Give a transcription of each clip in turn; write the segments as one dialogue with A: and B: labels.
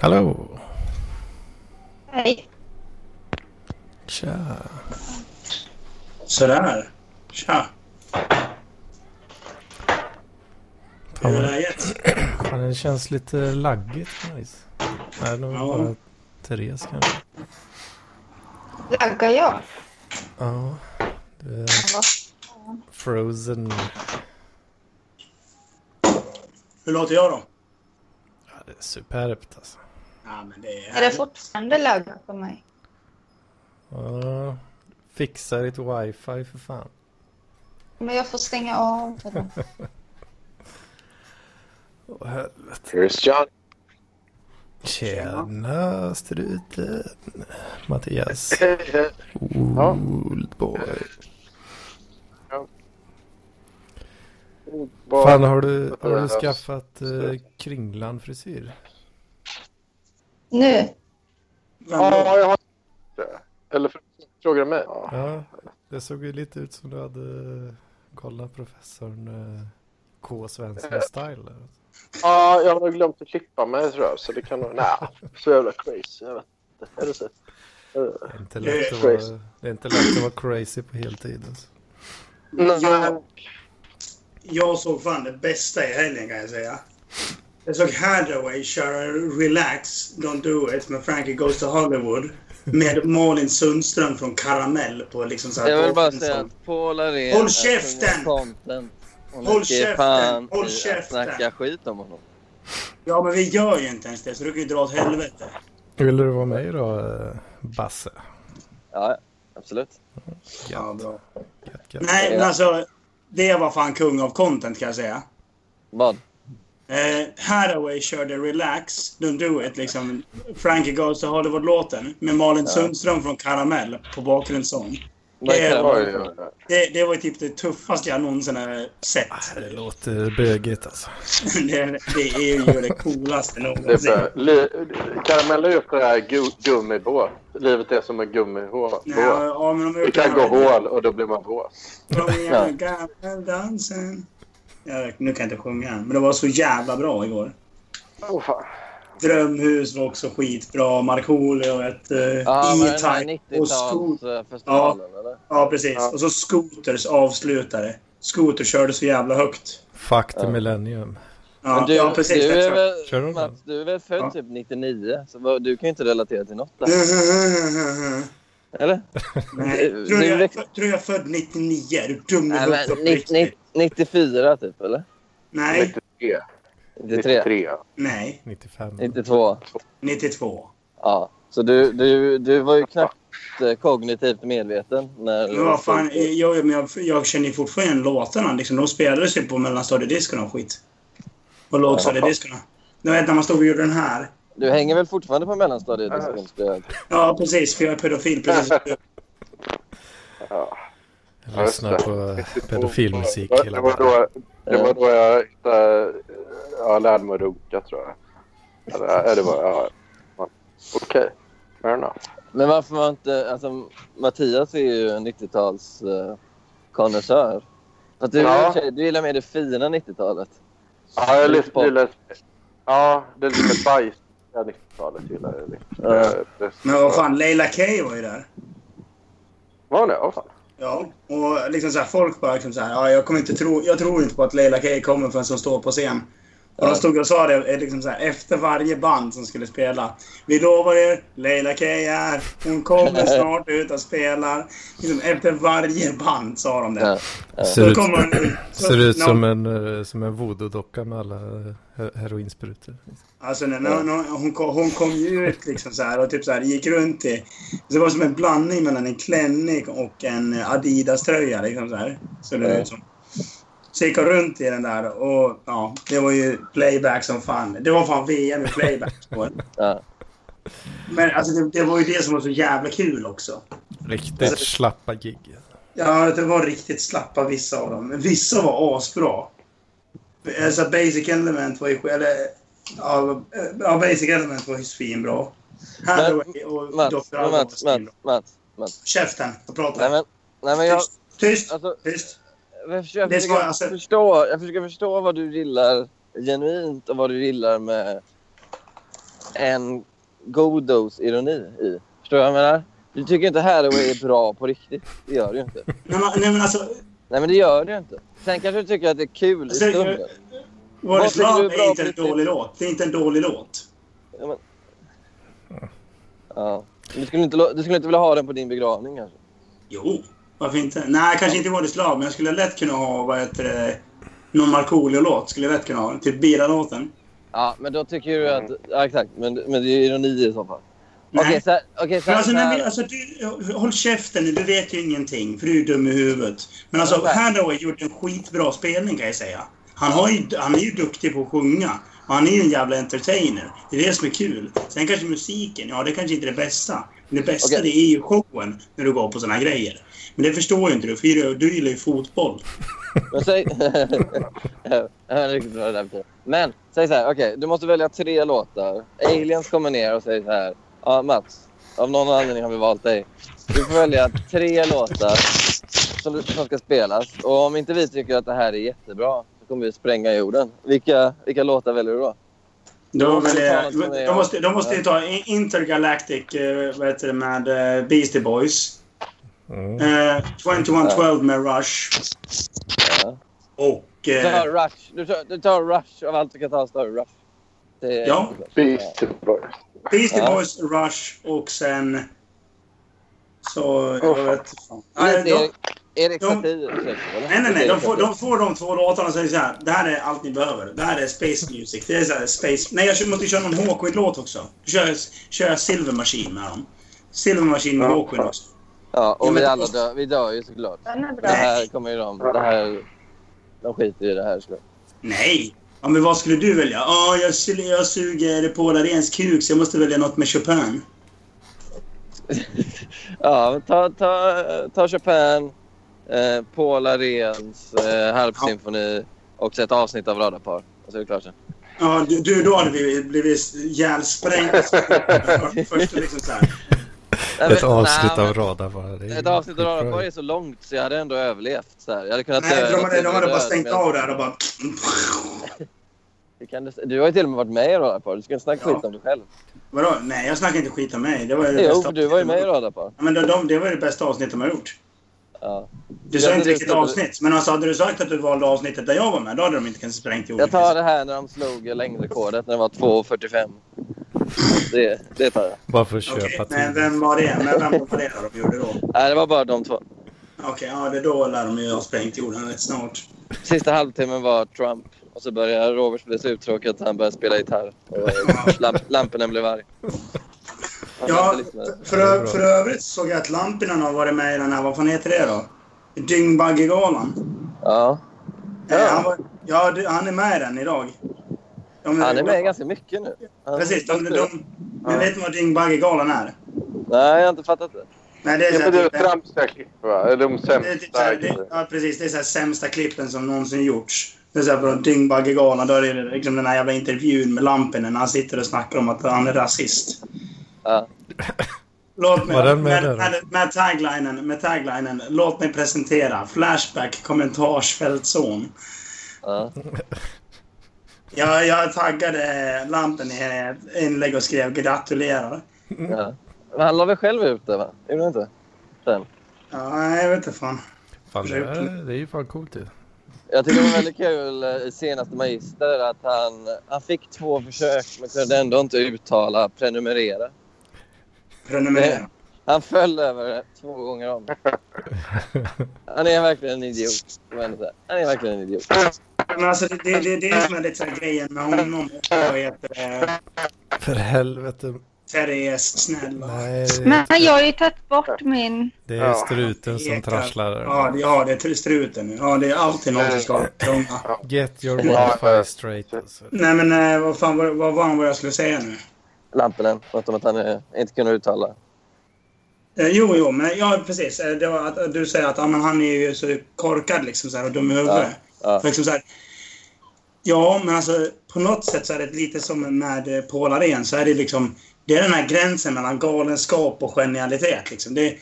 A: Hallå!
B: Hej.
A: Tja!
C: Sådär. Tja. Hur
A: Fan, vad-
C: är läget?
A: fan, det känns lite laggigt på något vis. Nej, det är nog
C: Ja.
A: bara Therese kanske.
B: Laggar jag?
A: Ja, du är
B: Hallå?
A: frozen.
C: Hur låter jag då?
A: Ja, det är superbt alltså.
C: Ja, men det
B: Är det fortfarande laggar på mig?
A: Ja, fixa ditt wifi för fan.
B: Men jag får stänga av. den.
A: Åh helvete.
D: Here's John.
A: Tjena struten. Mattias.
D: Ja.
A: Oldboy.
D: Vad-
A: Fan har du, har du
D: Ja.
A: skaffat eh, kringlan frisyr?
B: Nu?
C: Vem
D: Ja,
C: då?
D: jag har Eller för- frågar du mig? Ja.
A: Ja, det såg ju lite ut som du hade kollat professorn eh, K. Svensson-style. där.
D: ja, jag har nog glömt att klippa mig tror jag. Så det kan nog... Nej, så jävla crazy. Jag vet inte. Är det så?
A: Det är inte
C: Det
A: lätt
C: är
A: att vara,
D: crazy.
A: det är inte lätt att vara crazy på heltid. Alltså.
D: Nej.
C: Ja. Jag såg fan det bästa i helgen kan jag säga. Jag såg Hathaway köra Relax, Don't Do It med Frankie Goes to Hollywood. Med Malin Sundström från Karamell på liksom så här
E: Jag vill bara
C: bakgrunds-
E: säga att Paul Arén
C: Håll
E: är
C: käften!
E: content. Och
C: Håll
E: ni ger
C: käften!
E: fan
C: Håll
E: i att
C: käften!
E: Snacka skit om honom.
C: Ja, men vi gör ju inte ens det så du kan ju dra åt helvete.
A: Vill du vara med då, eh, Basse?
E: Ja, ja, absolut.
C: Ja, bra.
A: Gött, gött.
C: Nej, men alltså. Det var fan kung av content kan jag säga.
E: Vad?
C: Eh, Hathaway körde Relax, Don't Do It, liksom. Frankie Goes to Hollywood-låten med Malin Sundström från Karamell på bakgrundssång.
E: Vad
C: Det är-
E: kan det vara?
D: Oj, oj, oj.
C: Det, det var ju typ det tuffaste jag någonsin har sett.
E: Ah,
A: Det låter bögigt alltså.
C: Det, det är ju det coolaste
D: Det är
C: någonsin.
D: bra. Li... Karamell är ju för det här gu... gummibåt. Livet är som en gummibåt.
C: Nej, ja, men de har
D: Det
C: gjort
D: kan gå
C: här-
D: hål och då blir man våt.
C: Kom igen, gammal dansen. Jag, nu kan jag inte sjunga, men det var så jävla bra igår.
D: Åh fan.
C: Drömhus var också skitbra. Markoolio, ett eh,
E: Ja, men den här
C: E-Type och Scoot.
E: 90-talsfestivalen eller?
C: Ja, precis.
D: Ja.
C: Och så Scooters avslutare. Scooter körde så jävla högt.
A: Fuck the millennium.
C: Ja,
E: Men du,
C: ja precis.
E: du, är
C: Jag tror-
A: Kör de
E: väl, Mats, du är väl född
C: Ja.
E: typ 99? Så vad- du kan ju inte relatera till något där. Eller?
C: Nej,
E: Du-
C: tror
E: du
C: jag,
E: växte-
C: tror jag är född 99? Är du dum i
E: Nej,
C: huvudet
E: men
C: på
E: ni- ni-
C: riktigt?
E: 94 typ eller?
C: Nej,
D: 93.
E: 93?
D: 93.
C: nej.
A: 95.
E: 92?
C: 92.
E: Ja. Så du, du, du var ju knappt eh, kognitivt medveten när...
C: Men vad fan, jag, men jag, jag känner ju fortfarande igen låtarna. Liksom, de spelades ju på mellanstadiediskorna och skit. Och lågstadiediskorna. Du vet när man stod och gjorde den här.
E: Du hänger väl fortfarande på mellanstadiet? Äh.
C: Ja, precis. För jag är pedofil. Precis. som du.
A: Jag lyssnar på pedofilmusik
D: Det var-
A: hela
D: det var,
A: dagen.
D: då, det var då jag hittade, ja, lärde mig att runka tror jag. Eller, ja, det var, ja. Okej, fair enough.
E: Men varför var inte... Alltså, Mattias är ju en 90-tals eh, konnässör. För att du,
D: Ja.
E: tjej, du gillar mer det fina 90-talet.
D: Ja, jag lyssnade
E: Sport.
D: lite, ja, det är lite bajs. Ja, 90-talet gillar jag. lite.
E: Ja.
D: Eh, det-
C: Men vad fan, Leila Kay var ju där.
D: Var hon det? Ja, fan.
C: Ja, och liksom så här, folk bara liksom så här, ja, jag, kommer inte tro, jag tror inte på att Leila Kay kommer förrän hon står på scen. Och de stod och sa det eh, liksom så här, efter varje band som skulle spela. Vi lovar er, Leila Kay är här. Hon kommer snart ut och spelar. Liksom, efter varje band sa de det.
A: Ser
E: Ja.
C: Så
A: ut,
C: kommer hon ut. Så
A: ser ut
C: när-
A: som en, eh, som en voodoo-docka med alla eh, he- heroinsprutor.
C: Alltså när, när, när hon, kom, hon kom ju ut liksom så här och typ så här gick runt i... Det var som en blandning mellan en klänning och en Adidas-tröja liksom så här. Så det ut som. Så gick hon runt i den där och ja, det var ju playback som fan. Det var fan VM i playback.
E: Ja.
C: Men alltså det, det var ju det som var så jävla kul också. Mm.
A: Riktigt slappa gig.
C: Ja, det var riktigt slappa vissa av dem. Men vissa var asbra. Alltså Basic Element var ju... Eller, ja, ja, Basic Element var ju svinbra. Hathaway och
E: Mats,
C: Dr.
E: men
C: Alban var
E: Mats,
C: svinbra.
E: Mats, Mats, Mats.
C: Käften! Jag pratar.
E: Nej, men, nej, men jag...
C: tyst, tyst,
E: Alltså,
C: tyst!
E: jag försöker,
C: Det ska- alltså-
E: förstå, jag försöker förstå vad du gillar genuint och vad du gillar med en god dos ironi i. Förstår du vad jag menar? Du tycker inte Hathaway är bra på riktigt. Det gör du ju inte.
C: Nej, men, nej, men alltså,
E: Nej, men det gör du ju inte. Sen kanske du tycker att det är kul i
C: Alltså, jag-
E: stunden. Vad
C: What is
E: tycker du är
C: Love
E: bra
C: är inte en
E: på riktigt?
C: dålig låt. Det är inte en dålig låt.
E: Ja. Du, skulle inte, lo- du skulle inte vilja ha den på din begravning kanske?
C: Jo, varför inte? Nej, kanske inte What is Love, men jag skulle lätt kunna ha vad heter det, någon Markoolio-låt. Skulle jag lätt kunna ha. Typ Bila-låten.
E: Ja, men då tycker du att... Ja, exakt. Men, men det är ju ironi i så fall.
C: Nej.
E: Okej, så här- okej, så
C: Men
E: här-
C: alltså,
E: så
C: när vi,
E: här.
C: alltså, du, håll käften nu, du vet ju ingenting för du är dum i huvudet. Men alltså,
E: Ja, tack.
C: Hathaway gjorde en skitbra spelning kan jag säga. Han, har ju, han är ju duktig på att sjunga. Och han är ju en jävla entertainer. Det är det som är kul. Sen kanske musiken, ja det kanske inte är det bästa. Men det bästa
E: Okej.
C: det är ju showen när du går på såna här grejer. Men det förstår ju inte du, för du, du gillar ju fotboll.
E: Men säg... Ja, det är riktigt bra det där betyder. Men säg så här, okej, du måste välja tre låtar. Aliens kommer ner och säger så här. Ja, Mats. Av någon anledning har vi valt dig. Du får välja tre låtar som, som ska spelas. Och om inte vi tycker att det här är jättebra så kommer vi spränga jorden. Vilka, vilka låtar väljer du då?
C: Då
E: måste
C: vill
E: vi
C: jag,
E: ta något som är-
C: de måste, de måste ju ta in- Intergalactic, eh, vad heter det, med eh, Beastie Boys.
A: Mm.
C: Eh, 2112 med Rush.
E: Ja.
C: Och...
E: Du
C: Eh,
E: tar Rush. Du tar, du tar Rush. Av allt du kan ta så tar du Rush. Det är
C: Ja.
E: Ja.
D: Beastie Boys.
C: Beastie
E: Ja.
C: Boys, Rush och sen... Så... Jag
D: Oh.
C: vet fan.
E: Men
C: Nej,
E: det
C: de,
E: är Erik
C: de-
E: Satie. ursäkta, eller?
C: nej, nej. nej.
E: Erik
C: De, får,
E: Satie.
C: de får de två låtarna och säger så här. Det här är allt ni behöver. Det här är space music. Det är så här space... Nej, jag måste köra någon Hawkwind-låt också. Då kör, jag- kör jag Silver Machine med dem. Silver Machine med
D: Ja.
C: Hawkwind också.
E: Ja,
C: Ja,
E: och
C: men
E: vi
C: det
E: alla
C: måste-
E: dör, vi dör ju såklart.
B: Den är bra.
E: Det här kommer ju de... Det här, de skiter i det här såklart.
C: Nej! Ja, men vad skulle du välja? Ja, jag, skulle- jag suger på Laréns kuk så jag måste välja något med Chopin.
E: Ja, men ta, ta, ta Chopin, eh, Paul Aréns eh, harpsymfoni och så ett avsnitt av Radarpar. Och så är det klart sen.
C: Ja, du, du då hade vi blivit ihjälsprängda. För- Först liksom så här.
E: Nej,
A: Ett
E: men-
A: avsnitt
E: nej,
A: av radar bara. Det
E: men
A: är
E: Ett avsnitt av
A: skitbra.
E: Radarpar är så långt så jag hade ändå överlevt. Så här. Jag hade kunnat eh,
C: Nej, de hade, de hade bara
E: död,
C: stängt
E: men jag-
C: av där och bara...
E: Det kan, du- du har ju till och med varit med i Radarpar. Du ska inte snacka
C: Ja.
E: skit om dig själv.
C: Vadå? Nej, jag snackar inte skit om mig. Det var ju det
E: Jo,
C: bästa
E: för du var ju med i
C: avsnittet.
E: Radarpar.
C: Ja, men de, de, det var ju det bästa avsnittet de har gjort.
E: Ja.
C: Du
E: Jag
C: sa
E: tror
C: inte
E: du
C: vilket
E: skulle-
C: avsnitt, men alltså hade du sagt att du valde avsnittet där jag var med, då hade de inte kanske sprängt ihop liksom.
E: Jag tar det här när de slog längdrekordet när det var 2.45. Det, det tar jag.
A: Bara för att
C: Okej,
A: köpa
C: men
A: tid.
C: vem var det? Men vem var det då de gjorde då?
E: Nej, det var bara de två.
C: Okej, ja, det då lär de ju ha sprängt jorden rätt snart.
E: Sista halvtimmen var Trump. Och så började Robert bli så uttråkad att han började spela gitarr. Och lamp, lamporna blev arg. Han
C: Ja,
E: satt och lyssnade.
C: för, ö- för övrigt såg jag att Lampinen har varit med i den här, vad fan heter det då? Dyngbaggegalan.
E: ja.
C: Ja.
E: Ja.
C: Han, var, ja, du- han är med i den idag. De-
E: Han är med ganska mycket nu. Han,
C: Precis, de, de, men
D: Ja.
C: vet ni vad Dyngbaggegalan är?
E: Nej, jag har inte fattat det.
C: Nej, det är,
D: Ja,
C: så här,
D: men det är
C: typ,
D: främsta klipp, va? Eller de
C: det är typ så här,
D: sämsta.
C: det, ja, precis, det är så här sämsta klippen som någonsin gjorts. Det är så här från Dyngbaggegalan, då är det liksom den här jävla intervjun med Lampinen när han sitter och snackar om att han är rasist.
E: Ja.
C: Låt mig,
A: Var den med
C: med,
A: där då?
C: med, med, taglinen, med taglinen, låt mig presentera Flashback kommentarsfältzon.
E: Ja.
C: Jag, jag taggade Lampen i ett inlägg och skrev gratulerar.
E: Ja. Men han la väl själv ut det, va? Gjorde han inte? Sen.
C: Ja, jag vet inte fan.
A: Fan, det, är, det är ju fan coolt ju.
E: Jag tycker det var väldigt kul eh, i senaste Magister att han, han fick två försök men kunde ändå inte uttala prenumerera.
C: Prenumerera.
E: Han föll över det två gånger om. Han är verkligen en idiot. får jag ändå säga. Han är verkligen en idiot.
C: Men alltså, det, det, det är det som är lite så här grejen med honom. Vad heter det?
A: För helvete.
C: Therese, snälla.
A: Nej,
B: Men jag har ju tagit bort min...
A: det är
D: Ja.
A: struten som
C: Ekar.
A: trasslar.
C: Ja, det, ja, det är struten nu. Ja, det är alltid någon som ska krångla.
A: Get your
D: Ja.
A: wifi straight. Alltså.
C: Nej, men eh, vad fan vad, vad var vad jag skulle säga nu?
E: Lampinen. Något om att han eh, inte kunde uttala.
C: Eh, Jo, jo, men ja, precis. Eh, Det var att, att du säger att ja, men han är ju så korkad liksom, så här, och dum i huvudet.
E: Ja.
C: För Liksom, så här, ja, men alltså på något sätt så är det lite som med eh, Paul Arén, så är det liksom det är den här gränsen mellan galenskap och genialitet. Liksom. Det,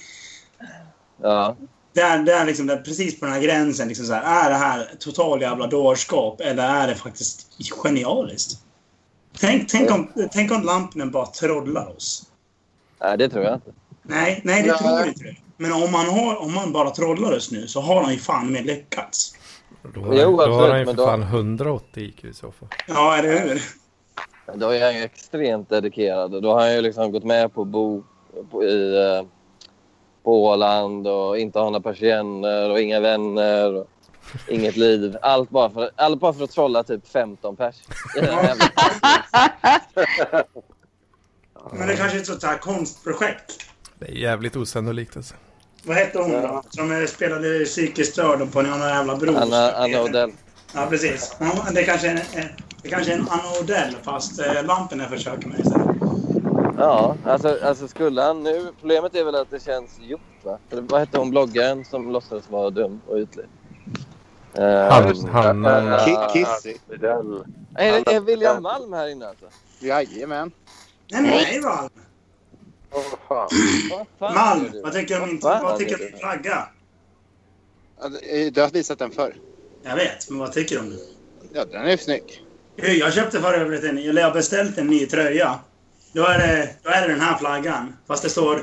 E: Ja.
C: det, är, det, är liksom, det är precis på den här gränsen. Liksom, så här, är det här total jävla dårskap eller är det faktiskt genialiskt? Tänk, tänk, om, tänk om Lampinen bara trollar oss.
E: Nej, det tror jag inte.
C: Nej, nej det
E: Nej.
C: tror jag inte. Men om han, har, om han bara trollar oss nu så har han ju fan med lyckats.
A: Då har,
E: Jo,
A: då har
E: absolut,
A: han ju för
E: men då-
A: fan 180 IQ i så fall.
C: Ja, eller hur?
E: Men Då är han ju extremt dedikerad. och Då har han ju liksom gått med på att bo på, i, eh, på Åland och inte ha några persienner och inga vänner. Och inget liv. Allt bara, för, allt bara för att trolla typ 15 pers. I den här jävla-
C: Men det kanske är ett sånt här konstprojekt.
A: Det är jävligt osannolikt alltså.
C: Vad hette hon då? Som eh, spelade psykiskt störd på någon jävla bro.
E: Anna, Anna Odell.
C: Ja, precis. Ja, Det kanske är, eh, det kanske är en Anna Odell fast eh, Lampinen försöker med istället.
E: Ja, alltså, alltså skulle han nu... Problemet är väl att det känns gjort, va? Eller Vad hette hon, bloggaren som låtsades vara dum och ytlig? Eh,
A: Han, han, eh,
F: Ki- Kissy.
D: Den,
E: Är, är William Malm här inne alltså?
F: Jajamän.
C: Nej, men nej, Malm!
D: oh, fan.
E: Vad fan
C: Malm!
E: gör du?
C: Vad tycker du om min,
E: Vad fan
C: vad tycker du
E: gör
C: om min
E: du?
C: flagga?
F: Ja, det-
G: eh,
F: Du har visat den förr.
C: Jag vet, men vad tycker du om den?
F: Ja, den är ju snygg.
C: Du, Jag köpte för övrigt en, eller jag har beställt en ny tröja. Då är, det, då är det den här flaggan. Fast det står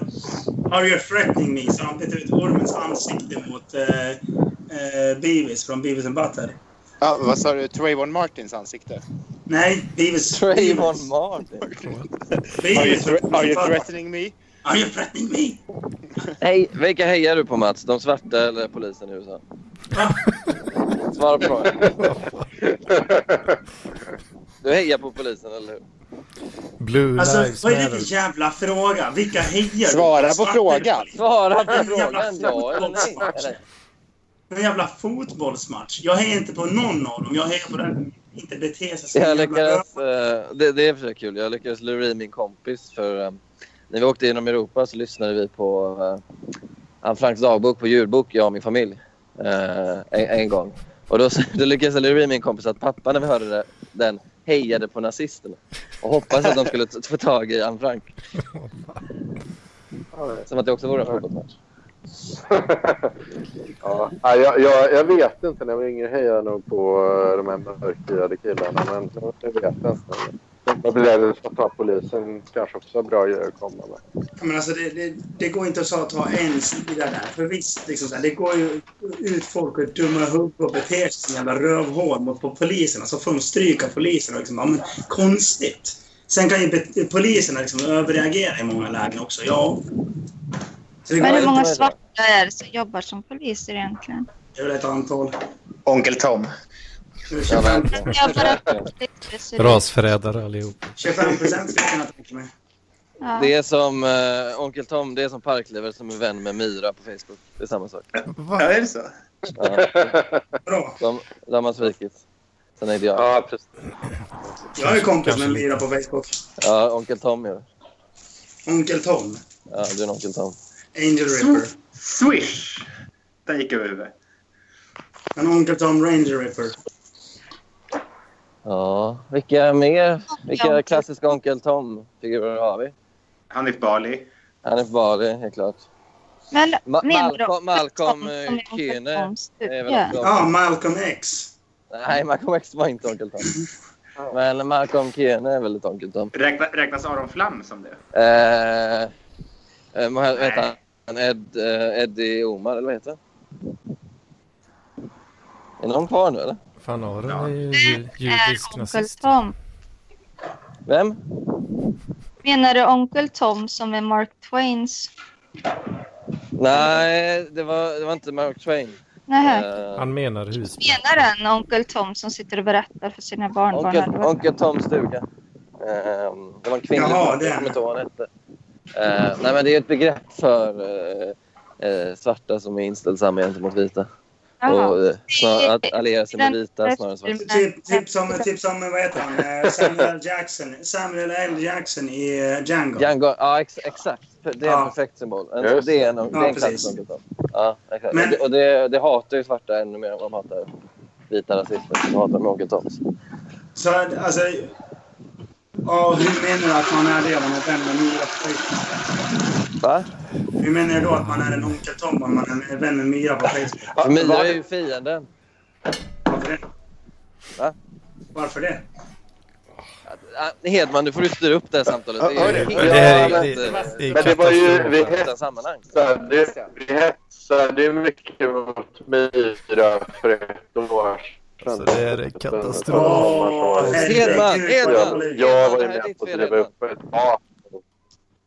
C: Are you threatening me? Så han bytte ut ormens ansikte mot eh, eh, Beavis från Beavis and Butter.
F: Ja, vad sa du? Trayvon Martins ansikte?
C: Nej, Beavis.
E: Trayvon
C: Beavis.
E: Martin.
F: Are you,
C: Beavis från
F: thre- are you
C: Beavis and Butter.
F: threatening me?
C: Are you threatening me?
E: Hej, vilka hejar du på Mats? De svarta eller polisen i USA?
C: Va?
E: Svara på frågan. Du hejar på polisen, eller hur?
A: Blue Lives
C: Alltså, vad är det
A: Matter.
C: för jävla fråga? Vilka hejar
F: Svara på
C: Svarta-
F: frågan.
E: Svara på
C: Jävla
E: frågan, ja eller nej?
C: fotbollsmatch.
E: Eller?
C: En jävla fotbollsmatch. Jag hejar inte på någon av dem. Jag hejar på den som inte beter sig som en
E: Jag
C: jävla
E: lyckades, eh, det, det är i och för sig kul. Jag lyckades lura i min kompis. För, eh, när vi åkte genom Europa så lyssnade vi på eh, Anne Franks dagbok på djurbok, jag och min familj. eh, en, en gång. Och då, så- då lyckades jag lura i min kompis att pappa när vi hörde det, den hejade på nazisterna. Och hoppades att de skulle t- få tag i Anne Frank. Som att det också vore en fotbollsmatch.
D: ja, nej, jag, jag, jag vet inte. När jag var yngre hejade jag nog på eh, de här mörkhyade killarna. Men jag- jag vet inte. Jag blir rädd för att ta polisen. Kanske också har bra grejer att komma med.
C: Ja, Men alltså det, det, det går inte att så att ta en sida där. För visst, liksom så här, det går ju ut folk och är dumma i huvudet och beter sig som jävla rövhål mot på poliserna. Så får de stryka poliserna. Liksom. Ja, men konstigt. Sen kan ju be- poliserna liksom överreagera i många lägen också. Ja. Så det, går,
B: Men hur
E: det
B: många
E: tror jag.
B: svarta är det som jobbar som poliser egentligen?
C: det är väl ett antal.
F: Onkel Tom.
C: Nu
E: Jag
C: 25,
E: vet inte.
B: Jag bara poliser.
A: Rasförrädare allihop.
C: 25 procent skulle jag kunna tänka mig.
B: Ja.
E: Det är som eh, Onkel Tom, det är som Parklever som är vän med Myra på Facebook. Det är samma sak.
F: Ja, är det så?
E: Ja,
C: Bra.
E: de, de har man svikit. Sen är det jag.
D: Ja, precis.
C: Jag är kompis med
A: Kanske
C: en lira på Facebook.
E: Ja, onkel Tom är det.
C: Onkel Tom.
E: Ja, du är en onkel Tom.
C: Angel Ripper.
F: Swish! Den gick över huvudet.
C: En Onkel Tom Ranger Ripper.
E: Ja, vilka mer? Vilka
B: Onkel.
E: klassiska onkel Tom-figurer har vi?
F: Hanif Bali.
E: Hanif Bali, helt klart.
B: Men
E: Ma-
B: menar du
E: Malcolm- Malcolm,
B: Tom
E: eh,
B: som är Uncle
E: Kyhne
B: Toms
E: Det är
B: stuga?
E: väl också-
C: Ja, Malcolm X.
E: Nej, Malcolm X var inte onkel Tom. Men Malcolm Kiene är väl ett onkel Tom.
F: Räkna, räknas Aron Flam som det?
E: Eh, eh, vad heter han? Ed, eh, Eddie Omar, eller vad heter han? Är någon kvar nu, eller?
A: Fan, Aron
F: Ja.
A: är ju ju-
B: Är
A: judisk
B: Onkel
A: nazist.
B: Tom.
E: Vem?
B: Menar du Onkel Tom som är Mark Twains?
E: Nej, det var, det var inte Mark Twain.
B: Nej.
E: Eh,
A: Han menar husbil.
B: Menar den Onkel Tom som sitter och berättar för sina barnbarn?
E: Onkel,
B: eller vad?
E: onkel Toms stuga. Ehm, det var en kvinnlig
C: Jaha,
E: Jaha,
C: det.
E: jag kommer inte ihåg vad hon hette. Eh, nej, men det är ett begrepp för eh, eh, svarta som är inställsamma gentemot vita.
B: Jaha.
E: Och, eh, snar, att alliera sig med vita snarare än svarta.
C: Typ, typ som, typ som vad heter han? Eh, Samuel Jackson. Samuel L. Jackson i eh, Django.
E: Django, ja ex, exakt. Det är en
C: Ja.
E: perfekt symbol. En,
D: Just
E: det är en, det är en
C: precis.
E: klassisk Onkel Tom. Ja, exakt.
C: Men-
E: Och, det, och det, det hatar ju svarta ännu mer än vad de hatar vita rasister. De hatar de Onkel Toms.
C: Så alltså... Ja, hur menar du att man är det om man är vän med Myra på Facebook?
E: Va?
C: Hur menar du då att man är en Onkel Tom om man är vän med Myra på Facebook?
E: För Myra
D: var-
E: är ju fienden.
C: Varför det?
E: Va?
C: Varför det?
E: Att- ah, Hedman, nu får du styra upp det här samtalet. Det
H: Hör
E: är
H: du?
E: ju
H: Det
E: helt
A: är- det-
E: eh,
A: Det är
H: Men det var ju-
A: katastrof.
H: vi-
E: utan sammanhang.
H: Så det, vi hetsade ju mycket mot Myra för ett år sedan.
A: Så det är katastrof.
H: Ja,
C: Åh,
H: jag-
E: Hedman, Hedman!
H: Jag var ju med på att driva upp ett tak.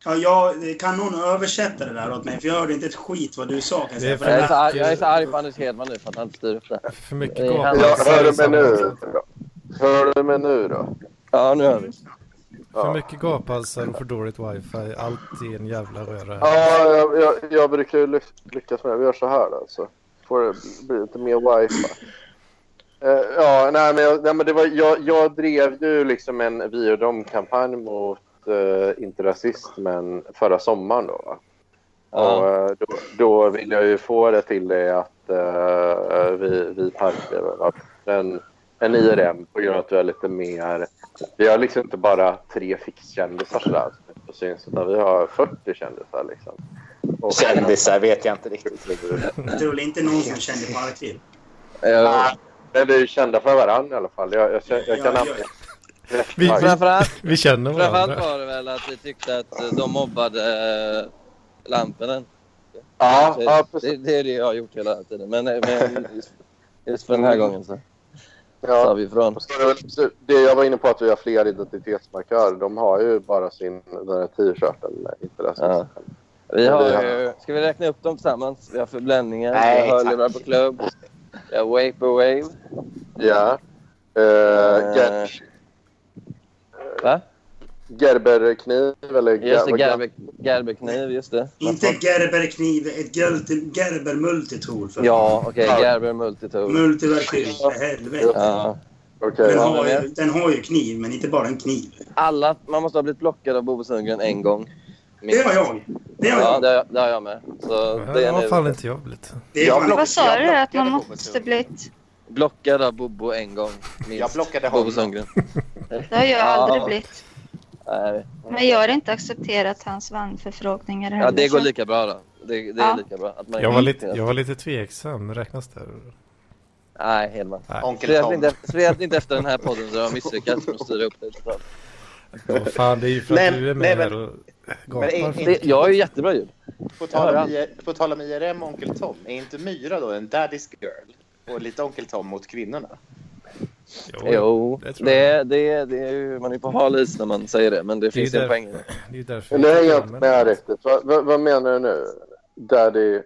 C: Ja, jag, kan någon översätta det där åt mig? För jag hörde inte ett skit vad du sa. Kan jag säga.
A: Det
C: För
A: är
E: Jag är,
C: det
E: så
C: där,
E: arg, jag är så arg på Anders Hedman nu för att han inte styr upp det.
A: För mycket
E: Ja,
A: gapar.
H: Ja, hör du mig nu? Hör du mig nu då?
E: Ja, nu hör vi.
A: För
H: Ja.
A: mycket gaphalsar och för dåligt wifi. Allt i en jävla röra.
H: Ja, jag, jag, jag brukar ju lyck- lyckas med det. Vi gör så här då. Så får det bli lite mer wifi. Eh, ja, nej men, jag, nej, men det var, jag, jag drev ju liksom en vi och dem-kampanj mot eh, inte rasism, men förra sommaren då. Va? Och,
E: Ja.
H: eh, då, då vill jag ju få det till det att eh, vi, vi parklever va? en, en IRM på grund av att vi har lite mer... Vi har liksom inte bara tre fixkändisar sådär som syns utan vi har 40 kändisar liksom. Och,
G: Kändisar vet jag inte riktigt.
C: jag tror inte någon som kände på Arkliv.
E: Ja.
H: Eh, Men vi är ju kända för varandra i alla fall. Jag, jag, jag, jag kan
C: Ja,
H: använda...
A: Vi-
H: Ja,
E: Framförallt,
A: Vi känner
E: framförallt
A: varandra.
E: var det väl att vi tyckte att eh, de mobbade eh, Lampinen.
H: ja, ja, precis.
E: det, det är det jag har gjort hela tiden. Men, eh, men just, just för den här gången så
H: Ja.
E: sa vi ifrån.
H: Så det, är väl- så det jag var inne på att vi har fler identitetsmarkörer. De har ju bara sin den här t-shirten. Inte rasism.
E: Ja. Vi har ju, ska vi räkna upp dem tillsammans? Vi har förblänningar,
G: Nej,
E: vi har
G: tack.
E: hörlurar på klubb, vi har vaporwave.
H: Ja. Eh,
E: Eh.
H: Ger-
E: Va?
H: Gerberkniv eller...
E: Just det,
H: vad-
E: Gerber, Gerberkniv, just det.
C: Inte Gerberkniv, ett Gelti- Gerber multitool. För
E: Ja, okej,
H: Ja.
E: Gerber multitool.
C: Mm. Multiverktyg, för helvete.
E: Ja.
H: Okej.
C: Den
E: Ja,
C: har,
E: men
C: ju, den har ju kniv, men inte bara en kniv.
E: Alla, man måste ha blivit blockad av Bobo Sundgren en gång.
C: Det har jag. Det har
E: Ja,
C: jag.
E: det har, det har jag med. Så det
A: Det
E: är
A: har
E: nu
A: fan inte jag blivit.
C: Det
G: Jag
C: är fan,
G: block-
B: Vad sa
G: jag
B: du? Att
G: blockade
B: man
G: Bobo
B: måste
G: Sundgren.
B: blivit?
E: blockad av Bobo en gång. Minst.
G: Jag blockade
E: Bobo
G: honom.
E: Sundgren.
B: Det har jag
E: Ja.
B: aldrig blivit.
E: Nej.
B: Men jag har inte accepterat hans vannförfrågningar heller.
E: Ja, det går
B: så-
E: lika bra då. Det, det
B: Ja.
E: är lika bra. Att man
A: Jag var lite, jag var lite tveksam. Räknas det?
E: Nej, Hedman.
A: Nej.
G: Onkel
E: Speciellt
G: Tom.
E: inte, speciellt inte efter den här podden så har jag misslyckats med att styra upp det.
A: Ja, fan, det är ju för att
G: Men-
A: du är
G: nej,
A: med
G: men-
A: här och
G: men-
A: gapar.
E: det jag har ju jättebra ljud.
G: På tal,
E: Ja,
G: om, I- på tal om IRM och Onkel Tom, är inte Myra då en daddy's girl? Och lite Onkel Tom mot kvinnorna?
E: Jo,
A: det tror
E: det, det, det är ju, man är ju på hal is när man säger det, men det, finns ju
A: där-
E: en poäng i det.
A: Det är ju därför
H: Nu hänger jag
A: Men-
H: inte med riktigt. Vad, vad, vad menar du nu? Daddy...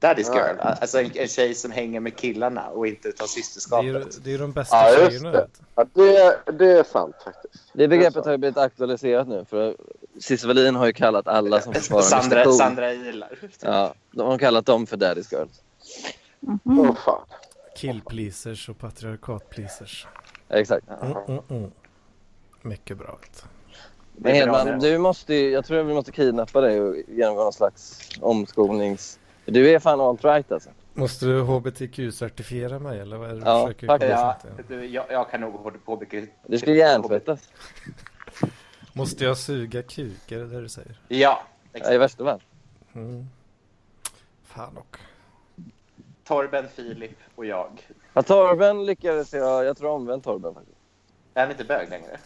G: Daddy's
H: Ja.
G: girl, alltså en, en tjej som hänger med killarna och inte tar
A: Det är, ju,
G: systerskapet.
A: det är ju de bästa
H: Ja, just
A: tjejerna.
H: det.
A: vet du.
H: Ja, det, det är sant faktiskt.
E: Det
H: är
E: begreppet
H: så.
G: Alltså.
E: har ju blivit aktualiserat nu, för Cissi Wallin har ju kallat alla som försvarar
G: Sandra,
E: menstruation.
G: Sandra gillar.
E: Ja, de har kallat dem för daddy's girls.
B: Mhm.
H: Åh, fan.
A: Kill pleasers och patriarkat pleasers.
E: Exakt.
A: Mm, mm, mm. Mycket bra. vet du.
E: Men
G: Det är bra
E: Hedman,
G: det.
E: du måste ju, jag tror att vi måste kidnappa dig och genomgå någon slags omskolnings... Du är fan alt-right alltså.
A: Måste du hbtq-certifiera mig eller vad är det du
E: Ja,
A: försöker
E: faktiskt.
A: komma
G: Ja,
A: fram till?
G: du, jag, jag kan nog hålla på mycket.
E: Du ska hjärntvättas.
A: Måste jag suga kuk? Är det det du säger?
G: Ja,
E: Ja, I
G: exakt.
E: värsta fall.
A: Mm. Fan och.
G: Torben, Filip och jag.
E: Ja, Torben lyckades jag, jag tror omvänt Torben faktiskt.
G: Är han inte bög längre?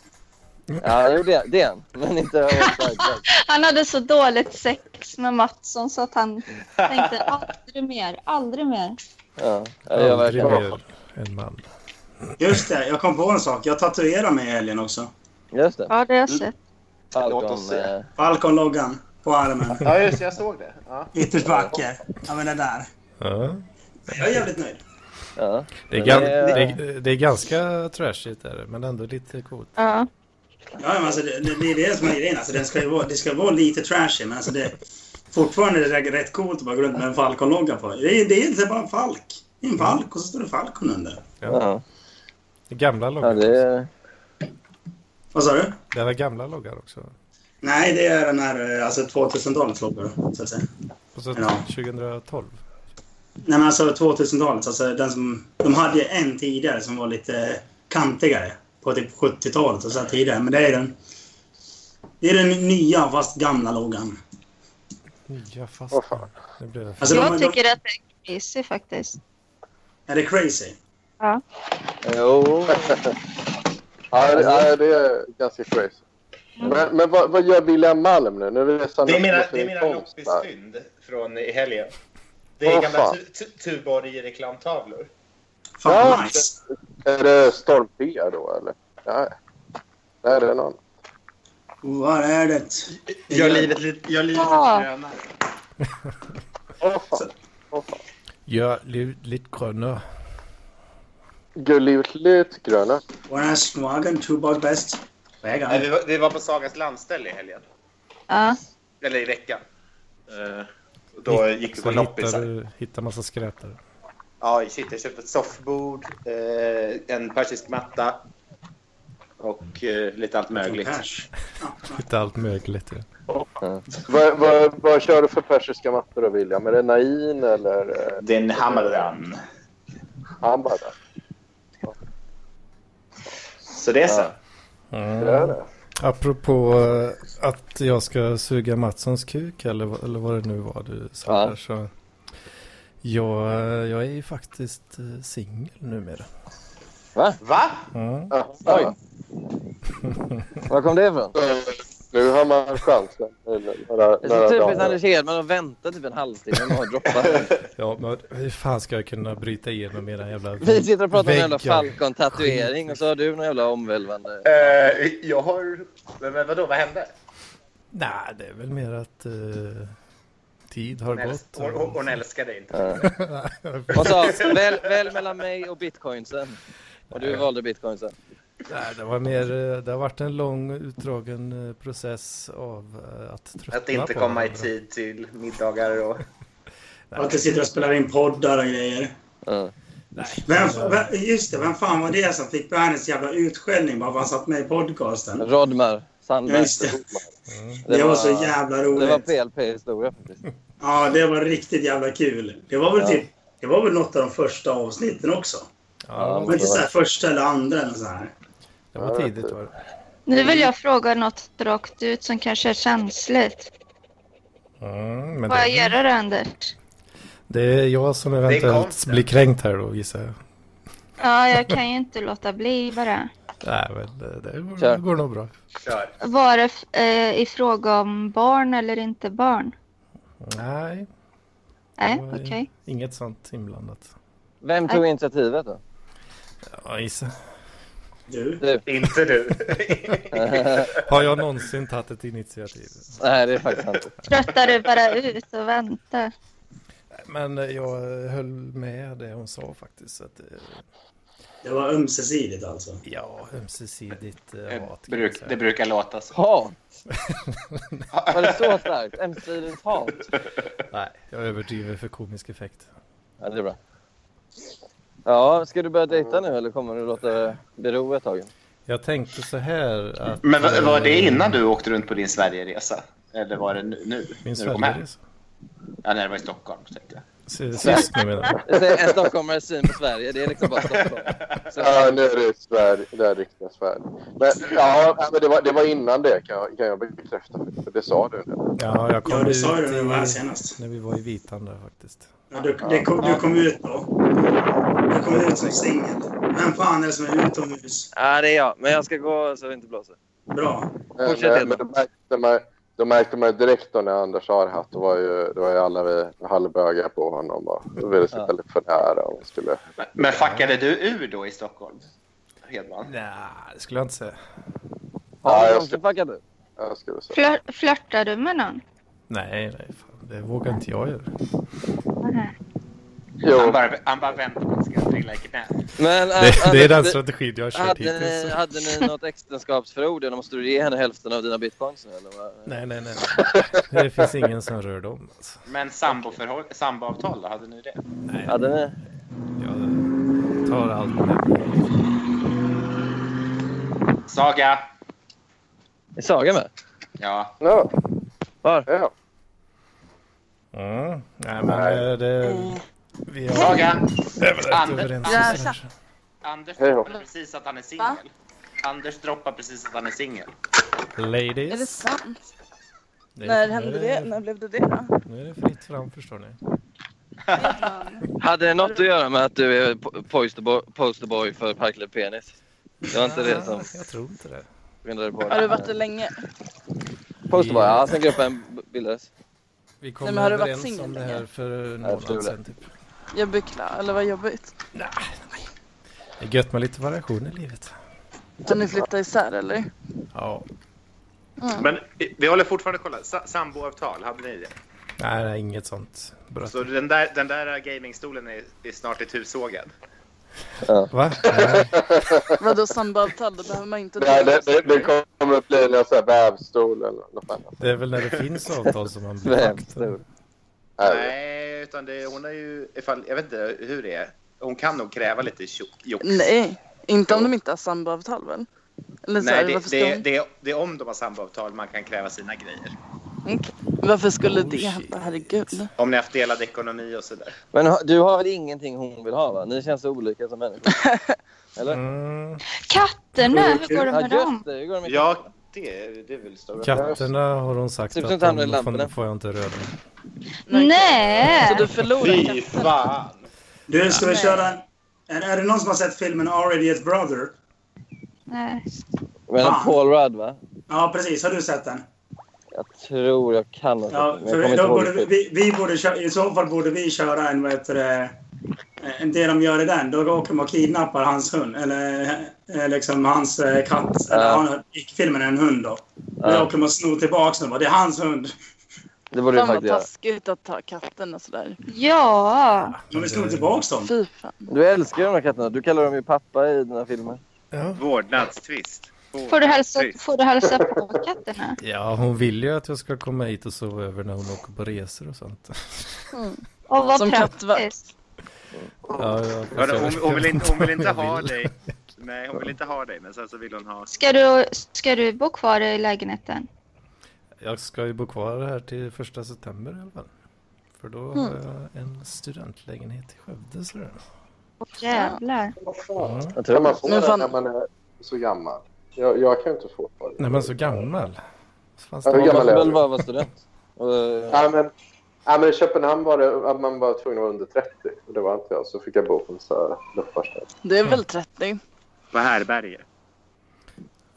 E: Ja, det gjorde jag. Det är han. Men inte alt-right.
B: Han hade så dåligt sex med Mattsson så att han tänkte aldrig mer, aldrig mer.
E: Ja, ja, jag
A: Aldrig
E: verkligen.
A: mer en man.
C: just det, jag kom på en sak. Jag tatuerar mig i helgen också.
E: Just det.
B: Ja, det har jag sett.
G: Låt
E: Falcon.
G: oss se.
E: eh,
C: Falcon-loggan på armen.
G: Ja, just det, jag såg det. Ja.
C: Ytterst vacker. Ja, men den där.
A: Ja.
C: Jag är jävligt nöjd.
E: Ja.
A: Det, är
E: Men
A: gan-
E: det är-
A: det, är, det är ganska trashigt är det, men ändå lite coolt.
B: Ja.
C: Ja, men alltså, det, det det är det som är grejen. Alltså, den ska ju vara, det ska vara lite trashy, men alltså, det, fortfarande är det rätt coolt att bara gå runt med en Falcon-logga på. Det är, det är inte bara en falk. Det är en falk och så står det Falcon under.
E: Ja.
A: Det är gamla
E: Ja,
A: loggan.
E: det
A: också.
E: är...
C: Vad sa du?
A: Det var gamla loggar också.
C: Nej, det är den här eh, alltså, 2000-talets logga, så att säga.
A: Och så
C: Ja.
A: 2012.
C: Nej, men alltså 2000-talet. Alltså, den som, de hade ju en tidigare som var lite kantigare. På typ 70-talet och så här tidigare. Men det är den... Det är den nya fast gamla loggan.
A: Nya fast.
H: Åh, fan.
A: Nu blev jag
C: Alltså,
B: Jag
C: de,
B: tycker att det är crazy faktiskt.
C: de, är det crazy?
E: Jo.
D: Ja, det, ja, det är ganska crazy. Men, men vad, vad gör William Malm nu? Nu är
G: Det är mina, det är typ. mina loppisfynd från i helgen. Det är
D: Åh,
G: gamla
D: fan.
G: tu- tu- Tuborg-reklamtavlor.
C: Fan
D: Ja.
C: vad nice.
D: Är det Storm P då eller? Nej. Nej, det är någon.
C: Vad är det?
G: Gör livet lite... Gör livet
B: Ja.
G: grönare.
D: Åh fan. Åh fan.
A: Ja, li- lite grönare.
D: Gör livet lite grönare.
C: Var är smaken tobak bäst?
G: Nej, vi
C: Vägar.
G: var, vi var på Sagas landställe i helgen.
B: Ja.
G: Eller i veckan. Eh, och då gick vi på
A: Så hittar
G: loppisar.
A: du hittar massa skräp där.
G: Ja, jag sitter- jag köpte ett soffbord, eh, en persisk matta och eh, lite allt möjligt.
C: Cash.
A: Hittar allt möjligt. Ja.
D: Vad, vad, vad kör du för persiska mattor då William? Är det Nain eller eh,
G: Det är en hamran.
D: Ambada?
G: Så det är så.
D: Ja. Det är
E: Mm.
D: det.
A: Apropå eh, att jag ska suga Mattssons kuk eller, vad- eller vad det nu var du sa
E: Ja.
A: där. Så jag, eh, jag är ju faktiskt eh, singel numera.
G: Va?
A: Mm.
D: Ja.
E: Oj. Var kom det ifrån?
D: Nu har man chansen. Eller Några,
E: Det är
D: några
E: så typiskt Anders
D: dagar.
E: Hedman att vänta typ en halvtimme och bara droppa.
A: Ja, men hur fan ska jag kunna bryta igenom era jävla
E: Vi sitter och pratar om en jävla
A: väggar?
E: Falcon-tatuering och så har du någon jävla omvälvande...
G: Eh, jag har... Men, men vadå, vad hände?
A: Nej, det är väl mer att eh, tid har
G: Hon, äls-
A: gått.
G: hon, hon, hon älskar dig inte.
E: Och så väl, väl mellan mig och bitcoinsen. Och du valde bitcoinsen.
A: Nej, det var mer, eh, det har varit en lång utdragen eh, process av eh, att tröttna
G: Att inte
A: på
G: komma i
A: varandra.
G: tid till middagar och...
C: Att jag sitter och spelar in poddar och grejer.
E: Ja.
C: Vem, vem, just det, vem fan var det som fick världens jävla utskällning bara för att han satt med i podcasten?
E: Rodmar Sandberg.
C: Just det. Det var så jävla
E: Det var
C: roligt.
E: PLP-historia faktiskt.
C: Ja, det var riktigt jävla kul. Det var väl
E: Ja.
C: typ... Det var väl något av de första avsnitten också.
A: Ja,
C: Men inte så här första eller andra eller så här.
A: det var tidigt var det.
B: Nu
E: Mm.
B: vill jag fråga något rakt ut som kanske är känsligt.
A: Mm, men
B: Får jag
A: det,
B: göra det Anders?
A: det är jag som eventuellt
G: konsten.
A: blir kränkt här då gissar jag.
B: Ja, jag kan ju inte låta bli bara.
A: Nej, men det, det går,
E: Kör.
A: det går nog bra.
G: Kör.
B: Var det f- eh, i fråga om barn eller inte barn?
A: Nej,
B: Nej,
A: det var
B: okej.
A: inget sånt inblandat.
E: Vem tog initiativet då?
A: Ja, gissa.
C: Du?
G: Inte du.
A: Har jag någonsin tagit ett initiativ?
E: Nej, det är faktiskt sant.
B: Tröttar du bara ut och väntar?
A: Men eh, jag eh, höll med det hon sa faktiskt. så Att, eh,
C: Det var ömsesidigt alltså.
A: ja, ömsesidigt eh, hat. kan man säga.
G: Bruk, det brukar låta så.
E: Hat! Var det så starkt? Ömsesidigt hat?
A: Nej, jag överdriver för komisk effekt.
E: Ja, det är bra. Ja, ska du börja dejta nu eller kommer du låta det bero ett tag?
A: Jag tänkte så här att...
G: Men var, var det
A: eh,
G: innan du åkte runt på din Sverigeresa? Eller var det nu? nu
A: Min
G: när du kom här?
A: Sverigeresa.
G: Ja, när det var i Stockholm. Tänkte jag.
A: S- Sist nu menar jag.
E: Det är En stockholmares syn på Sverige, det är liksom bara Stockholm. Så,
D: Ja, nu är det Sverige. Det är riktiga Sverige. Men, ja, nej, men det, var, det var innan det kan jag, kan jag bekräfta. För det sa du. nu.
A: Ja, jag kom
C: Ja, du sa ju
A: ut
C: det när du
A: i-
C: var här senast.
A: När vi var i Vitan där faktiskt.
C: Ja, du, det kom, du kom ut då. Du kom ut som singel. Vem fan är det som är utomhus?
E: ja, det är jag. Men jag ska gå så det inte blåser.
C: Bra.
D: Men,
E: Fortsätt,
D: men, men
E: Edman.
D: då, märkte man, då märkte man ju direkt då när Anders har hatt. Då var ju, då var ju alla vi halvbögar på honom och ville sitta
E: Ja.
D: lite för nära. Och skulle,
G: Men- Men fuckade du ur då i Stockholm? Hedman?
A: Nej, det skulle jag inte säga.
D: Ja,
E: Har du
D: jag
E: någonsin fuckat ur?
D: jag skulle säga.
B: Flör, flörtar du med någon?
A: Nej, nej, fan, det vågar inte jag göra.
B: Nej.
D: Jo,
G: Han bara, han bara väntar på att det ska trilla i knät.
E: Men, äh,
A: Det, det är den
E: Anders,
A: strategin jag har kört
E: hade, ni,
A: hittills.
E: hade ni något äktenskapsförord? Eller måste du ge henne hälften av dina bitcoins nu eller? vad?
A: Nej, nej, nej. Det finns ingen som rör dem. Alltså.
G: Men samboförhåll- samboavtal då? Hade ni det?
E: Hade ni?
A: Jag tar allt med.
G: Saga!
E: Är Saga med?
G: Ja.
D: no,
E: Var?
D: ja.
A: Mm. Nej, men eh, det... Vi har
G: Saga!
A: varit överens. om
B: Ja,
A: sådär.
G: Anders
D: Hej då.
G: droppade precis att han är singel. Anders droppar precis att han är singel.
I: Är det
A: Ladies.
I: sant?
A: det är-
I: När
A: nu
I: hände
A: är
I: det? När blev det det då?
A: Nu är det fritt fram förstår ni.
I: Edman.
E: Hade det något att göra med att du är po- posterboy, posterboy för Parklöv Penis? Det var inte det som
A: Jag tror inte det.
E: vindrade på
I: Har du varit det länge?
E: Post bara, ja, sen gruppen b- bildades.
A: Vi kom
I: Nej, men har du varit
A: överens
I: singel
A: om det här
I: länge?
A: för
E: jag
A: några
E: tror
A: år
E: det.
A: sedan typ.
I: Jag beklagar, eller vad jobbigt.
A: Det är gött med lite variation i livet.
I: Kan ni flytta isär eller?
A: Ja.
G: Men vi, vi håller fortfarande kolla. Sa, samboavtal, hade ni det?
A: Nej, nej inget sånt bröt.
G: Så den där, den där gamingstolen är, är snart ett hushågad.
A: Va? Nej.
I: Vadå samboavtal? Då behöver man inte
H: Nej, det, det, det kommer att bli någon sån här vävstol eller något annat.
A: Det är väl när det finns avtal som man blir
E: Vävstol.
A: aktad.
H: Nej.
G: Nej, utan det, hon har ju... Ifall, jag vet inte hur det är. Hon kan nog kräva lite tjock- jox.
I: Nej, inte om de inte har samboavtal väl? Eller så
G: Nej,
I: här,
G: det,
I: varför,
G: det,
I: skulle,
G: det, det är om de har samboavtal man kan kräva sina grejer.
I: varför skulle
A: Oh,
I: det
A: shit.
I: hända? Herregud.
G: Om ni har haft delad ekonomi och sådär.
E: Men ha- du har väl ingenting hon vill ha? va? Ni känns så olika som människor. Eller?
A: Mm,
B: Katterna, hur går det
E: Ja,
B: med dem?
E: just det. Hur går det med
G: Ja, det, det är väl stora
A: katterna har hon sagt
E: Typ som
A: att
E: tänder i
A: de får,
E: lamporna.
A: får jag inte röra.
B: Nej!
I: Så du förlorar
J: Fy
I: katten?
J: fan!
C: Du, ska vi
I: Nej.
C: köra... en- Är, är det någon som har sett filmen Our Idiot Brother?
B: Nej.
E: Men
C: Fan.
E: Paul Rudd, va?
C: Ja, precis. Har du sett den?
E: Jag tror jag kan ha sett
C: Ja,
E: den, men
C: för
E: jag kommer inte
C: då
E: ihåg
C: borde vi,
E: det.
C: vi, vi borde köra, I så fall borde vi köra en, vad heter det, eh, en det de gör i den. Då åker de och kidnappar hans hund, eller eh, liksom hans eh, katt. Eller
E: Ja.
C: han, I filmen är en hund då. Då
E: Ja.
C: åker de och snor tillbaka den. bara, Det är hans hund.
E: Det borde du
I: Fan vad
E: faktiskt göra.
I: taskigt att ta katten och sådär.
B: Mm. Ja!
C: De vill sno tillbaka dem.
I: Fy fan.
E: Du älskar ju de här katterna. Du kallar dem ju pappa i dina filmer.
A: Ja.
G: Vårdnadstvist.
B: Får du hälsa, får du hälsa på katterna?
A: ja, hon vill ju att jag ska komma hit och sova över när hon åker på resor och sånt.
B: Och vad
I: Som
B: praktiskt.
A: Ja, ja,
G: Hörru, hon, hon, vill inte, hon vill inte ha dig. Nej, hon vill inte ha dig, men sen så vill hon ha...
B: Ska du, ska du bo kvar i lägenheten?
A: Jag ska ju bo kvar här till första september i alla fall. För då har jag en studentlägenhet i Skövde. Mm. Så det.
B: Åh, jävlar.
A: Ja.
E: Jag
H: Kan
E: tror
H: man
E: det.
H: få
I: Men
H: den
I: fan-
H: när man är så gammal? Jag, jag kan ju inte få det.
A: När man är så gammal. Fanns
H: Ja,
A: det
H: hur
E: Man
H: gammal
E: får
H: är
E: väl
H: du?
E: bara vara student. Och, eh,
H: Nej, men, nej, men i Köpenhamn var det att man var tvungen att vara under 30. Och det var inte jag. Så fick jag bo på en sån här luftfartsställe.
I: Det är väl 30?
G: På härberge.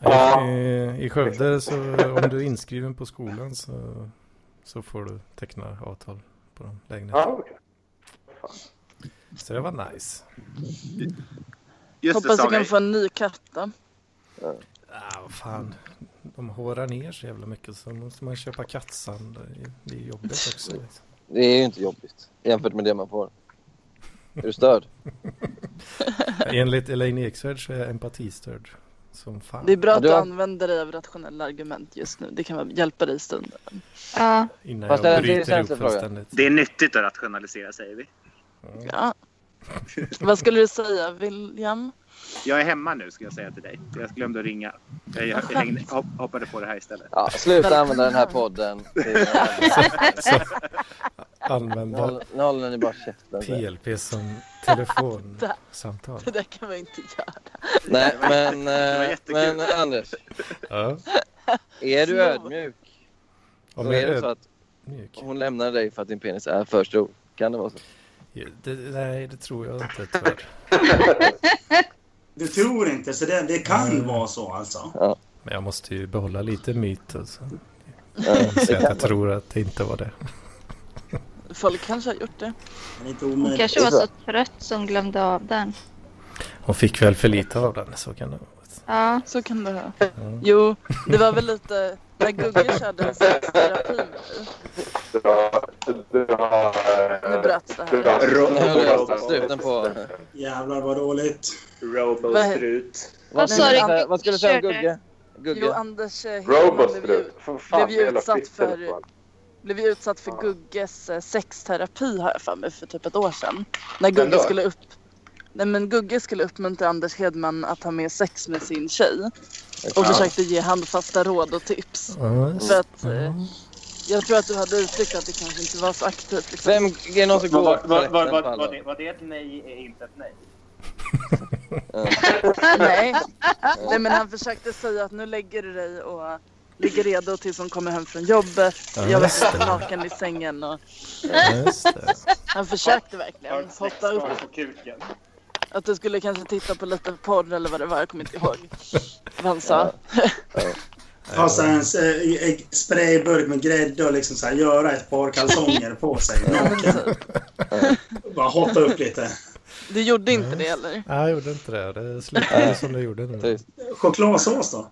H: Ja.
A: I, I Skövde så om du är inskriven på skolan så, så får du teckna avtal på de lägenheterna.
H: Ja, okej.
A: Så det var nice.
G: Just det,
I: Hoppas jag
G: Saga.
I: kan få en ny katt då.
A: Ah, vad fan. De hårar ner så jävla mycket så måste man köpa kattsand. Det är- Det är jobbigt också. Liksom.
E: Det är ju inte jobbigt jämfört med det man får. Är du störd?
A: Enligt Elaine Eksvärd så är jag empatistörd. Som fan.
I: Det är bra
E: Ja,
I: att
E: du
I: du
E: har-
I: använder dig av rationella argument just nu. Det kan vara- hjälpa dig i stunden.
B: Ja.
A: Innan
E: Fast det
A: jag
E: är- det är en
A: bryter ihop
E: känslig fråga.
A: fullständigt.
G: Det är nyttigt att rationalisera, säger vi.
I: Ja. Vad skulle du säga William?
G: Jag är hemma nu, ska jag säga till dig. Jag glömde att ringa. Jag, jag, jag hängde, hopp, hoppade på det här istället.
E: Ja, sluta använda den här podden. till- Nu
A: Använda
E: håller- Nu håller ni bara käften. så här.
A: PLP som telefonsamtal.
I: Det där kan man inte göra.
E: Nej, men,
G: Det var
E: eh,
G: jättekul.
E: men Anders.
A: Ja.
E: Är du
I: Snor.
E: ödmjuk?
A: Om
E: Då
A: jag
E: är
A: är
E: det så att
A: ödmjuk.
E: hon lämnar dig för att din penis är för stor. Kan det vara så?
A: Det, nej, det tror jag inte tyvärr.
C: Du tror inte, så det, det kan vara så alltså.
A: Men jag måste ju behålla lite myt. Alltså.
E: Ja,
A: Så att jag tror att det inte var det.
I: Folk kanske har gjort det.
C: Det är lite
B: Hon
C: omöjligt.
B: kanske var så trött som glömde av den.
A: Hon fick väl för lite av den, så kan det vara.
B: Ja.
I: Så kan det vara. Jo, det var väl lite när Gugge körde sexterapi med dig.
H: Dra... Dra...
I: Nu bröts det här.
H: dra-
E: Nu höll jag
H: dra-
E: sluten på...
C: Jävlar vad dåligt.
J: Robo-strut.
E: Vad
I: sa
E: skulle,
I: du?
E: du säga- vad skulle du säga om Gugge?
I: Jo,
E: Gugge?
I: Anders eh, Hedman blev ju,
H: Robostrut. För fan,
I: blev ju
H: jävla
I: utsatt
H: fitta du
I: för-
H: fan.
I: blev ju utsatt för Gugges eh, sexterapi har jag för mig för typ ett år sedan. När Gugge
J: då?
I: skulle upp... Nej men Gugge skulle uppmuntra Anders Hedman att ha mer sex med sin tjej. Och försökte ge handfasta råd och tips.
A: Ja, just-
I: För att eh, jag tror att du hade uttryckt att det kanske inte var så aktivt liksom.
E: Vem är det någon som går
G: Var,
E: på
G: var, var,
E: rätten på
G: var, var, det,
E: alla?
G: var det ett nej är inte ett nej?
I: Nej. Nej men han försökte säga att nu lägger du dig och ligger redo tills hon kommer hem från jobbet. Jag
A: just
I: var
A: det.
I: naken i sängen och
A: Ja, just det.
I: han försökte verkligen.
G: Har du
I: Hotta
G: sex
I: upp
G: kvar på kuken?
I: Att du skulle kanske titta på lite porr eller vad det var, jag kommer inte ihåg. Vad han sa.
C: Ha så här en, eh, en sprayburk med grädde och liksom så här, göra ett par kalsonger på sig. naken. Bara hotta upp lite.
I: Du gjorde inte det eller?
A: Nej, jag gjorde inte det. Det slutade som det gjorde nu.
E: Tyst.
C: Chokladsås då?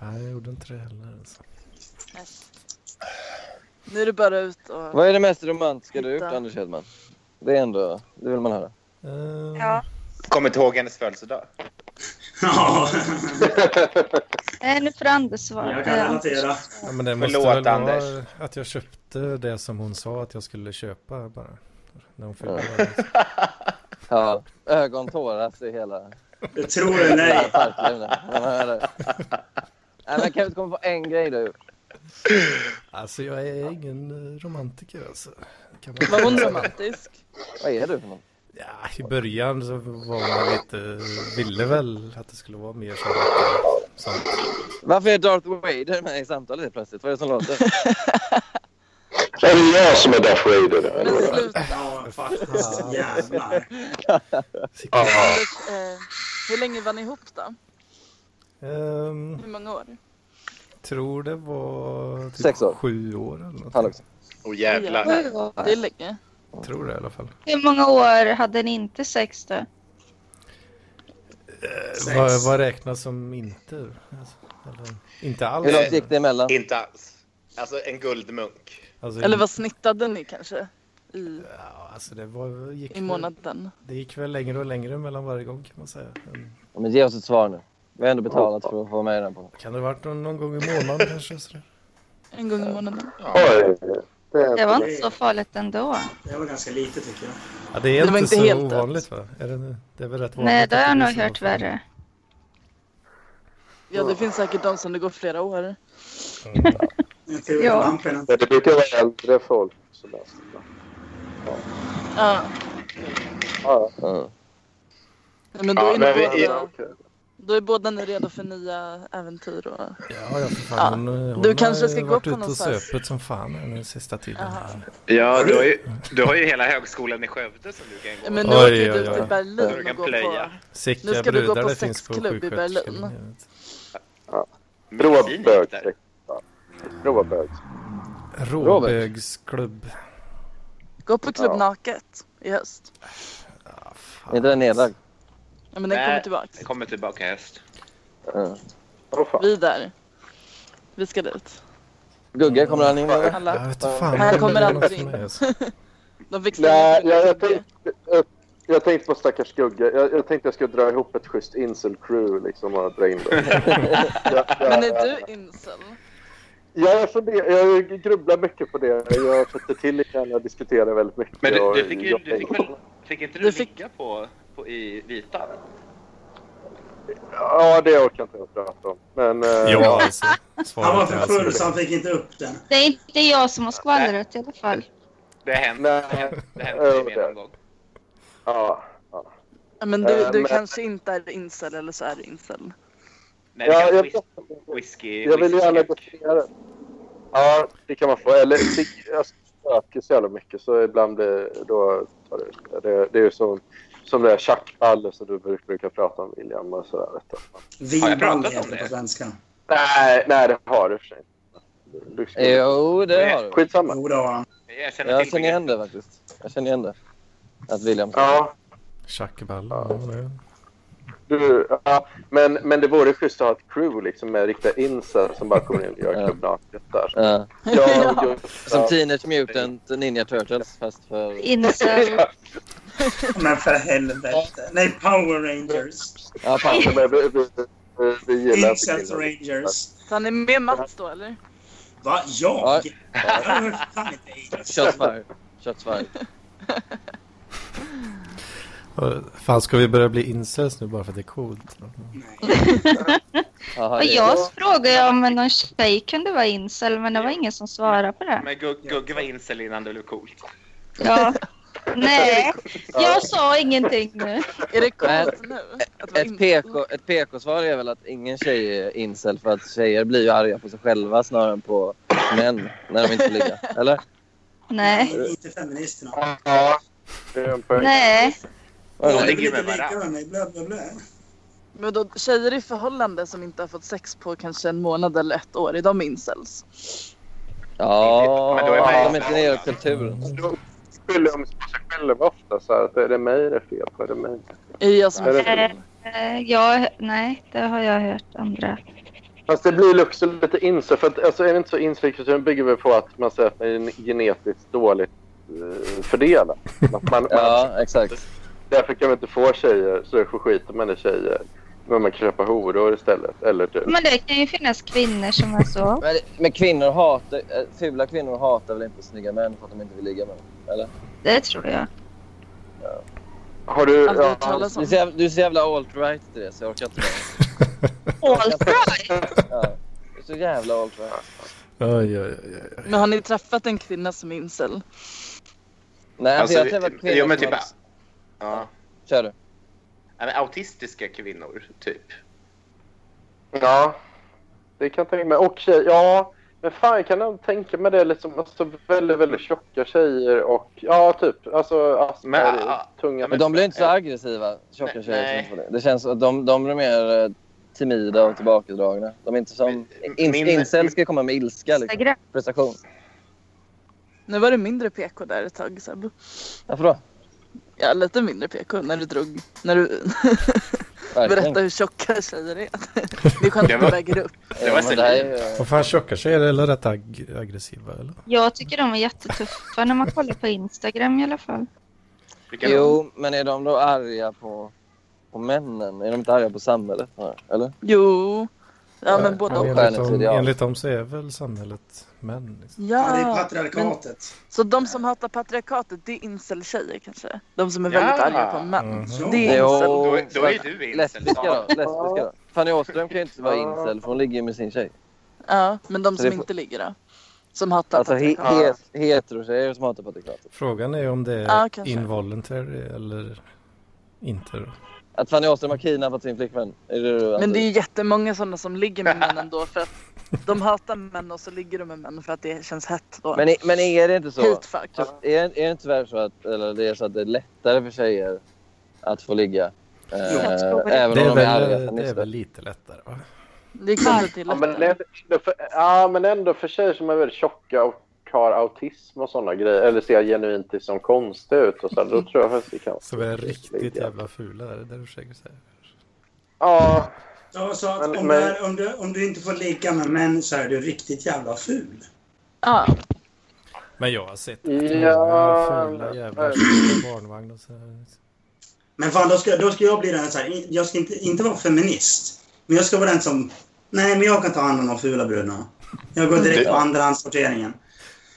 A: Nej, jag gjorde inte det heller. Alltså.
I: Nu är det bara ut och...
E: Vad är det mest romantiska du har gjort,
I: Titta.
E: Anders Hedman? Det är ändå... Det vill man höra.
A: Eh,
B: Ja.
G: Kommer inte ihåg hennes födelsedag.
C: Ja,
B: Nej, nu får Anders svara.
C: jag kan relatera.
A: ja, men det måste
G: Förlåt,
A: väl vara
G: Anders.
A: att jag köpte det som hon sa att jag skulle köpa bara. När hon fyllde år, liksom.
E: Ja. Ögontårar i hela...
C: Jag tror det, nej.
E: parklivnet. Man hör det. Nej, men kan vi inte komma på en grej du?
A: Alltså jag är ingen eh, romantiker alltså. Kan man-
I: Var hon romantisk?
E: Vad är du för någon?
A: Ja, i början så var man lite, ville väl att det skulle vara mer så. här, sånt.
E: Varför är Darth Vader med i samtalet helt plötsligt? Vad är det som låter?
H: Är det jag som är Darth Vader?
I: Men sluta
C: Ja, faktiskt. Jävlar.
H: Ja.
I: Anders, eh, hur länge var ni ihop då?
A: Ehm,
I: Hur många år?
A: tror det var typ
E: Sex år.
A: sju år eller något.
E: Han också.
G: Åh jävlar.
I: Det är länge.
A: Tror det i alla fall.
B: Hur många år hade ni inte sex då?
C: Sex.
A: Vad, vad räknas som inte? Alltså, eller, inte alls?
E: Hur långt gick det emellan?
G: Inte alls. Alltså en guldmunk.
A: Alltså,
I: Eller vad snittade ni kanske? I,
A: Ja, alltså det var, gick
I: i
A: väl,
I: månaden?
A: det gick väl längre och längre mellan varje gång kan man säga. Men
E: Ja, men ge oss ett svar nu. Vi har ändå betalat för att få med den på.
A: Kan det ha varit någon, någon gång i månaden kanske? sådär?
I: En gång i månaden?
H: Oj.
B: Det var inte så farligt ändå.
C: Det var ganska lite tycker jag.
A: Ja, det är
I: Det var
A: inte,
I: inte
A: så
I: helt dött.
A: ovanligt va? Är det, det är väl rätt vanligt?
B: Nej, det har
A: att
B: jag
A: blir
B: nog
A: så
B: hört
A: ofta.
B: värre.
I: Ja, det finns säkert de som det går flera år.
C: Jag tror
B: Ja.
C: lamporna.
H: Men Det brukar vara äldre folk som läser.
I: Ja,
H: Ja,
E: Ja.
I: men då,
G: Ja,
I: är
G: men
I: ni
G: vi-
I: båda,
H: okej.
I: då är båda ni redo för nya äventyr och...
A: Ja, ja för fan. Hon, hon
I: Du kanske ska
A: har
I: gå
A: varit
I: på
A: ute
I: någon
A: och
I: fest.
A: söpet som fan här nu sista tiden.
I: Jaha.
G: Ja, du har, ju, du har ju hela högskolan i Skövde som du kan gå.
I: Ja, Men
A: Oj,
I: nu åker du
A: oj, oj.
I: till
G: Du
I: Berlin
G: kan
I: och går på...
G: plöja.
A: Sicka
I: Nu ska du gå
A: brudar
I: på
A: det finns på
I: sexklubb i Berlin.
A: sjuksköterskan.
H: Råa
G: Medicin gick där.
H: bög. Råa bög.
A: Råbögsklubb.
I: Gå på klubb
H: Ja.
I: naket i höst.
A: Ah,
E: Är
A: fan.
E: inte den nedlagd?
I: Ja, men den
G: Nej.
I: kommer tillbaka.
G: Jag kommer tillbaka i höst.
E: Ja.
H: Åh fan.
I: Vi är där. Vi ska dit.
E: Gugge, kommer han in? eller?
A: Jag
I: Alla.
A: vet inte fan.
I: Här
A: vad
I: kommer
A: det är
I: aldrig
A: för
I: in.
A: mig, alltså.
I: De fick
H: Nej,
I: slänga
H: jag, jag,
I: till-
H: tänkte, jag, jag tänkte på stackars Gugge. Jag, jag tänkte jag skulle dra ihop ett schysst incel-crew liksom och dra in det. Jag,
I: Men
H: jag,
I: är du incel?
H: jag, är så det, jag grubblar mycket på det. Jag sätter till lite grann och diskuterar väldigt mycket.
G: Men du,
H: och
G: du, fick, ju, du fick väl... Fick inte du
I: Du fick-
G: ligga på, på i vitan?
H: Ja, det orkar inte jag prata om. Men, eh,
A: Ja, alltså.
C: Han var
A: Svaret är
C: för full så
A: alltså.
C: han fick inte upp den.
B: Det är inte jag som har skvallrat i alla fall.
G: Det har hänt.
H: Nej.
G: Det har hänt- Det har hänt mig mer någon gång.
H: ja.
I: Ja, Men du,
H: Eh,
I: du
H: men-
I: kanske inte är incel eller så är du incel.
G: Nej, det
H: Ja,
G: kan
H: jag,
G: whis- whisky,
H: jag vill gärna gå
G: whisky.
H: vidare. Ja, det kan man få. Eller det- jag söker så jävla mycket så ibland blir då... tar Det, det, det är ju som, som det där tjackballe som du bruk- brukar prata om, William. Och sådär, vet du.
G: jag pratat
C: Vinball
G: om
C: heter det på
G: det?
C: svenska.
H: Nej, nej, det har du för sig Du- du-
E: Jo, det har du.
H: Skitsamma.
C: Jo, det har han.
G: Jag känner
E: Jag
G: till
E: känner igen
G: begreppet.
E: det faktiskt. Jag känner igen det. Att William...
H: Ja,
A: Tjackeball. ja, det-
H: du, ja, men, men det vore schysst att ha ett crew liksom, med riktiga incel som bara kommer in och gör
E: Ja.
H: klubbnaket där.
E: Ja.
H: Jag, just,
E: Som typ- Teenage Mutant Ninja Turtles, fast för...
B: Incel.
C: Men för helvete. Nej, Power Rangers.
E: Ja, fan.
H: Ja, men vi, vi, vi, vi gillar inte
C: Incels
H: killar.
C: Rangers.
I: Så han är med Mats då eller?
C: Va?
E: Ja.
C: Jag? Jag har hört fan inte Angels.
E: Shots fired. Shots fired.
A: Och Fan, ska vi börja bli incels nu bara för att det är coolt?
E: Jaha,
B: Och
E: det-
B: jag frågade ju om någon tjej kunde vara incel, men det var ingen som svarade på det.
G: Men Gug- Gugge var incel innan det blev coolt.
B: Ja. Nej, jag sa ingenting nu.
I: Är det coolt nu? Att vara
E: Ett,
I: incel?
E: PK, ett PK-svar är väl att ingen tjej är incel för att tjejer blir ju arga på sig själva snarare än på män när de inte får ligga. Eller?
B: Nej.
C: Inte feministerna.
H: Ja, det är en poäng.
B: Nej.
E: Vad är
G: Ja,
E: det?
G: det-
C: Jag
G: ligger med
C: lite
G: varann.
C: liknande, blä, blä, blä.
I: Men då, tjejer i förhållande som inte har fått sex på kanske en månad eller ett år, är de incels?
E: Ja,
G: Men då är man ju-
E: de är inte nere i kulturen.
H: skyller de sig själva ofta så här att är det mig det är fel på? Är det mig?
I: Är jag som
H: Är det-
I: fel?
B: Eh, jag, nej, det har jag hört andra.
H: Fast det blir också lite incel. För att, alltså, är det inte så incelkulturen bygger väl på att man säger att man är genetiskt dåligt eh, fördelad. Att man, man,
E: Ja, exakt.
H: därför kan man inte få tjejer så därför skiter man i tjejer. Men man kan köpa horor istället. Eller typ. du.
B: Men det kan ju finnas kvinnor som är så.
E: Men, men kvinnor hatar... eh, Fula kvinnor hatar väl inte snygga män för att de inte vill ligga med dem? Eller?
B: Det tror jag.
H: Har du...
I: Aldrig
H: Ja,
I: hört talas
E: Du är
I: om.
E: så jävla, du är så jävla alt-right i det, så jag orkar inte med det.
B: All right.
E: Ja. Du är så jävla alt-right.
A: Oj, oj, oj, oj.
I: Men har ni träffat en kvinna som är incel?
E: Nej, alltså,
G: Alltså,
E: jag har träffat kvinnor
G: jo, men
E: som
G: typ,
E: har-
G: ja.
E: Kör du.
G: Ja, men autistiska kvinnor, typ.
H: ja, det kan jag tänka mig. Och tjejer, ja. Men fan, jag kan ändå tänka mig det. Liksom, alltså, väldigt, väldigt tjocka tjejer och... Ja, typ. Alltså,
G: Men,
H: Asperger,
G: typ, ja,
H: tunga.
E: Men de blir inte så aggressiva, tjocka tjejer.
G: Nej,
E: som
G: nej.
E: inte får det. Det känns att de, de blir mer eh, timida och tillbakadragna. De är inte som...
G: Min-
E: In,
G: min-
E: incel ska komma med ilska, liksom.
B: Instagram.
E: Prestation.
I: Nu var det mindre PK där ett tag Seb.
E: Varför då?
I: Ja, lite mindre PK när du drog, när du
E: Verkligen.
I: berättade hur tjocka tjejer är. Det är skönt
G: Det
I: att det
G: var-
I: väger upp.
E: Ja,
G: var
E: men det här är eh, ju-
A: Vad fan, tjocka tjejer eller rätt ag- aggressiva eller?
B: Jag tycker de är jättetuffa när man kollar på Instagram i alla fall.
G: Vilka
E: Jo, men är de då arga på, på männen? Är de inte arga på samhället? snarare? Eller?
I: Jo. Ja men både och.
E: men-
A: enligt, dem,
E: Stjärnetidial.
A: enligt dem så är väl samhället män. Liksom.
C: Ja, det är
I: Ja.
C: patriarkatet.
I: Så de som hatar patriarkatet det är incel-tjejer kanske? De som är
G: Ja.
I: väldigt arga på män.
A: Mhm.
C: Så.
I: Det är
E: Jo.
I: incel.
G: Då, då är ju du incel.
E: Lesbiska då?
G: Sara.
E: Lesbiska då? Fanny Åström kan ju inte vara incel för hon ligger ju med sin tjej.
I: Ja, men de
E: Så
I: som
E: det får-
I: inte ligger då? Som hatar
E: Alltså he
I: patriarkatet?
E: he heterotjejer som hatar patriarkatet.
A: Frågan är om det är
I: Ja, kanske.
A: involuntary eller inte. då.
E: Att Fanny Åström har kidnappat sin flickvän. Är det alltså- du,
I: Men det är ju jättemånga sådana som ligger med män ändå för att de hatar män och så ligger de med män för att det känns hett då.
E: men, är, men är det inte så?
I: Hate fuck.
E: Att, är, är det inte tyvärr så att, eller det är så att det är lättare för tjejer att få ligga? Eh,
B: Jag tror det.
A: Det
E: även
A: är,
E: om de är arga
A: väl, det är
E: feminister.
A: väl lite lättare va?
I: Det är klart att det är
H: Ja men,
I: lättare.
H: ändå för, ja, men ändå för tjejer som är väldigt tjocka och har autism och sådana grejer, eller ser genuint ut som konstiga ut och så, här, då tror jag faktiskt det kan...
A: Som är riktigt jävla fula, är det det du försöker säga?
H: Ja,
C: Ja, så att
H: Men-
C: om,
H: men-
C: det är- om, du, om du inte får ligga med män så är du riktigt jävla ful.
I: Ja.
A: Men jag har sett
H: Ja,
A: många fula
H: men-
A: jävlar som kör barnvagn och så här.
C: Men fan, då ska, då ska jag bli den så här, jag ska inte, inte vara feminist. Men jag ska vara den som, nej men jag kan ta hand om de fula brudarna. Jag går direkt på andrahandssorteringen.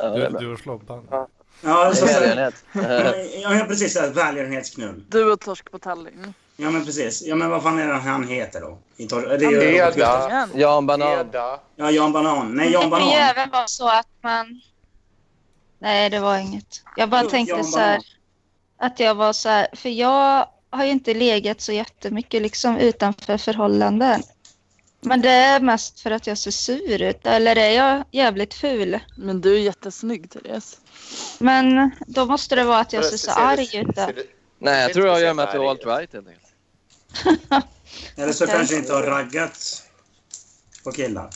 E: Ja, det
A: Du,
E: är bra.
A: du och Slobban.
C: Ja, så,
E: Det är
C: så,
E: välgörenhet. Eh,
C: ja men precis, så här, välgörenhetsknull.
I: Du och Torsk på Tallinn.
C: Ja men precis, ja men vad fan är det han heter då? I tor- det är ju-
G: Heda.
I: Igen.
E: Eh, Jan Banan.
G: Heda.
C: Ja, Jan Banan. Nej, Jan
B: Det kan ju
C: Banan.
B: även vara så att man... Nej, det var inget. Jag bara
C: Jo,
B: tänkte
C: Jan
B: så här,
C: Banan.
B: att jag var så här, för jag har ju inte legat så jättemycket liksom utanför förhållanden. Men det är mest för att jag ser sur ut, eller är jag jävligt ful?
I: Men du är jättesnygg Therese.
B: Men då måste det vara att jag ser så arg ut. då.
E: Nej, jag tror jag gör mig till alt-right helt enkelt.
C: Eller så
B: Okej.
C: kanske inte har raggat på killar.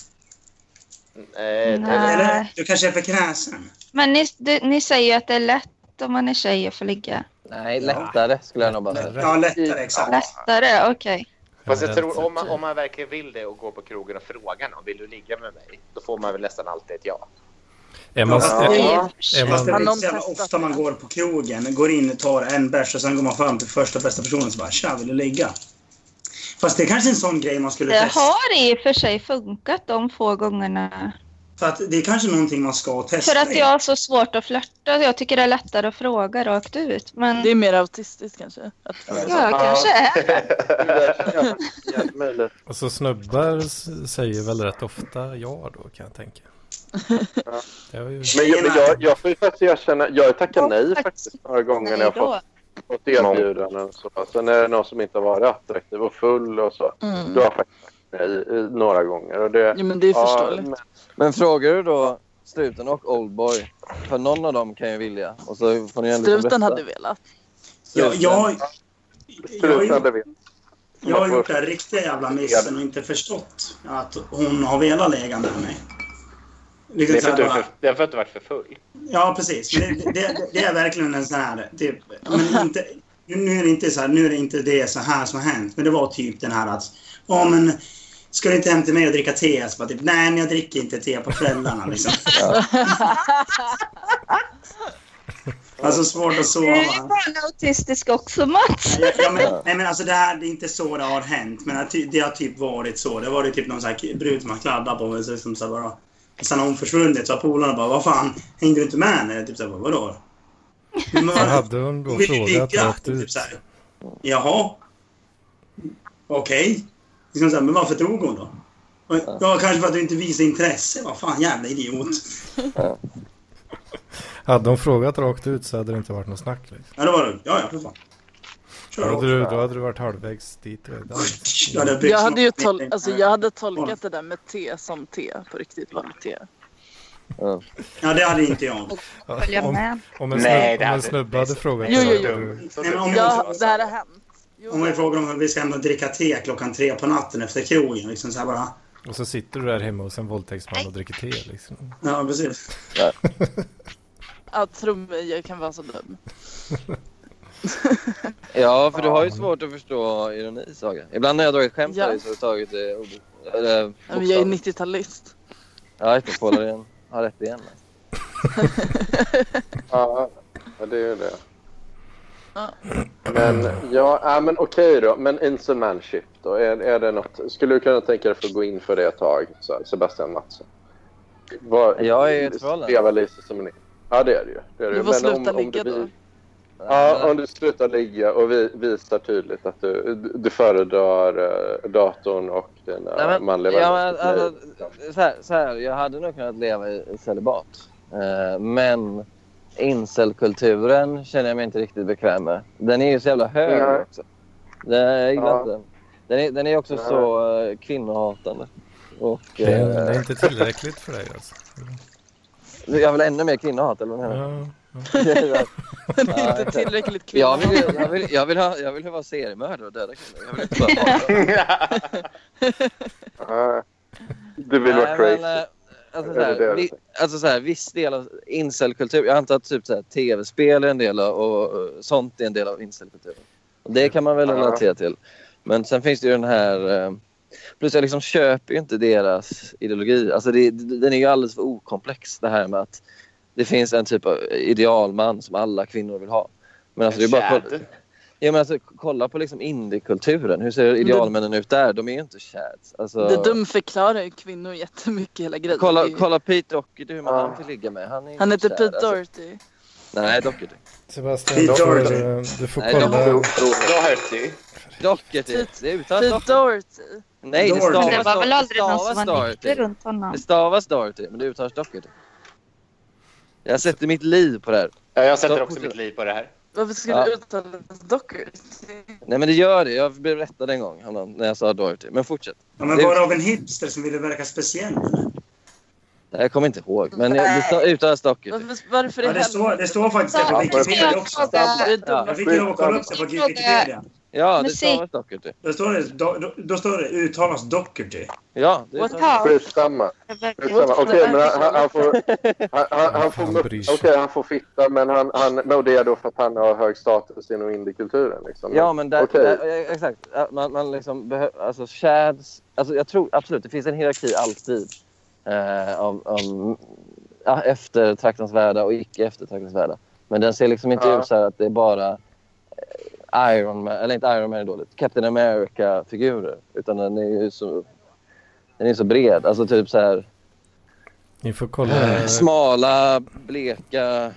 G: Nej,
B: Nej.
C: Eller du kanske är för kräsen.
B: Men ni, du, ni säger ju att det är lätt om man är tjej att få ligga.
E: Nej,
C: Ja.
E: lättare skulle jag nog bara säga.
C: Ja, lättare exakt.
B: Lättare, okej.
G: Fast jag
A: Generellt
G: tror
A: sett.
G: om man, om man verkligen vill det och går på krogen och frågar någon vill du ligga med mig? Då får man väl nästan alltid ett ja.
A: Är man,
C: Ja.
A: är,
B: Det är för sig-
A: är
C: Fast det
A: man,
C: är inte
I: Har någon
C: så jävla
I: testat
C: ofta man
I: det?
C: går på krogen, går in, tar en bärs och sen går man fram till första bästa personen och så bara “tja, vill du ligga?” Fast det är kanske en sån grej man skulle
B: Det
C: testa.
B: har i och för sig funkat de få gångerna.
C: För att det är kanske någonting man ska testa.
B: För att jag har så svårt att flörta. Jag tycker det är lättare att fråga rakt ut. Men
I: Det är mer autistiskt kanske. Att...
B: jag kanske är.
H: jävligt möjligt.
A: och så Alltså, snubbar s- säger väl rätt ofta ja då kan jag tänka. Det har ju...
H: Men jag, men jag, jag får ju faktiskt erkänna, jag tackar nej faktiskt några gånger när
B: Nej,
H: jag
B: då.
H: fått, fått erbjudanden och så. Sen är det någon som inte har varit attraktiv och full och så.
I: Mm.
H: Då har jag faktiskt tackat nej eh, några gånger. Och det,
I: Jo men det är
H: ja,
I: förståeligt.
H: men-
E: Men frågar du då Struten och Oldboy? För någon av dem kan ju vilja. Och så får ni ändå
I: Struten hade velat.
C: Jag, jag, Jag har
H: Strutande
C: gjort-
H: vet.
C: Jag har gjort den riktiga jävla missen och inte förstått att hon har velat lägga med mig.
G: Det
C: Liksom
G: är
C: så
G: för
C: här
G: att du, är
C: bara,
G: för, det är för att du varit för full.
C: Ja, precis. Men Det, det, det är verkligen en sån här... Typ, men inte, nu, är det inte så här, nu är det inte det så här som har hänt, men det var typ den här att... Ja, men ska du inte hem till mig och dricka te? Så bara, typ, Nej, men jag dricker inte te på kvällarna. Liksom. alltså svårt att
B: Du
C: sova.
B: är ju fan autistisk också Mats.
C: Ja, ja, men, nej, men alltså det här det är inte så det har hänt. Men det har ty- det har typ varit så. Det har varit typ någon så här brud som har kladdat på mig. Så liksom så här bara, sen har hon försvunnit. Så har polarna bara, vad fan, hängde du inte med henne? Typ så här, bara, vadå? Men vad-
A: Men hade hon då
C: vill du
A: frågat
C: ligga?
A: rakt ut?
C: typ så här. Jaha. Okej. Liksom så här, men varför drog hon då? Och, Ja, kanske för att du inte visar intresse. Vad fan, jävla idiot.
A: Hade hon frågat rakt ut så hade det inte varit något snack. Liksom.
C: Ja, det var det. Ja, ja, för
A: Då,
C: fan. Kör
A: hade
C: då.
A: du, då hade du varit halvvägs dit redan.
C: Jag hade byxorna
I: Jag hade ju tol-
C: mitt i-
I: alltså, jag hade tolkat det där med te som te på riktigt vanligt te.
C: Ja, det hade inte jag.
B: Följa
A: Om-
B: med.
A: Om en, snubbe-
G: Nej, det
A: om en
G: hade-
A: snubbe hade frågat
I: Jo,
A: dig,
I: jo,
A: hade du-
C: Nej, men om,
I: Ja,
C: jag,
I: det här har hänt.
C: om jag
I: Jo,
C: frågar om vi ska hem och dricka te klockan tre på natten efter krogen, liksom så här bara.
A: Och så sitter du där hemma hos en våldtäktsman och dricker te liksom.
C: Ja, precis.
I: ja, tro mig, jag kan vara så dum.
E: Ja, för du har ju svårt att förstå ironi, Saga. Ibland när jag har dragit skämt
I: Ja.
E: här så har jag tagit det ord... Eller,
I: Ja, Men jag är
E: bokstav.
I: 90-talist.
E: Ja, just det. Polaren har rätt igen. alltså.
H: Ja, ja, det är ju det.
I: Ja.
H: Men, ja, ja, men okej då. Men instant manship då? Är, är det något, skulle du kunna tänka dig för att gå in för det ett tag, så här, Sebastian Mattsson? Vad-
E: Jag är i ett förhållande.
H: Leva lite som en... Ja, det är det ju. Det är det.
I: Du
H: ju.
I: får
H: Men
I: sluta
H: om, om
I: ligga
H: du,
I: då.
H: vi- Ja, om du slutar ligga och vi, visar tydligt att du, du föredrar eh, datorn och dina
E: Nej, men-
H: manliga
E: ja,
H: vänner.
E: men, alltså, så, här, så här, jag hade nog kunnat leva i i celibat. Eh, men incelkulturen känner jag mig inte riktigt bekväm med. Den är ju så jävla hög
H: Nej.
E: också. Det, jag gillar
H: Ja.
E: inte den. Den är, den är också
H: Nej.
E: så eh, kvinnohatande. Och,
A: Det är,
E: eh,
A: det är inte tillräckligt för dig alltså.
E: jag vill ännu mer kvinnohat, eller vad menar du?
A: Ja.
I: Det är inte tillräckligt kvinna.
E: Jag vill, ju- jag, vill, jag, vill ha, jag vill ju vara seriemördare och döda kvinnor. Jag vill inte bara ha dem.
H: Ja. Du vill vara
E: Nej,
H: crazy.
E: men, eh, alltså,
H: Är
E: så
H: det det
E: här,
H: du
E: vi, alltså så här, viss del av incelkultur. Jag antar att typ så här, tv-spel är en del av och, eh, sånt är en del av incelkulturen. Och det kan man väl
H: Ja.
E: relatera till. Men sen finns det ju den här... eh, Plus jag liksom köper ju inte deras ideologi. Alltså det, den är ju alldeles för okomplex det här med att det finns en typ av idealman som alla kvinnor vill ha. Men alltså det är bara att kolla, ja, men alltså, kolla på liksom indiekulturen. Hur ser idealmännen ut där? De är ju inte chads. Alltså...
I: Det dumförklarar ju kvinnor jättemycket hela grejen. Det
E: Kolla,
I: är ju-
E: kolla Pete Doherty hur man
H: Ja.
E: han vill ligga med. Han, är
I: Han heter
E: kär,
I: Pete
E: alltså.
I: Doherty.
E: Nej, Doherty.
A: Sebastian,
C: Pete
A: du får,
C: Doherty.
A: eh, du får
E: Nej, de-
A: kolla.
G: Doherty.
E: Doherty.
I: Pete-
E: Det är uttalat Doherty.
I: Pete Doherty.
E: Nej, det
C: Doherty.
B: Det
E: stavas,
B: var väl aldrig
E: det
B: någon
E: stavas
B: som var
E: Doherty.
B: nykter runt honom.
E: Det stavas Doherty, men det uttalas Doherty. Jag sätter mitt liv på det här.
G: Ja, jag sätter
E: Då-
G: också mitt liv på det här.
I: Varför ska
E: Ja.
I: du uttala Doherty?
E: Nej, men det gör det. Jag blev rättad en gång om någon- när jag sa Doherty. Men fortsätt.
C: Ja, men var det av en hipster som ville verka speciell? eller?
E: Nej, Jag kommer inte ihåg, men jag- det sta- uttalas Doherty.
I: Varför, varför i
C: Ja, det,
I: helvete?
C: står, det står faktiskt det på
B: Ja,
C: Wikipedia
B: jag
C: också.
B: frågar-
I: Det är dumma
C: Jag fick ju lov att kolla upp det på Wikipedia.
E: Ja, det
B: Musik.
E: stavas Doherty.
C: Då står det, då, då- då står det uttalas Doherty.
E: Ja, det
I: What
E: uttalas-
B: Ja,
H: Skitsamma.
B: det verkar-
H: Skitsamma. Okej, men han, han, han får... Han, han, han, får,
A: Fan bryr sig.
H: okej, han får fitta, men, han, han, men och det är då för att han har hög status inom indiekulturen. Liksom.
E: Ja, men där,
H: Okej.
E: där, ja, exakt. Ja, Man, man liksom behöver... Alltså, shads... Alltså, jag tror absolut, det finns en hierarki alltid eh, av, av ja, eftertraktansvärda och icke eftertraktansvärda. Men den ser liksom inte
H: Ja.
E: ut så här att det är bara eh, Iron Man, eller inte Iron Man är dåligt, Captain America-figurer. Utan den är ju så, den är så bred. Alltså typ så här
A: Ni får kolla. eh,
E: smala, bleka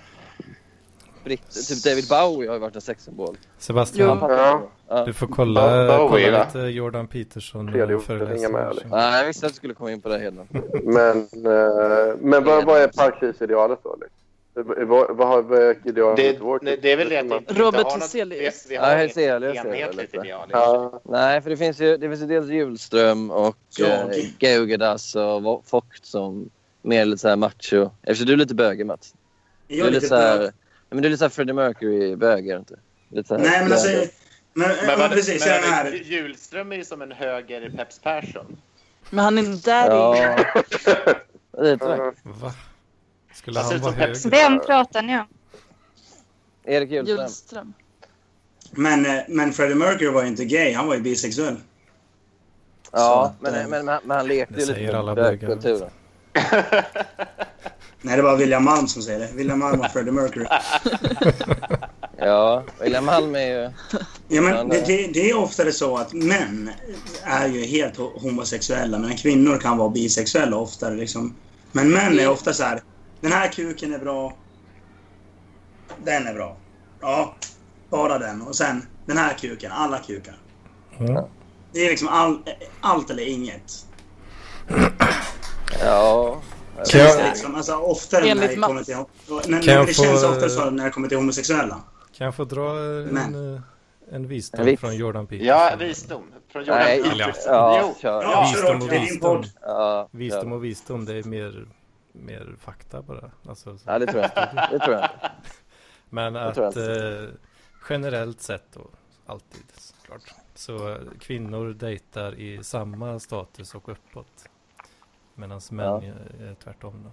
E: britter. Typ David Bowie har ju varit en sexsymbol.
A: Sebastian,
I: Jo.
H: Ja.
A: du får kolla,
H: Bo- Bowie,
A: kolla
H: va?
A: lite Jordan Peterson
H: Tredje ordet, inga med,
A: föreläsningar.
H: liksom.
E: Nej, jag visste att du skulle komma in på det Hedlund.
H: Men, eh, men vad, vad är parkrisidealet då? Liksom? Vad, vad har vad är idealet liksom?
G: Det,
H: i vår tid?
G: det är väl det att vi inte
I: Robert
G: har något-
I: Hyselius.
G: Vi, vi
E: Ja,
G: har inget
E: Hyselius är det
G: enhetligt
E: väl,
G: ideal.
H: Ja,
E: Nej, för det finns ju, det finns ju dels Hjulström och eh,
C: Jag.
E: Gaugadas och Vo- Vogt som mer lite så här macho. Eftersom du är lite bögig Mats. Du
C: Jag är
E: är lite
C: lite
E: så här,
C: bög.
E: nej, men du är lite så här Freddie Mercury-bög är du inte? Lite så här,
C: Nej, men alltså...
E: bög.
C: Men, men,
G: vad-
C: precis,
G: men
C: jag är här.
G: Hjulström är ju som en höger Peps Persson.
I: Men han är inte där i.
E: Ja. Lite va?
A: Va? Skulle
G: Alltså,
A: han vara
G: som
A: hög?
G: Pepsi-
B: Vem pratar ni om?
E: Erik Hjulström.
I: Hjulström.
C: Men, eh, men Freddie Mercury var ju inte gay, han var ju bisexuell.
E: Ja,
C: Så att, eh,
E: men, men, men, men han lekte
A: Det
E: ju lite
A: säger
E: med
A: alla bögar.
E: bögkulturen.
C: Nej, det var William Malm som säger det. William Malm och Freddie Mercury.
E: Ja, William Malm är ju...
C: Ja,
E: Ja,
C: men
E: nej.
C: det, det, det är oftare så att män är ju helt ho- homosexuella, men kvinnor kan vara bisexuella oftare. Liksom. Men män är ofta så här, den här kuken är bra, den är bra. Ja, bara den. Och sen den här kuken, alla kukar.
A: Ja.
C: Det är liksom all, allt eller inget.
E: Ja.
A: Kan
C: Det är
A: jag,
C: Liksom, alltså, oftare när
I: Enligt
C: det,
I: Mats.
C: kommer till, när,
A: Kan jag
C: när det känns
A: få-
C: oftare så när det kommer till homosexuella.
A: kan jag få dra en,
C: Men-
A: eh, en visdom
E: En vits.
A: från Jordan Peterson?
G: Ja, visdom. Från Jordan
E: Nej,
G: Peterson.
E: Ja,
G: Jo.
E: kör.
C: Ja,
A: Visdom
C: Roger,
A: och
C: din
A: visdom.
C: podd.
E: Ja,
A: Visdom
E: kör.
A: och visdom, det är mer, mer fakta bara. Alltså, så.
E: Ja, det tror jag. Det tror jag.
A: Men att
E: tror
A: eh, generellt sett då, alltid såklart, så eh, kvinnor dejtar i samma status och uppåt. Medan män är- är tvärtom då.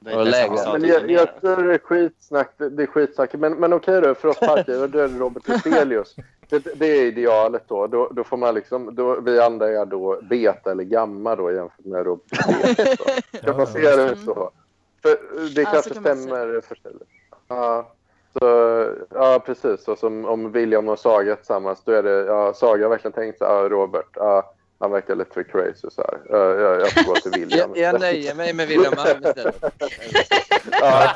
G: Det
E: Och lägre.
G: som sa
H: Men
G: tidigare.
H: jag, jag tror det är skitsnack. Det, det är skitsnack. Men, men okej då, för oss parker, då är det Robert Hyselius. Det, det är idealet då. Då, då får man liksom, då, vi andra är då beta eller gamma då jämfört med Robert Hyselius. då. Kan man se det så? För det
I: Ja,
H: kanske
I: så kan man
H: stämmer för sig. Ja, så, ja, precis. Så som om William och Saga är tillsammans, då är det, ja, Saga har verkligen tänkt så här, ja, Robert, ja, han verkar lite för crazy så här. Ja, jag, jag får gå till William.
E: Jag, jag nöjer mig med William Malm istället.
H: Ja,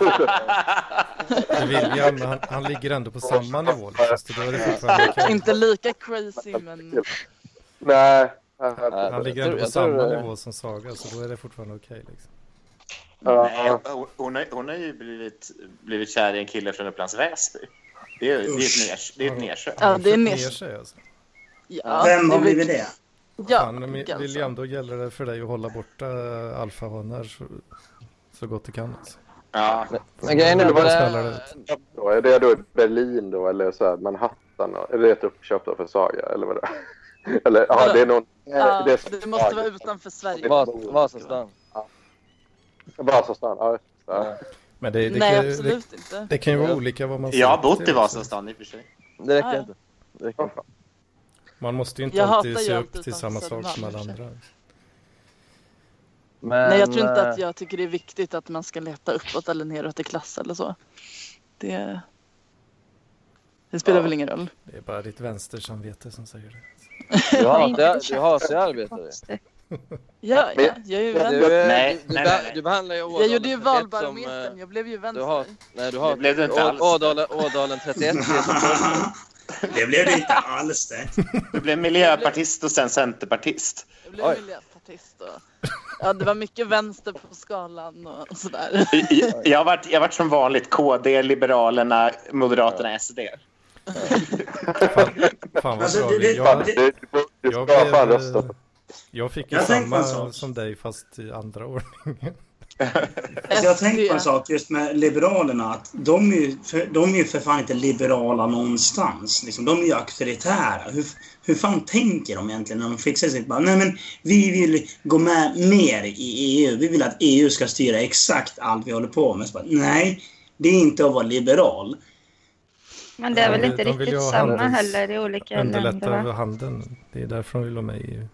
A: Men William, han, han ligger ändå på samma nivå liksom, så då är det fortfarande okej.
I: Inte lika crazy men
H: nej. Ja,
A: Han ligger
E: Jag tror-
A: ändå på
E: jag tror-
A: samma nivå som Saga, så då är det fortfarande okej liksom.
G: Nej, hon- hon, har, hon har ju blivit, blivit kär i en kille från Upplands Väsby. Det är, det är ett,
C: Usch.
G: ners, det är ett nerköp.
I: ja det är
A: Han skjuter ner
I: nisch.
A: sig, alltså.
I: Ja,
C: Vem
I: det
C: har
I: är väl-
C: blivit det?
I: Ja,
A: Fan, men
I: ganska.
A: William, då gäller det för dig att hålla borta eh, alfahanar så, så gott du kan. Alltså.
G: Ja,
E: Men grejen är
A: Det var
E: bara...
A: snällare ut.
H: Då, är det då i Berlin då eller så här Manhattan? Då? Är det ett uppköp då för Saga eller vad det är? Eller ja, det är någon...
I: Ja,
H: det,
I: det måste vara utanför Sverige.
E: Vas- Vasastan.
H: Vasastan, ja. ja.
A: Men det, det,
I: Nej,
A: kan, ju- det,
I: absolut inte.
A: det kan ju vara olika vad man
G: jag har
A: ser
G: bott i
A: till, alltså.
G: Vasastan i och för sig.
E: Det
I: Ja,
E: räcker
I: ja.
E: inte. Det räcker inte.
A: Man måste ju inte
I: Jag hatar
A: alltid
I: ju
A: se
I: allt
A: upp till
I: utanför
A: samma sak som alla
I: Södermalm, i och för
A: andra.
E: Men,
I: Nej, jag tror inte att
E: eh,
I: jag tycker det är viktigt att man ska leta uppåt eller neråt i klass eller så. Det, det spelar väl ingen roll.
A: Det är bara ditt vänstersamvete som säger det.
E: eh, Du
B: inte
E: hatar
B: det
E: du hatar ju arbetare.
I: Ja,
H: Men-
I: ja jag är ju
E: Du,
I: vän.
E: du, du,
G: nej,
E: du, beh-
G: nej, nej.
E: du behandlar ju Ådalen
I: Jag gjorde ju
E: 31 som, eh,
I: valbarometern, jag blev ju
E: Du har,
I: vänster.
E: nej, du
G: Det
E: har
G: blev det inte alls.
E: Å- Ådalen, Ådalen 31.
C: det blev det inte alls det.
G: Du blev miljöpartist och sen centerpartist.
I: Jag
E: Oj.
I: blev miljöpartist och ja, det var mycket vänster på skalan och sådär.
G: Jag har varit, jag har varit som vanligt KD, Liberalerna, Moderaterna, SD.
A: Fan, fan vad
C: Alltså,
A: bra.
C: det- det-
A: Liv. Jag,
C: det-
H: Du, du, du
A: jag,
H: ska fan
A: blev,
H: rösta
A: eh, jag fick ju
C: Jag tänkte på en
A: samma
C: sak.
A: som dig fast i andra ordningen.
C: Alltså, jag har tänkt på en
I: SD.
C: sak just med Liberalerna. Att de, är ju för, de är ju för fan inte liberala någonstans. Liksom, de är ju auktoritära. Hur, hur fan tänker de egentligen när de fixar sitt? Bara, Nej, men vi vill gå med mer i EU. Vi vill att EU ska styra exakt allt vi håller på med. Så bara, Nej, det är inte att vara liberal.
B: Men det är väl
A: De-
B: inte
A: de vill ju
B: riktigt
A: ha
B: samma
A: handels-
B: heller i olika länder
A: Underlätta över
B: va?
A: handeln. Det är därför de vill vara med i EU.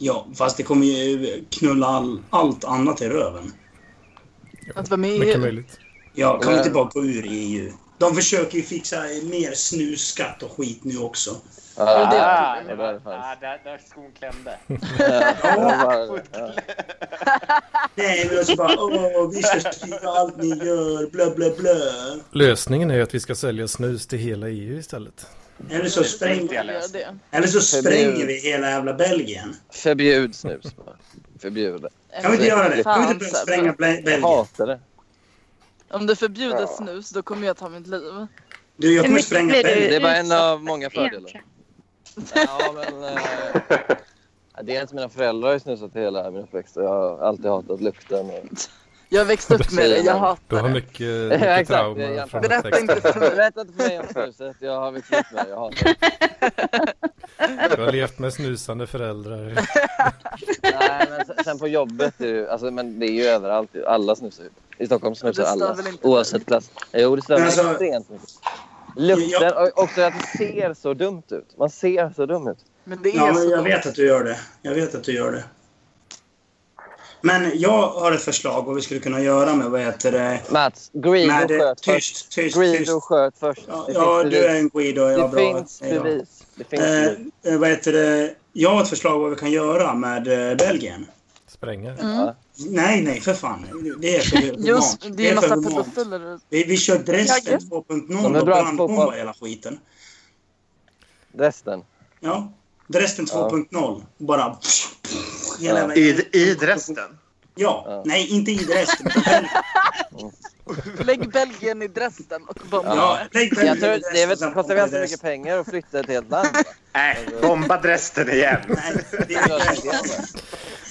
C: Ja, fast det kommer ju knulla all, allt annat i röven.
I: Att vara med i
A: Mycket
I: EU.
A: möjligt.
C: Ja, kan vi
E: Nej.
C: inte bara gå ur EU? De försöker ju fixa mer snusskatt och skit nu också.
E: Ja,
I: det-
E: ja,
G: det
E: det var det
G: ah,
E: faktiskt.
G: där, där skon klämde.
E: Ja, det var det. Ja.
C: Nej, men alltså bara åh, vi ska styra allt ni gör, blö, blö, blö.
A: Lösningen är ju att vi ska sälja snus till hela EU istället.
C: Eller så, spräng,
G: tänkte jag.
I: Göra det.
C: eller så spränger vi hela jävla Belgien.
E: Förbjud snus bara. Förbjud det. alltså.
C: Kan vi inte göra det? Kan vi inte
I: Fan,
C: börja
I: Sebbe.
C: spränga Bel-
E: Jag
C: Belgien?
E: hatar det.
I: Om du förbjuder snus då kommer jag ta mitt liv.
C: Du, jag
B: Hur
C: kommer
B: mycket
C: spränga
B: blir du
C: Belgien.
E: Det är bara en
B: utsatt
E: av
B: för
E: många fördelar.
B: egentligen?
E: Ja, men, eh, dels mina föräldrar har ju snusat hela min uppväxt. och Jag har alltid hatat lukten. Och
I: Jag växte upp med det, jag
A: Du
I: hatar
A: har
I: det.
A: mycket,
E: Ja,
A: mycket
E: exakt, det är
A: trauma
E: jämfört.
A: från
I: Berätta
A: uppväxten.
I: inte för mig.
E: Berätta inte för mig om snuset. Jag har mitt liv med det. Jag hatar det.
A: Du har levt med snusande föräldrar.
E: Nej, men sen- sen på jobbet är det ju, alltså, men det är ju överallt. ju. Alla snusar ju. I Stockholm snusar
I: Det stör
E: alla,
I: väl inte?
E: oavsett klass. Jo, det stör
C: Men alltså-
E: mig extremt mycket. Lukten, och också att det ser så dumt ut. Man ser så dum ut.
I: Men det är alltså-
C: Ja, men
I: så.
C: jag vet att du gör det. Jag vet att du gör det. Men jag har ett förslag vad vi skulle kunna göra med vad heter det?
E: Mats, Greedo
C: Nej, det
E: sköt först.
C: tyst, tyst, tyst.
E: Greedo sköt först.
C: Ja,
E: Det
C: ja,
E: finns
C: du är en Guido. Ja,
E: Det
C: bra.
E: finns
C: Hej då.
E: bevis. Det finns
C: Eh,
E: bevis.
C: eh, vad heter det? Jag har ett förslag vad vi kan göra med eh, Belgien.
A: Spränga.
E: Mm.
I: mm.
C: Nej, nej, för fan. Det är för
I: Just,
C: humant.
I: det är ju
C: för
I: massa
C: humant.
I: pedofiler.
C: Vi, vi kör
I: Ja,
C: Dresden
I: just.
C: 2.0
E: De är
C: och
E: bra på
C: brandbombar
E: fotboll.
C: hela skiten.
E: Resten.
C: Ja. Dresden
E: Ja.
C: 2.0. Bara... Hela
E: Ja.
C: vägen.
F: I,
H: Mm.
F: I Dresden?
C: Ja.
E: Ja.
C: Nej, inte i Dresden. utan Belgien.
I: Lägg Belgien i Dresden och bomba.
C: Ja, lägg Belgien
E: Jag
C: i
E: tror,
C: Dresden
E: det är väl,
C: och sen
E: kostar
C: bomba i
E: väl så mycket
C: Dresden.
E: pengar att flytta ett helt land?
F: Nej, bomba Dresden igen.
C: Nej, det
E: Gör
C: är
E: det inte.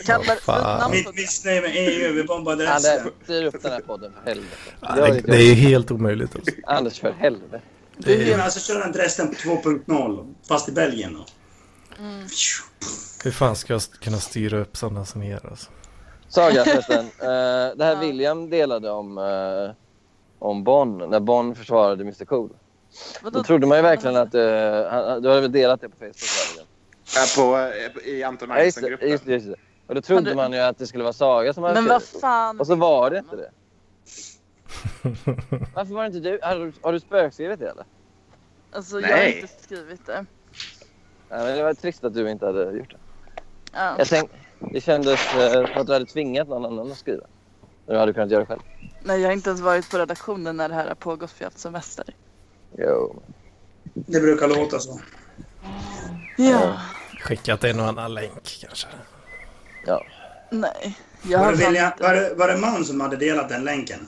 I: Kallar
A: Åh, fan.
I: namn på
C: Mitt missnöje med EU. Vi bombar Dresden.
E: Anders, styr upp den här podden för helvete.
A: Ja,
E: Gör
A: det,
E: ditt
A: det är ju helt omöjligt. Alltså.
E: jobb. Anders, för helvete.
A: Det
C: Men
A: är,
C: alltså kör en Dresden 2.0. Fast i Belgien då.
A: hur fan ska jag kunna styra upp sådana som er? Alltså?
E: Saga förresten. Eh, det här William delade om, eh, om Bonn, när Bonn försvarade Mr Cool. Då
I: Vadå?
E: trodde man ju verkligen att... eh, han- han- du hade väl delat det på Facebook? va, William?
F: Här På, I Anton
E: Ja, just, det,
F: Andersson-gruppen.
E: just, det, just det. Och då trodde
I: Men du-
E: man ju att det skulle vara Saga som hade
I: Men vad
E: skrivit.
I: fan.
E: Och så var det inte det. Varför var det inte du? Har du, har du spökskrivit det eller?
I: Alltså, jag har
F: Nej.
I: inte skrivit det.
E: Nej, men det var trist att du inte hade gjort det.
I: Ja.
E: Jag tänk, det kändes eh, som att du hade tvingat någon annan att skriva. När du hade kunnat göra det själv.
I: Nej, jag har inte ens varit på redaktionen när det här har pågått för jag har haft semester.
E: Jo.
C: Det brukar låta så.
I: Ja.
A: Skickat en och annan länk kanske.
I: Nej. Jag
C: Var
I: har
C: det,
I: fan
C: William, var
I: inte...
C: det, var det man som hade delat den länken?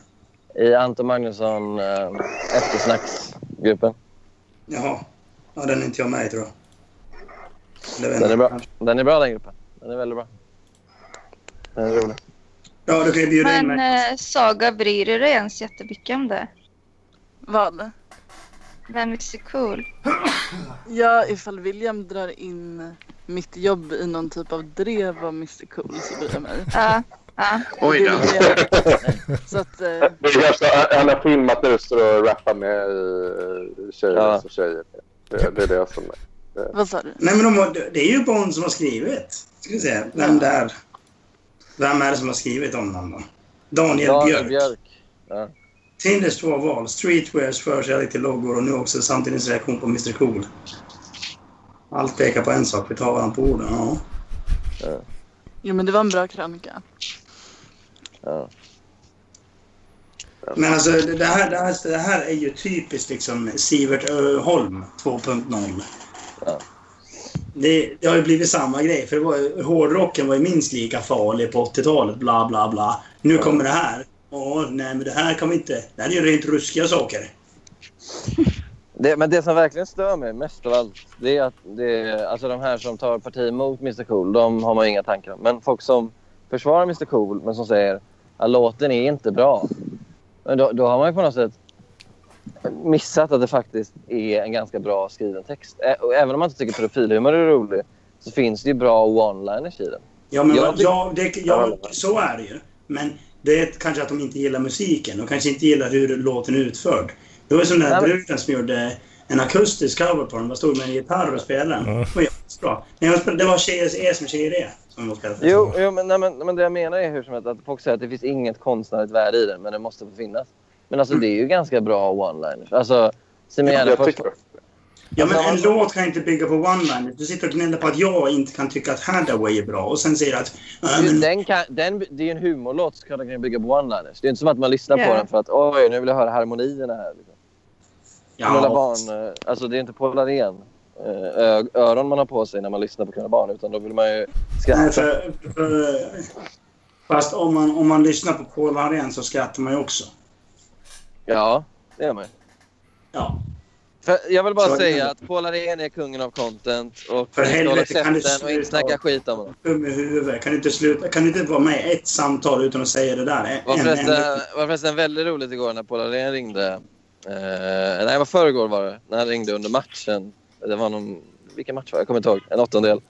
E: I Anton Magnusson eh, eftersnacksgruppen.
C: Jaha. Ja, den är inte jag med i, tror jag. Eller vem?
E: Den är bra. Den är bra den gruppen. Den är väldigt bra. Den är rolig.
C: Ja, du kan ju bjuda in
B: Men
C: mig.
B: eh, Saga, bryr du dig ens jättemycket om det?
I: Vad?
B: Men Mr Cool.
I: Ja, ifall William drar in mitt jobb i någon typ av drev av Mr Cool så bryr jag mig.
B: Ja, ja.
F: Oj
I: Det
F: då.
I: vill jag. Så att... Eh,
H: Det är ganska, han har filmat nu står och rappar med eh, tjejer
E: Ja.
H: som tjejer. Det, det är det som är.
I: vad sa du?
C: Nej, men de, har- det är ju Bond som har skrivit. Ska vi se. Vem där? Vem är det som har skrivit om den då? Daniel, Björk.
E: Björk.
C: Tinders två val. Streetwears förkärlek till loggor och nu också samtidens reaktion på Mr Cool. Allt pekar på en sak. Vi tar varandra på orden. Ja.
I: Jo, men det var en bra krönika.
C: Men alltså det det här, det här, det här är ju typiskt liksom Sivert Öholm 2.0.
E: Ja.
C: Det, det har ju blivit samma grej. För det var, ju- hårdrocken var ju minst lika farlig på 80-talet. Bla, bla, bla. Nu kommer det här. Åh, nej, men det här kan vi inte. Det här är ju rent ruskiga saker.
E: Det, men det som verkligen stör mig mest av allt det är att det, alltså de här som tar parti mot Mr Cool, de har man ju inga tankar om. Men folk som försvarar Mr Cool men som säger att låten är inte bra. Men då, då har man ju på något sätt missat att det faktiskt är en ganska bra skriven text. Ä- och även om man inte tycker pedofilhumor är rolig så finns det ju bra one-liners i den.
C: Ja, men
E: Jag
C: vad-
E: tyck-
C: ja, det, ja, så är det ju. Men det är kanske att de inte gillar musiken. De kanske inte gillar hur låten är utförd. Det var ju som den här
E: Nej, men-
C: bruden som gjorde en akustisk cover på den. Vad stod med en gitarr och spelade den.
A: Mm.
C: Det var jättebra. Nej, jag spelade, det var Tjejer är som tjejer är. Som de spelade.
E: Jo, jo men, nej, men, men det jag menar är hur som helst att folk säger att det finns inget konstnärligt värde i den, men det måste få finnas. Men alltså det är ju ganska bra one-liners. Alltså, Simon
H: Jag
E: Gärdenfors...
H: tycker det.
C: Ja, men en
E: Alltså,
C: låt kan inte bygga på one-liners. Du sitter och gnäller på att jag inte kan tycka att Hathaway är bra och sen säger du att... "Nej,
E: Ju-
C: men,
E: Den kan, den, det är ju en humorlåt som kan kan bygga på one-liners. Det är inte som att man lyssnar på
B: Ja.
E: den för att oj, nu vill jag höra harmonierna här. Liksom. Knulla
C: ja,
E: barn, eh, alltså det är inte Polaren eh, ö- öron man har på sig när man lyssnar på Knulla barn utan då vill man ju
C: nej,
E: skratta.
C: för, för, fast om man, om man lyssnar på Paul Harén så skrattar man ju också.
E: Ja, det gör man ju.
C: Ja.
E: För jag vill bara
C: Så är det.
E: säga att Paul Arén är kungen av content och
C: För
E: ni ska hålla
C: helvete, kan du
E: käften och inte
C: sluta?
E: snacka skit om honom.
C: Dum i huvudet. Kan du inte sluta? Kan du inte vara med i ett samtal utan att säga det där? En-
E: Det var
C: en-
E: förresten,
C: en-
E: var förresten väldigt roligt igår när Paul Arén ringde. Eh, nej, det var förrgår var det. När han ringde under matchen. Det var någon... Vilken match var det? Jag kommer inte ihåg. En åttondel.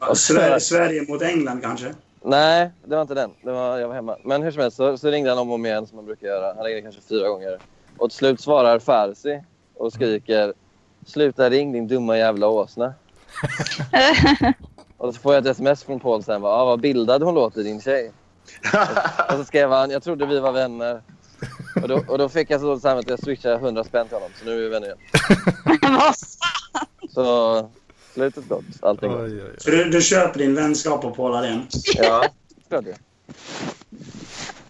C: Ja, Sverige, Sverige mot England kanske?
E: Nej, det var inte den. Det var, jag var hemma. Men hur som helst så, så ringde han om och om igen som man brukar göra. Han ringde kanske fyra gånger. Och till slut svarar Farsi och skriker “Sluta ring din dumma jävla åsna”. och så får jag ett sms från Paul sen. Bara, ah, “Vad bildad hon låter din tjej”. och, och så skrev han “Jag trodde vi var vänner”. Och då, och då fick jag så dåligt samvete att jag swishade 100 spänn till honom. Så nu är vi vänner igen.
B: Vad
E: Så slutet gott. Allting gott.
A: Oj, oj, oj.
C: Så du, du köper din vänskap på Paul Arén?
E: Ja, klart det.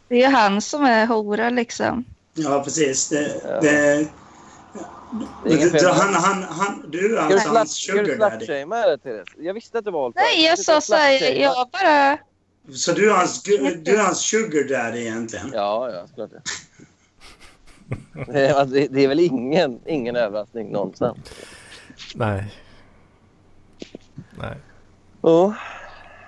B: Det är ju han som är hora liksom.
C: Ja, precis. Det,
E: Ja.
C: det,
E: Det är inget
C: du,
E: fel.
C: han, han, han, du är
E: Ska du
C: alltså
E: slut-
C: hans
E: ska du
C: sugar daddy.
E: slutshamea det, Therese? Jag visste att du var all
B: Nej, jag sa så här, jag bara...
C: Så du är hans, gu- du är hans sugar daddy egentligen?
E: Ja, ja, såklart det. Det är, alltså, det- det är väl ingen, ingen överraskning någonstans.
A: Nej. Nej.
E: Jo,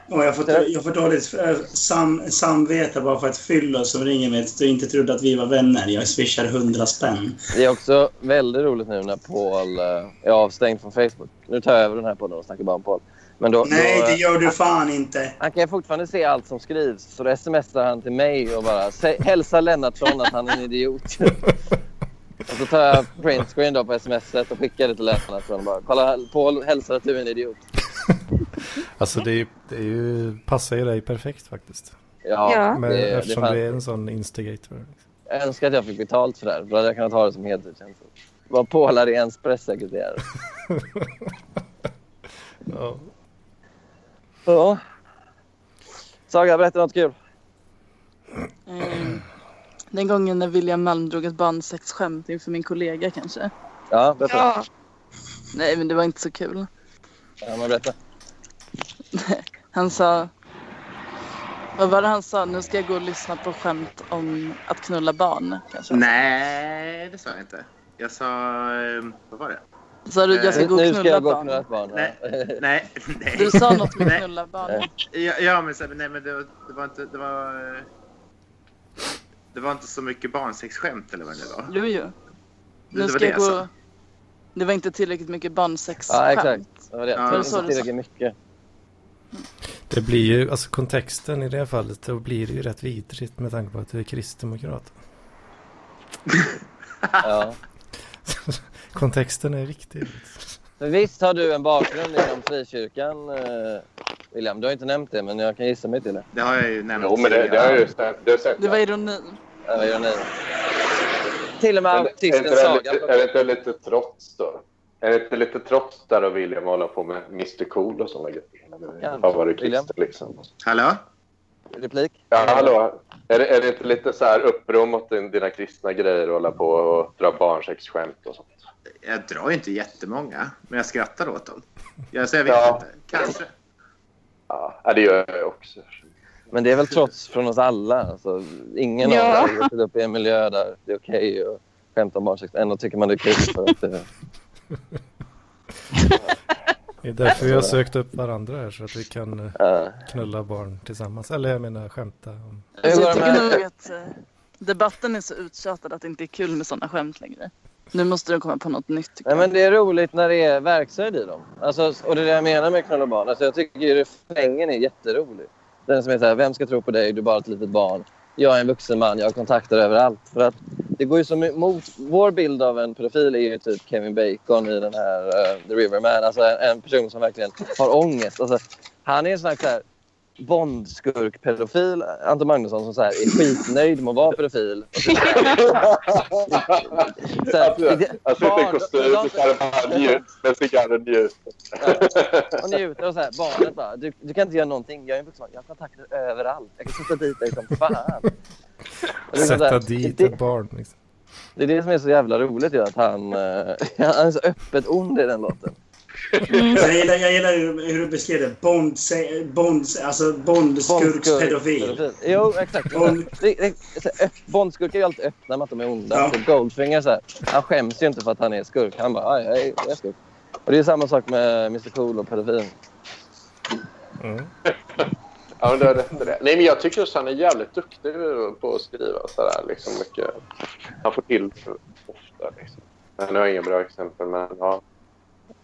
C: Och jag, får, ta- jag får dåligt eh, sam, samvete bara för att fylla som ringer mig att du inte trodde att vi var vänner. Jag swishar hundra spänn.
E: det är också väldigt roligt nu när Paul eh, är avstängd från Facebook. Nu tar jag över den här podden och snackar bara om Paul. Men då,
C: Nej,
E: då, eh,
C: det gör du fan inte.
E: han kan ju fortfarande se allt som skrivs. Så då smsar han till mig och bara "Sä- hälsa Lennartsson att han är en idiot. och så tar jag printscreen då på smset och skickar det till Lennartsson och bara kolla Paul hälsar att du är en idiot.
A: Alltså det, är, ju- det är ju, passar ju dig perfekt faktiskt.
E: Ja,
B: Ja.
A: Men,
E: det, det
A: eftersom
E: fanns-
A: du är en sån instigator. liksom.
E: Jag önskar att jag fick betalt för det här. Då hade jag kunnat ha det som heltidstjänst. Var pålare i ens pressekreterare.
A: Ja.
E: Ja. Saga, berätta något kul.
I: Mm. Den gången när William Malm drog ett barnsexskämt inför min kollega kanske.
E: Ja, berätta. Ja.
B: Ja.
I: Nej men det var inte så kul.
E: men berätta.
I: Han sa... Vad var det han sa? Nu ska jag gå och lyssna på skämt om att knulla barn. Kanske.
F: Nej, det sa jag inte. Jag sa... ehm, Vad var det?
I: Sa du jag ska
E: Nu
I: gå och
E: nu
I: knulla
E: ska jag gå och
I: barn?
E: knulla ett barn.
F: Nej. Nej, nej.
I: Du sa något med
F: Nej.
I: knulla barn.
F: Ja, ja men, så, nej, men det, var- det var inte... Det var, eh, det var inte så mycket barnsexskämt eller vad det var.
I: Jo, jo.
F: det
I: Nu
F: var
I: ska
F: det
I: jag
F: jag
I: gå...
F: sa.
I: Det var inte tillräckligt mycket barnsexskämt.
E: Ja, exakt. Det var det.
F: Ja,
E: det
I: så
E: var
I: du
E: inte tillräckligt mycket.
A: Det blir ju, alltså kontexten i det här fallet, då blir det ju rätt vidrigt med tanke på att du är kristdemokrat.
E: Ja.
A: kontexten är viktig.
E: Men visst har du en bakgrund inom frikyrkan, eh, William. Du har inte nämnt det, men jag kan gissa mig till det.
F: Det har jag ju nämnt.
H: Jo, men det, det har jag ju sett. Det har jag sett
I: Det var ironi.
E: Äh, vad gör ni? Till och med
H: Men är, inte
E: autisten
H: det
E: Saga.
H: lite, är det inte lite trots då? Är det inte lite trots där att William håller på med Mr Cool och sådana
E: Ja,
H: grejer? Fan vad du
E: William.
H: kristen liksom.
F: Hallå?
E: Replik?
H: Ja, hallå. Är det, är det inte lite så här uppror mot din- dina kristna grejer att hålla på och dra barnsexskämt och sånt?
F: Jag drar ju inte jättemånga, men jag skrattar åt dem. Jag, så jag vet
H: Ja.
F: inte. Kanske.
H: Ja, ja, det gör jag också.
E: Men det är väl trots från oss alla. Alltså, ingen
B: Ja.
E: av oss har vuxit upp i en miljö där det är okej att skämta om barnsex. Ändå tycker man det är kul för att det...
A: Det är därför vi har
E: Alltså.
A: sökt upp varandra här så att vi kan eh,
E: ja.
A: knulla barn tillsammans. Eller jag menar skämta om.
I: Alltså, jag
E: Hur går det
I: tycker
E: med-
I: nog att eh, debatten är så uttjatad att det inte är kul med sådana skämt längre. Nu måste de komma på något nytt. tycker
E: Nej,
I: jag.
E: men det är roligt när det är verkshöjd i dem. Alltså, och det är det jag menar med knulla barn. Alltså, jag tycker ju refrängen är jätterolig. Den som är så här, vem ska tro på dig? Du är bara ett litet barn. Jag är en vuxen man, jag har kontakter överallt. För att det går ju som emot... Vår bild av en pedofil är ju typ Kevin Bacon i den här eh, The Riverman. Alltså en, en person som verkligen har ångest. Alltså, han är en sån här, så här Bondskurk-pedofil, Anton Magnusson, som så här är skitnöjd med att vara pedofil. Och typ- så här, det-
H: Han Alltså, sitter i
E: barn-
H: kostym och så här bara njut. Men så kan han njuta.
E: och njuter och så här, barnet bara, du, du kan inte göra någonting. Jag är en vuxen man. Jag har kontakter överallt. Jag kan sätta dit dig som fan. Och det är så
A: Sätta
E: här,
A: dit
E: det,
A: ett barn. Liksom.
E: det är det som är så jävla roligt ju, att han, eh, han är så öppet ond i den låten.
B: Mm.
C: Jag gillar, jag gillar hur, hur du beskrev det. Bond, Bond, alltså Bondskurkspedofil.
E: pedofil. Jo, exakt.
C: Bond-
E: Det- det- så öpp- Bondskurkar är ju alltid öppna med att de är onda.
C: Ja.
E: Så Goldfinger, så här, han skäms ju inte för att han är skurk. Han bara, "Aj, jag är, jag är skurk. Och det är samma sak med Mr Cool och pedofilin.
A: Mm.
H: Ja, men du har rätt i det. Nej, men jag tycker att han är jävligt duktig på att skriva sådär. Liksom mycket. Han får till det ofta. Liksom. Men Nu har jag inga bra exempel, men ja.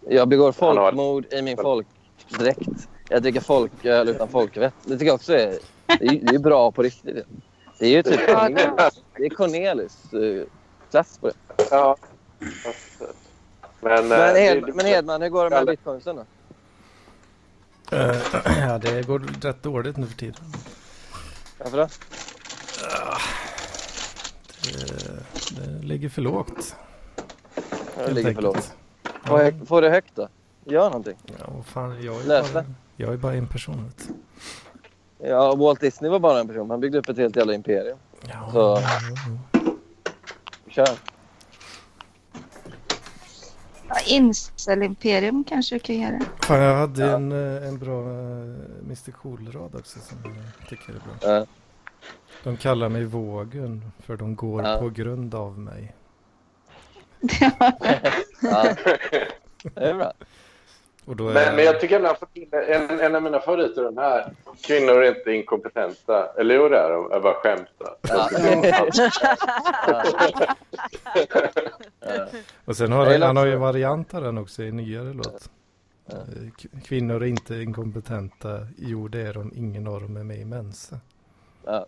E: Jag begår
H: Han har-
E: folkmord i min folkdräkt. Jag dricker folköl utan folkvett. Det tycker jag också är, det är, det är bra på riktigt. Det är ju typ
B: Ja, det-
E: det är Cornelis eh, klass på det.
H: ja. Men,
E: Men,
H: eh,
E: Hed,
H: det-
E: men Hedman, hur går det med bitcoinsen då?
A: Eh, ja, det går rätt dåligt nu för tiden.
E: Varför då?
A: Det, det ligger för lågt.
E: Jag
A: helt
E: ligger för
A: enkelt.
E: lågt. Får,
A: Ja,
E: jag- får det högt då? Gör någonting.
A: ja, vad fan, jag, är
E: Läs
A: bara,
E: det.
A: jag är bara en person. vet du.
E: Ja, och Walt Disney var bara en person. Han byggde upp ett helt jävla imperium.
A: Ja,
E: Så- Kör.
B: Ja, Incel-imperium kanske du kan göra.
A: Fan, jag hade en, eh, en bra eh, Mr Cool-rad också som jag tycker är bra.
E: Ja.
A: De kallar mig vågen för de går
E: Ja.
A: på grund av mig.
E: Ja. Det är bra.
A: Och då är
H: Men, men jag tycker ändå han får till en, en av mina favoriter är den här. Kvinnor är inte inkompetenta. Eller jo, det är de. Jag bara skämtar.
E: Ja.
A: och sen har
E: jag gillar
A: han har ju
E: också-
A: varianter den också i en nyare låt. Eh, k- Kvinnor är inte inkompetenta. Jo, det är de. Ingen av dem är med i Mensa.
E: Ja.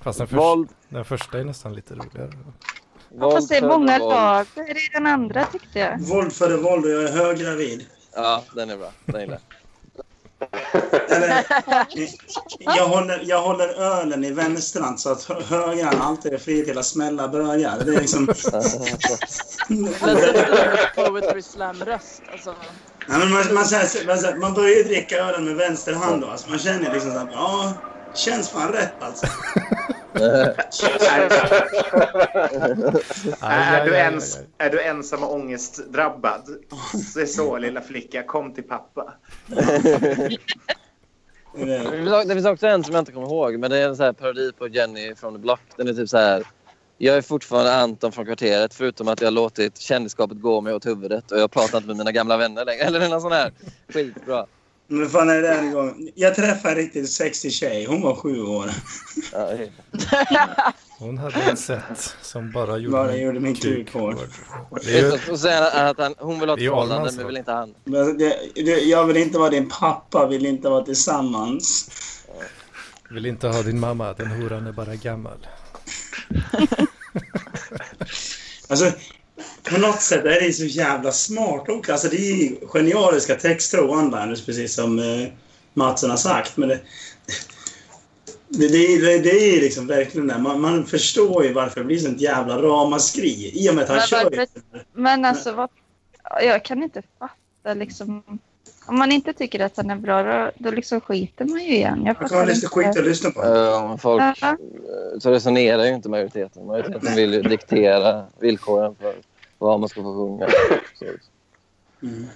A: Fast den, förs-
E: Våld,
A: den första är nästan lite roligare.
B: Ja,
E: våld
B: fast det är
E: föder
B: många
E: våld.
B: lager i den andra tyckte jag.
C: Våld föder våld och jag är höggravid.
E: Ja, den är bra. Den gillar jag.
C: Eller, jag, håller, jag håller ölen i vänsterhand så att högern alltid är fri till att smälla bögar. Det är liksom...
I: Plötsligt blir det poetry slam-röst. Alltså,
C: Nej, men man, man, så här, man, så här, man börjar ju dricka ölen med vänster hand då. Alltså, man känner liksom så här, ja, känns fan rätt alltså.
F: Är,
A: Aj,
F: är,
A: aj,
F: du
A: aj,
F: ens,
A: aj, aj.
F: är du ensam och ångestdrabbad? Så är så lilla flicka, kom till pappa.
C: Eh,
E: Det finns- Det finns också en som jag inte kommer ihåg, men det är en så här parodi på Jenny från the Block. Den är typ så här. Jag är fortfarande Anton från kvarteret förutom att jag har låtit kändisskapet gå mig åt huvudet och jag pratar inte med mina gamla vänner längre. Eller någon sån här. Skitbra.
C: Men vad fan är det en gång? Jag träffade en riktigt sexig tjej. Hon var sju år.
E: Ja, det är-
A: Hon hade ett sätt som bara gjorde
C: Bara
A: min
C: gjorde min kuk hård.
A: hård. Det är ju,
E: Och så säger han att han, hon vill ha
A: Det är
E: ett
A: ju
E: förhållande
A: Ahlmans
E: men
A: sak.
E: vill inte han.
C: Men alltså, det, det, jag vill inte vara din pappa, vill inte vara tillsammans.
A: vill inte ha din mamma, den horan är bara gammal.
C: Alltså, på något sätt är det så jävla smart också. Alltså, det är ju genialiska texter och one-liners, precis som eh, Matsen har sagt. Men det, det, det, det, det är ju liksom verkligen det. Man, man förstår ju varför det blir sånt jävla ramaskri. I och med att han
B: Men
C: kör ju.
B: varför- Men alltså, vad, jag kan inte fatta liksom. Om man inte tycker att han är bra, då, då liksom skiter man ju igen. Jag
C: Man kan ha
B: fattar
C: lite skit
B: inte.
C: att lyssna på.
E: Eh, folk
B: Ja.
E: eh, så resonerar ju inte majoriteten. Majoriteten vill ju diktera villkoren för vad man ska få sjunga. Så.
C: Mm.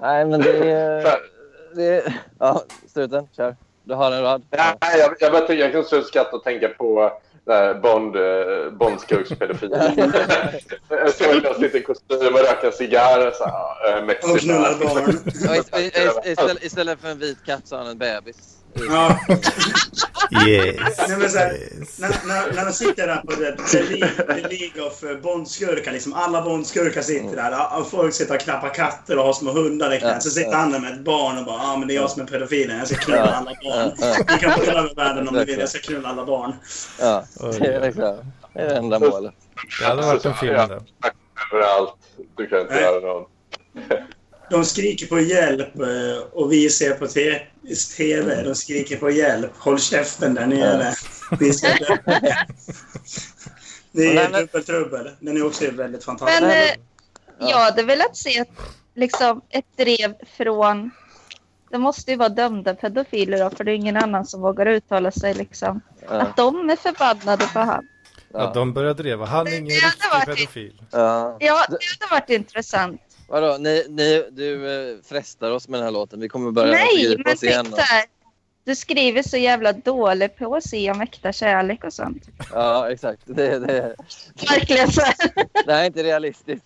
E: Nej, men det är... Det är ja, struten, kör. Du har en rad.
H: Nej, jag, jag, bara, tycker- jag kan så skratta och tänka på det här Bond, eh, Bondskurkspedofilen. jag såg att jag sitter i kostym och röker en cigarr. och Så, här, eh, mäktigt.
C: Och knullar barn.
E: Ja, i- i- i- istället, istället för en vit katt så har han en bebis.
C: Ja.
A: Yes.
C: Nej, men så här,
A: yes.
C: när, när, när de sitter där på det, the, League, the League of eh, Bondskurkar, liksom, alla Bondskurkar sitter där. Och folk sitter och klappar katter och har små hundar i knät. Så sitter han där med ett barn och bara ah, men det är jag som är pedofilen, jag ska knulla
E: Ja.
C: alla
E: Ja,
C: barn.
E: ja,
C: Ni kan få hela världen om ni vill, jag ska knulla alla barn.
E: ja.
A: Oj,
E: Det är liksom- det är det enda målet.
A: Det hade varit en film där.
H: Överallt. Du kan inte
C: Nej.
H: göra någon.
C: De skriker på hjälp eh, och vi ser på te- TV. De skriker på hjälp. Håll käften där nere. Ni ska dö. Det
E: Nej,
C: är
E: men-
C: dubbeltrubbel. Den är också väldigt fantastisk.
B: Men eh,
E: Ja.
B: jag hade velat se ett, liksom, ett drev från... Det måste ju vara dömda pedofiler då, för det är ingen annan som vågar uttala sig. Liksom.
E: Ja,
B: Att de är förbannade på han.
A: Ja,
E: ja,
A: de började driva. Han är ingen
B: Det hade
A: riktig
B: varit-
A: pedofil.
E: ja.
B: Ja, det hade varit intressant.
E: Vadå, ni, ni, du eh, frestar oss med den här låten. Vi kommer börja
B: Nej,
E: fördjupa
B: men
E: oss igen.
B: tänk så här. Du skriver så jävla dåligt på att se om äkta kärlek och sånt.
E: Ja, exakt. Det, det,
B: Verkligen så här.
E: det här är inte realistiskt.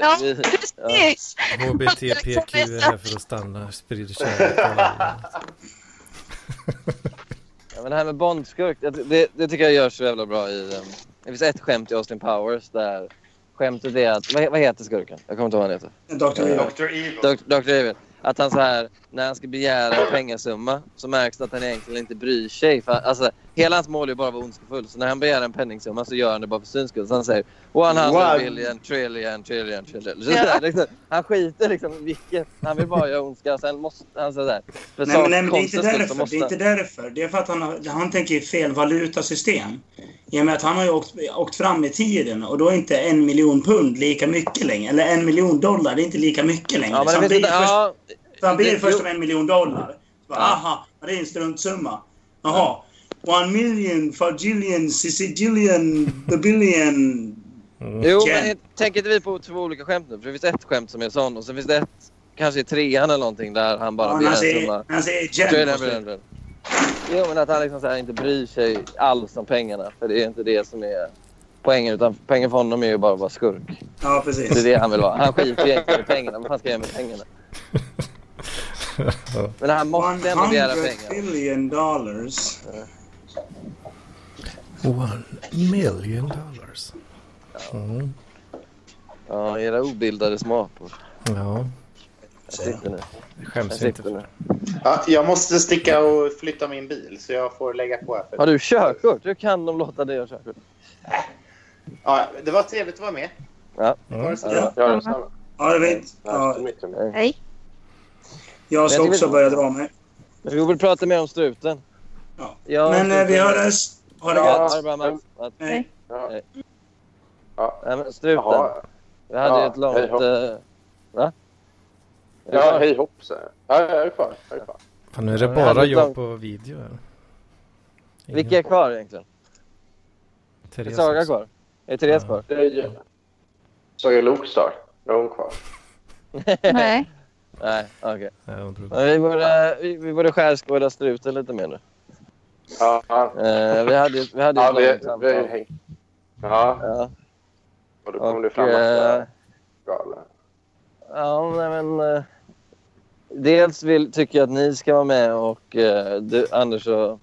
B: Ja,
E: Vi-
B: precis.
A: HBTPQ är här för att stanna, sprider kärlek till alla.
E: Ja, men det här med Bondskurk, det, det, det tycker jag görs så jävla bra i... ehm, det finns ett skämt i Austin Powers där skämtet är att... Vad, vad heter skurken? Jag kommer inte ihåg vad han heter.
C: Dr. Evil.
G: Dr. Evil.
E: Dok- Dr. Evil. Att han så här, när han ska begära en pengasumma så märks det att han egentligen inte bryr sig. För, alltså, hela hans mål är ju bara att vara ondskefull. Så när han begär en penningsumma så gör han det bara för syns skull. Så han säger one
G: Wow.
E: hundred billion, trillion, trillion, trillion. Så
B: Ja.
E: där, liksom, han skiter liksom i vilket. Han vill bara göra ondska. Sen måste han sådär. För
C: Nej, men, nej, men det är
E: sakkonstens
C: inte
E: skull
C: därför.
E: så
C: Det
E: måste
C: är inte därför. Det är för att han, har, han tänker i fel valutasystem. I och med att han har ju åkt, åkt fram i tiden och då är inte en miljon pund lika mycket längre. Eller en miljon dollar, det är inte lika mycket längre.
E: Ja, men
C: så
E: det
C: han
E: finns
C: blir
E: inte...
C: först,
E: Ja,
C: så han blir
E: det-
C: först
E: jo.
C: om en miljon dollar. Så Bara,
E: Ja.
C: aha, det är en struntsumma. Jaha. One million, fajillion, sicilian, billion.
E: Jo,
C: Ken.
E: men tänker inte vi på två olika skämt nu? För det finns ett skämt som är sån och sen finns det ett, kanske i trean eller någonting, där han bara
C: Ja, alltså, när
E: blir
C: han
E: en
C: säger,
E: summa.
C: när han säger
E: Trailer,
C: gen.
E: trailer, trailer. Jo, men att han liksom så här inte bryr sig alls om pengarna. För det är inte det som är poängen. Utan poängen för honom är ju bara att vara skurk.
C: Ja,
E: Det är
C: precis.
E: det han vill vara. Han skiter egentligen i pengarna. Vad fan ska jag göra med pengarna? Men han måste ändå begära
C: 100
E: pengar.
C: billion dollars.
A: One million dollars. Mm.
E: Ja, era obildade småapor.
A: Ja,
E: Jag sitter nu.
A: det
E: Jag
A: skäms inte.
E: sitter
A: för.
E: nu.
G: Ja, jag måste sticka och flytta min bil, så jag får lägga på här.
E: Har
G: För...
E: du körkort? Hur kan de låta dig ha körkort?
G: Ja, det var trevligt att vara med.
A: Mm.
G: Ha det så
C: Ja.
G: bra.
H: Ja, det är samma.
C: Ja, det vet. Ja,
H: Nice to meet you.
B: Nej.
C: jag ska
E: Men det är
C: också
E: väl-
C: börja dra mig.
E: Vi får väl prata mer om struten.
C: Ja.
E: Ja,
C: Men eh, vi
E: struten.
C: hördes. Ha det
E: Ja,
C: gott.
E: ha det bra, Mats. Mats.
C: Hej.
H: Ja.
E: Hej.
H: Ja.
E: Nej, men struten.
H: Jaha.
E: Vi hade ju
H: Ja,
E: ett långt...
H: hej hopp.
E: eh, va?
H: Ja, hej hopp säger jag. Ja, jag är kvar. Jag är kvar.
A: Fan, nu är det
E: Ja, det hade
A: bara jag
E: varit-
A: på video här. Ingen-
E: Vilka är kvar egentligen? Är
A: Therese
E: Saga
A: också.
E: kvar? Är Therese
A: Ja.
E: kvar?
H: Det är Saga Lokstar. Är hon kvar?
B: Nej.
E: Nej, okej.
A: Ja, hon drog.
E: Men Vi borde, vi, vi borde skärskåda struten lite mer nu.
H: Ja, ja.
E: Eh, vi hade ju vi hade ju
H: ja
E: ett
H: vi,
E: långt
H: vi har ju
E: samtal.
H: hängt. Ja,
E: Ja,
H: och då kom
E: och,
H: det fram att jag
E: eh,
H: är galen.
E: ja, nej, men... eh, dels vill, tycker jag att ni ska vara med och eh, du, Anders och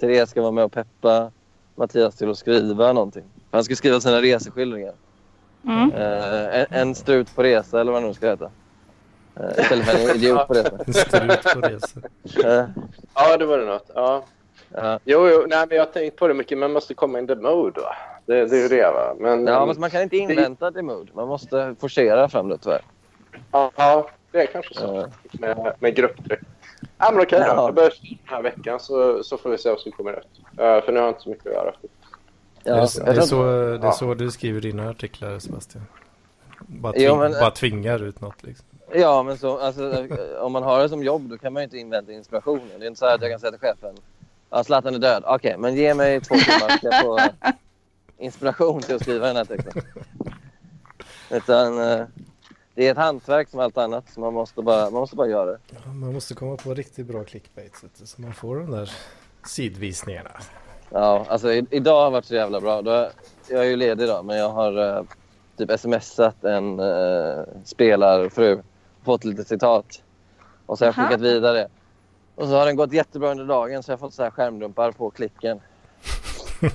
E: Therese ska vara med och peppa Mattias till att skriva någonting. Han ska skriva sina reseskildringar.
B: Mm.
E: Eh, en, en strut på resa eller vad det nu ska heta. Eh, istället för en idiot på resa.
A: Strut på resa.
E: Eh,
H: Ja, det var det något. Ja.
E: ja.
H: Jo, jo, nej, men jag har tänkt på det mycket. Man måste komma in the mode. Va? Det, det är ju det, va. Men,
E: ja, men man kan inte invänta det mod. Man måste forcera fram det tyvärr.
H: ja, det är kanske så.
E: Eh,
H: Med, med grupptryck. Ja, men okej då.
E: Ja.
H: Jag börjar den här veckan så, så får vi se vad som kommer ut. Eh, för nu har jag inte så mycket att göra.
E: ja,
A: Är
E: jag
A: det, är det,
E: tror-
A: så, det är
H: Ja.
A: så du skriver dina artiklar, Sebastian? Bara, tving,
E: Jo, men- eh,
A: bara tvingar ut något liksom.
E: Ja, men så, alltså, eh, om man har det som jobb då kan man ju inte invänta inspirationen. Det är inte så här att jag kan säga till chefen ja, Zlatan är död. Okej, men ge mig två timmar ska jag få inspiration till att skriva den här texten. Utan eh, det är ett hantverk som allt annat. Så man, måste bara, man måste bara göra det.
A: Ja, man måste komma på riktigt bra clickbait så att- så man får de där sidvisningarna.
E: Ja, alltså i, idag har varit så jävla bra. Då, jag är ju ledig idag, men jag har eh, typ smsat en eh, spelarfru. Fått lite citat. Och så har jag
B: Aha.
E: skickat vidare. Och så har den gått jättebra under dagen, så jag har fått så här skärmdumpar på klicken.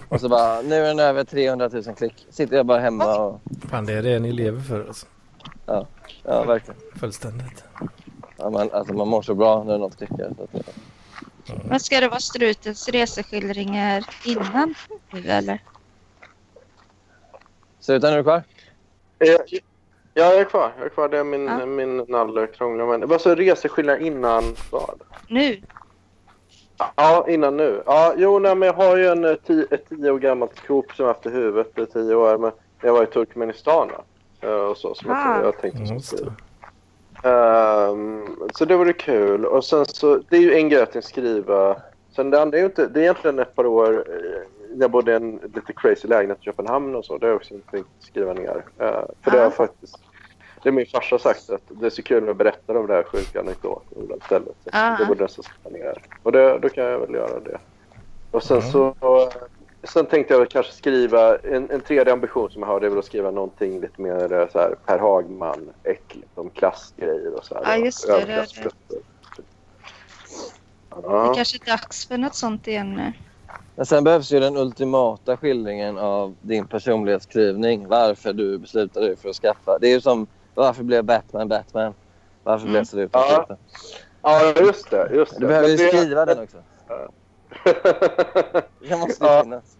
E: Och så bara, nu är den över 300 000 klick. Sitter jag bara hemma och...
A: Fan, det är det ni lever för alltså.
E: Ja, verkligen.
A: Fullständigt.
E: Ja, man, alltså man mår så bra när något klickar. Så att, eh,
B: Men ska det vara strutens reseskildringar innan nu eller?
E: Så utan är du kvar?
H: Eh, Ja, jag är kvar. Jag är kvar. Det är min,
B: Ja.
H: min nalle krånglar. Men vad så reseskillnad innan vad?
B: Nu?
H: Ja, innan nu. Ja, jo, nej, men jag har ju en eh, ti- ett tio år gammalt grop som jag haft i huvudet i tio år. Men jag var i Turkmenistan va? Eh, och så, som
B: Ah.
H: jag, jag tänkte
A: Mm,
H: jag
A: Just
H: skulle
A: det.
H: Ehm, så det vore kul. Och sen så, det är ju en grej att skriva. Sen det andra är ju inte, det är egentligen ett par år, eh, jag bodde i en lite crazy lägenhet i Köpenhamn och så. Det har jag också tänkt skriva ner. Eh, för det har
B: Ah.
H: faktiskt, Det är min farsa sagt att det är så kul att berätta de där sjuka anekdoterna ibland istället.
B: Ah.
H: Det borde jag nästan skriva ner. Och det, då kan jag väl göra det. Och sen
A: Mm.
H: så... eh, Sen tänkte jag väl kanske skriva... En, en tredje ambition som jag har det är väl att skriva någonting lite mer eh, så här, Per Hagman-äckligt om klassgrejer och så här.
B: Ja, just det, det är det.
H: Överklassgrupper.
B: Det
H: Ja.
B: kanske är dags för något sånt igen nu.
E: Men sen behövs ju den ultimata skildringen av din personlighetsskrivning. Varför du beslutade dig för att skaffa. Det är ju som varför blev Batman Batman? Varför blev Slutet
H: Mm. Ja,
E: Slutet?
H: ja, just det. Just det.
E: Du behöver ju
H: Men det-
E: skriva den också. Det måste ju
H: Ja.
E: finnas.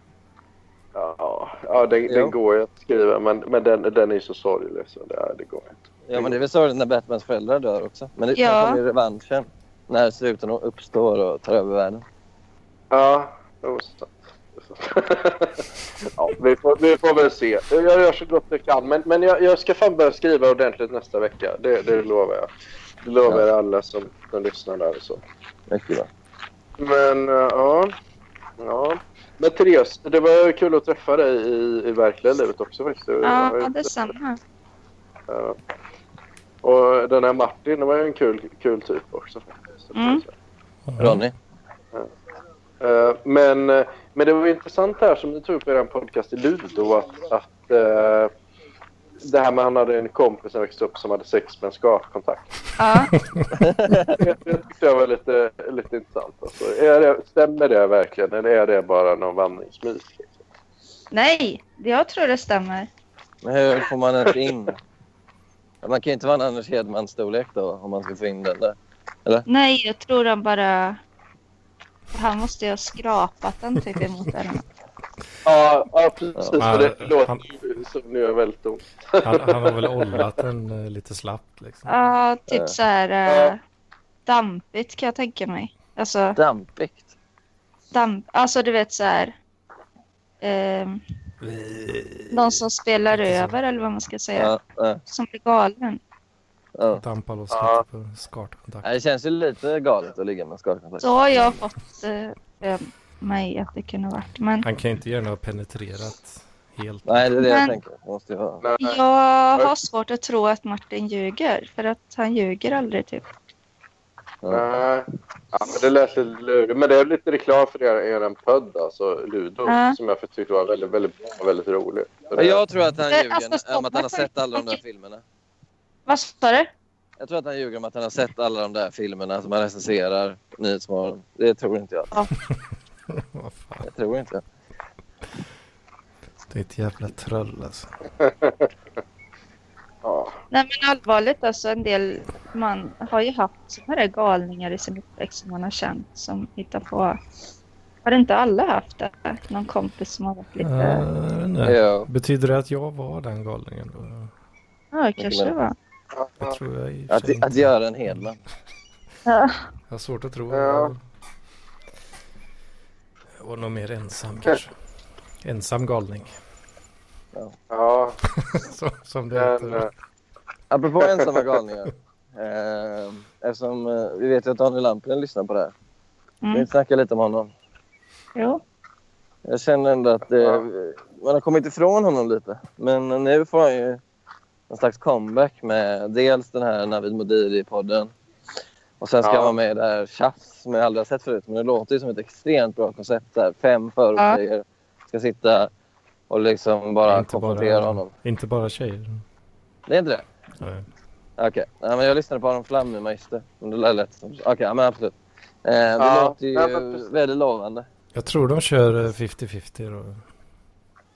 H: Ja, ja den,
E: Jo.
H: den går ju att skriva, men, men den, den är ju så sorglig. Så det, det går inte.
E: Ja, men det är väl sorgligt när Batmans föräldrar dör också. Men det
B: Ja.
E: sen kommer ju revanschen. När sluten uppstår och tar över världen.
H: Ja, det var sant. Det var sant. ja, vi, får, vi får väl se. Jag gör så gott jag kan. Men, men jag, jag ska fan börja skriva ordentligt nästa vecka. Det, det lovar jag. Det lovar jag alla som, som lyssnar där och så.
E: Mycket bra.
H: Men eh, ja. ja. Men Therese, det var kul att träffa dig i, i verkliga livet också faktiskt. Du har ju-
B: Ja, detsamma.
H: Ja. Och den här Martin, det var ju en kul, kul typ också. faktiskt.
B: Mm.
E: Ronny?
H: Eh, Men, eh, men det var ju intressant det här som du tog upp i den podcast i Ludo. Att, att eh, det här med att han hade en kompis som växte upp som hade sex med en skatkontakt.
B: Ja,
H: Det, det tyckte jag var lite, lite intressant. Alltså, är det, stämmer det verkligen eller är det bara någon vandringsmyt?
B: nej, jag tror det stämmer.
E: Men hur får man ens in? Ja, Man kan ju inte vara en Anders Hedman-storlek då om man ska få in den där.
B: Nej, jag tror han bara... Han måste ju ha skrapat den typ emot den.
H: Ja, ja precis.
A: Ja.
H: för det
A: Ja,
H: låter
A: han-
H: ju som nu är väldigt ont.
A: Han, han har väl ollat den eh, lite slappt liksom.
B: Ja, typ
E: Ja.
B: så här... eh, dampigt kan jag tänka mig. Alltså,
E: Dampigt.
B: damp... alltså du vet så här... ehm, någon som spelar
A: Inte så.
B: över eller vad man ska säga.
E: Ja, ja,
B: Som blir galen.
E: ja.
A: Dampar loss lite på skartkontakt.
E: Ja, Det känns ju lite galet att ligga med en skakkontakt.
B: Så har jag fått eh, för mig att det kunde ha varit. Men
A: Han kan ju inte gärna ha penetrerat helt.
E: Nej, det är det
B: Men-
E: jag tänker. Det måste ju vara...
H: Nej.
B: jag har svårt att tro att Martin ljuger. För att han ljuger aldrig typ.
E: Ja.
H: Nej, ja, men det lät lite lurigt. Men det är lite reklam för er, er podd, alltså Ludo,
B: Ja.
H: som jag tyckte var väldigt, väldigt bra och väldigt rolig. Så det-
E: Jag tror att han
B: Men,
E: ljuger
B: alltså,
E: om att han har
B: stopp.
E: sett alla de där filmerna.
B: Vad sa du?
E: Jag tror att han ljuger om att han har sett alla de där filmerna som han recenserar på Nyhetsmorgon. Det tror inte jag.
A: Vad fan,
E: Jag tror inte.
A: det är ett jävla troll alltså.
H: Ja.
B: Nej men allvarligt alltså en del man har ju haft såna där galningar i sin uppväxt som man har känt som hittar på. Har inte alla haft det? Någon kompis som har varit lite... Ja
A: Eh, nej.
E: Ja.
A: Betyder det att jag var den galningen då?
B: kanske det var.
A: Jag tror jag i och för sig
E: Att,
A: inte.
E: att göra en Hedman.
B: Ja.
A: Jag har svårt att tro.
H: Ja.
A: Jag var nog mer ensam kanske. Ensam galning.
H: Ja,
A: Som, som det
H: men, eh,
A: heter.
E: Apropå ensamma galningar. Eh, eftersom eh, vi vet ju att Daniel Lampinen lyssnar på det här. Vi
B: Mm.
E: snackar lite om honom.
B: Jo.
E: Jag känner ändå att eh,
H: Ja.
E: man har kommit ifrån honom lite. Men nu får han ju en slags comeback med dels den här Navid Modiri-podden. Och sen ska
H: Ja.
E: han vara med i det här Tjafs som jag aldrig har sett förut. Men det låter ju som ett extremt bra koncept. Där fem förortstjejer ska sitta och liksom bara
A: Inte bara-
E: konfrontera honom.
A: Inte bara tjejer.
E: Det är inte det?
A: Nej.
E: Okej. Ja, men jag lyssnade på Aron Flam nu, magister. Men det lät lätt. som- Okej, ja, men absolut. Eh, det
H: Ja,
E: låter ju
H: ja, men precis.
E: väldigt lovande.
A: Jag tror de kör eh, 50-50 då.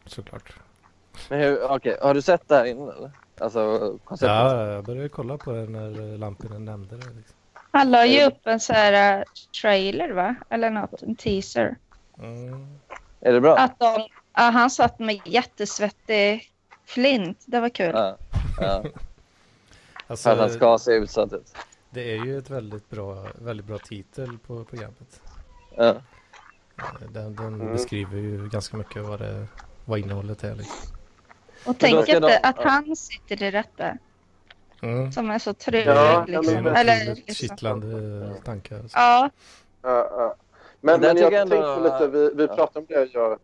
A: Såklart.
E: Men hur, okej, har du sett det här innan eller? Alltså konceptet?
A: Ja, jag började kolla på det när eh, Lampinen nämnde det. Liksom.
B: Han la ju upp en så här eh, trailer va? Eller något, en teaser.
A: Mm.
E: Är det bra?
B: Att de, ja, han satt med jättesvettig flint. Det var kul.
E: Ja. ja.
A: Alltså,
E: För att han ska se utsatt ut. typ.
A: Det är ju ett väldigt bra, väldigt bra titel på programmet. Eh,
E: Ja.
A: Den, den
H: Mm.
A: beskriver ju ganska mycket vad, det, vad innehållet är. Liksom.
B: Och tänk
E: ska
B: inte
E: de-
B: att
E: ja.
B: han sitter i detta.
A: Mm.
B: Som är så trög.
H: Ja,
A: Det är
B: liksom.
A: en
B: Eller,
A: otroligt
B: liksom.
A: kittlande tankar. alltså.
B: Ja,
H: ja, ja. eh, Men,
E: Där
H: men jag
E: tycker jag
H: tänkte
E: ändå-
H: lite, vi, vi
E: ja.
H: pratade om det jag,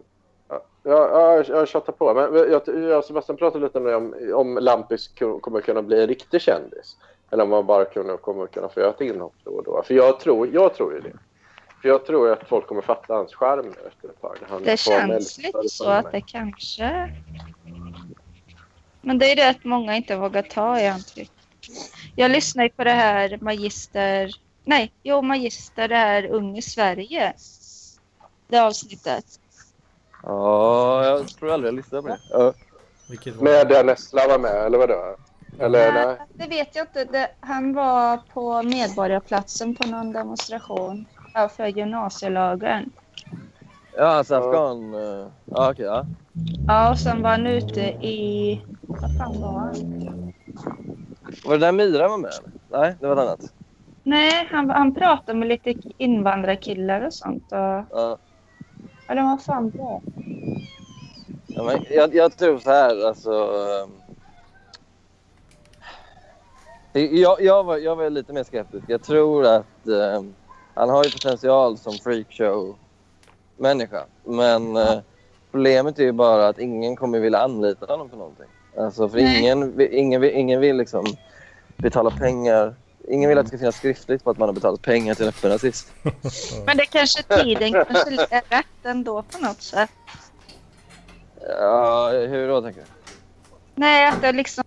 H: Ja, ja, jag, jag tjatar på. Men jag, jag och Sebastian pratade lite nu om, om Lampis ku- kommer kunna bli en riktig kändis. Eller om man bara kunde, kommer kunna få göra ett inhopp då och då. För jag tror, jag tror ju det. För jag tror att folk kommer fatta hans charm nu efter ett tag. när han
B: Det
H: får en
B: känns
H: eldstad
B: lite så
H: för
B: att
H: mig.
B: det kanske... Men det är det att många inte vågar ta i antryck. Jag lyssnar ju på det här Magister... Nej, jo Magister, det här Ung i Sverige. Det avsnittet.
E: Ja, jag tror aldrig jag lyssnade på det. Ja.
A: Vilket var
H: Med där Nessla var med, eller vadå? Eller
B: Nej,
H: nej?
B: Det vet jag inte. Det, han var på Medborgarplatsen på någon demonstration ja, för gymnasielagen.
E: Ja, så afghan... eh, Ja, okej. Ja.
B: Ja, och sen var han ute i... Vad fan var han?
E: Var det där Mira var med? eller? Nej, det var ett annat.
B: Nej, han, han pratade med lite invandrarkillar och sånt. Och,
E: Ja.
B: eller vad fan var det?
E: Ja, men jag, jag tror så här, alltså... ehm, ehm, Jag, jag, var, jag var lite mer skeptisk. Jag tror att ehm, han har ju potential som freakshow-människa. Men eh, problemet är ju bara att ingen kommer vilja anlita honom för någonting. Alltså, för
B: Nej.
E: ingen, vi- ingen, vill- ingen vill liksom betala pengar. Ingen vill att det ska finnas skriftligt på att man har betalat pengar till en öppen nazist.
B: Men det kanske tiden kanske är rätt ändå på något sätt.
E: Ja, hur då, tänker du?
B: Nej, att det, liksom,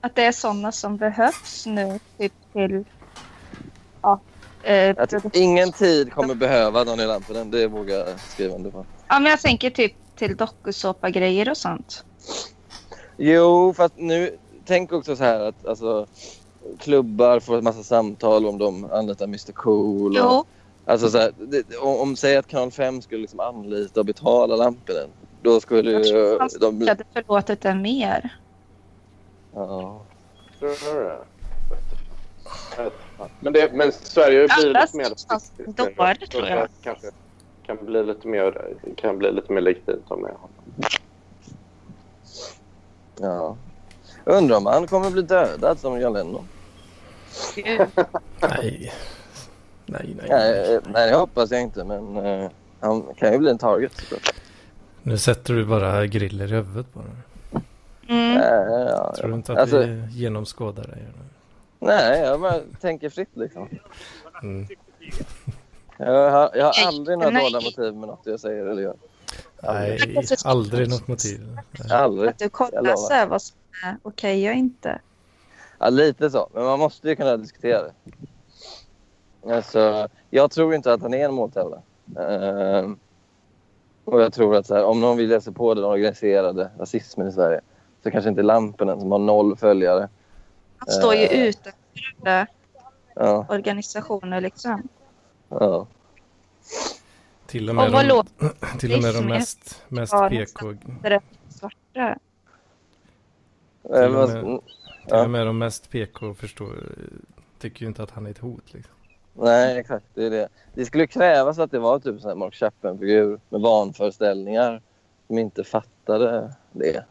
B: att det är sådana som behövs nu. Typ till... Ja, eh,
E: Att ingen tid kommer behöva Daniel Lampinen, det vågar jag skriva under på.
B: Ja, men jag tänker typ till dokusåpa-grejer och sånt.
E: Jo, fast nu, tänk också så här att alltså, klubbar får en massa samtal om de anlitar Mr Cool. Och,
B: Jo,
E: alltså så här, det, om, om säg att kanal 5 skulle liksom anlita och betala Lampinen, då skulle
B: Jag
E: ju
B: han
E: de
B: jag
E: bli...
B: hade förlåtit det mer.
E: Ja.
H: Tror du det? Jag vet inte. Men, det, men Sverige har ju blivit
B: Alla
H: mer...
B: sorters dårar, tror jag.
H: Kanske kan bli lite mer, kan bli lite mer legitimt om jag
E: ja. Undrar om han kommer bli dödad som John Lennon.
A: Nej. Nej, nej.
E: Nej, eh, nej, det hoppas jag inte, men eh, han kan ju bli en target. såklart.
A: Nu sätter du bara griller i huvudet på den.
B: Mm.
E: Eh, ja,
A: Tror du inte att
E: Alltså-
A: vi genomskådar dig? Mm. eller?
E: Nej, jag bara tänker fritt liksom.
A: Mm.
E: Jag har, jag har aldrig några
B: Nej.
E: dolda motiv med något jag säger eller gör.
A: Nej, aldrig något motiv. Nej.
E: Aldrig.
B: Att du
E: Jag
B: kollar
E: lovar.
B: så här vad som är okej och inte.
E: Ja, lite så. Men man måste ju kunna diskutera det. Alltså, jag tror inte att han är en måltavla. Ehm, och jag tror att så här, om någon vill läsa på den organiserade rasismen i Sverige så kanske inte Lampinen som har noll följare.
B: Han står ju
E: Eh.
B: utanför andra
E: Ja,
B: organisationer liksom.
E: ja.
A: Till och
B: Och
A: med
B: vad
A: de,
B: låter
A: till och med de
B: Disney?
A: mest, mest
B: Ja,
A: PK...
B: svarta?
E: Eh,
A: och
E: vad-
A: med- Till
E: Ja.
A: och med de mest PK förstår, tycker ju inte att han är ett hot. Liksom.
E: Nej, exakt. Det, är det. det skulle krävas att det var typ sån här Mark Chapman-figur med vanföreställningar som inte fattade det.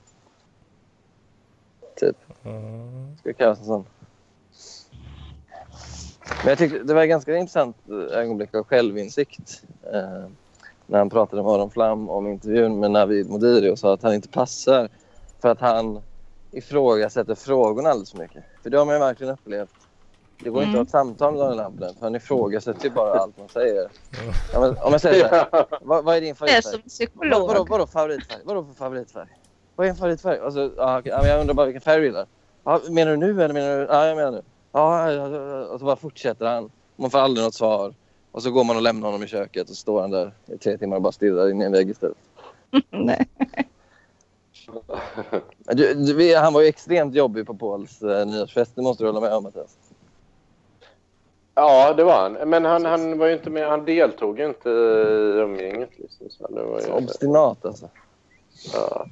A: Mm.
E: Det krävs en sån. Men jag tyckte det var ett ganska intressant eh, ögonblick av självinsikt. Eh, när han pratade med Aron Flam om intervjun med Navid Modiri och sa att han inte passar för att han ifrågasätter frågorna alldeles för mycket. För det har man ju verkligen upplevt. Det går inte
B: Mm.
E: att ha ett samtal med Daniel Lampinen för han ifrågasätter ju bara allt man säger.
A: Ja.
E: Ja, men, om jag säger så här, vad, vad är din
B: Det är
E: favoritfärg?
B: som
E: Vadå, vadå,
B: psykolog.
E: vadå favoritfärg? Vadå för favoritfärg? Vad är en favoritfärg? Alltså, ja, okej, ja, men jag undrar bara vilken färg du gillar. Ja, menar du nu eller menar du? Ja, jag menar nu. Ja, ja, ja, ja. och så bara fortsätter han. Man får aldrig något svar. Och så går man och lämnar honom i köket och så står han där i tre timmar och bara stirrar in i en vägg istället.
B: Nej.
E: Men Du, du, vi- han var ju extremt jobbig på Pauls eh, nyårsfest. Det måste du hålla med om, Mattias.
H: Ja, det var han. Men han, han var ju inte med. Han deltog ju inte i umgänget. Liksom. Så det var
E: Så
H: ju,
E: obstinat alltså.
H: ja.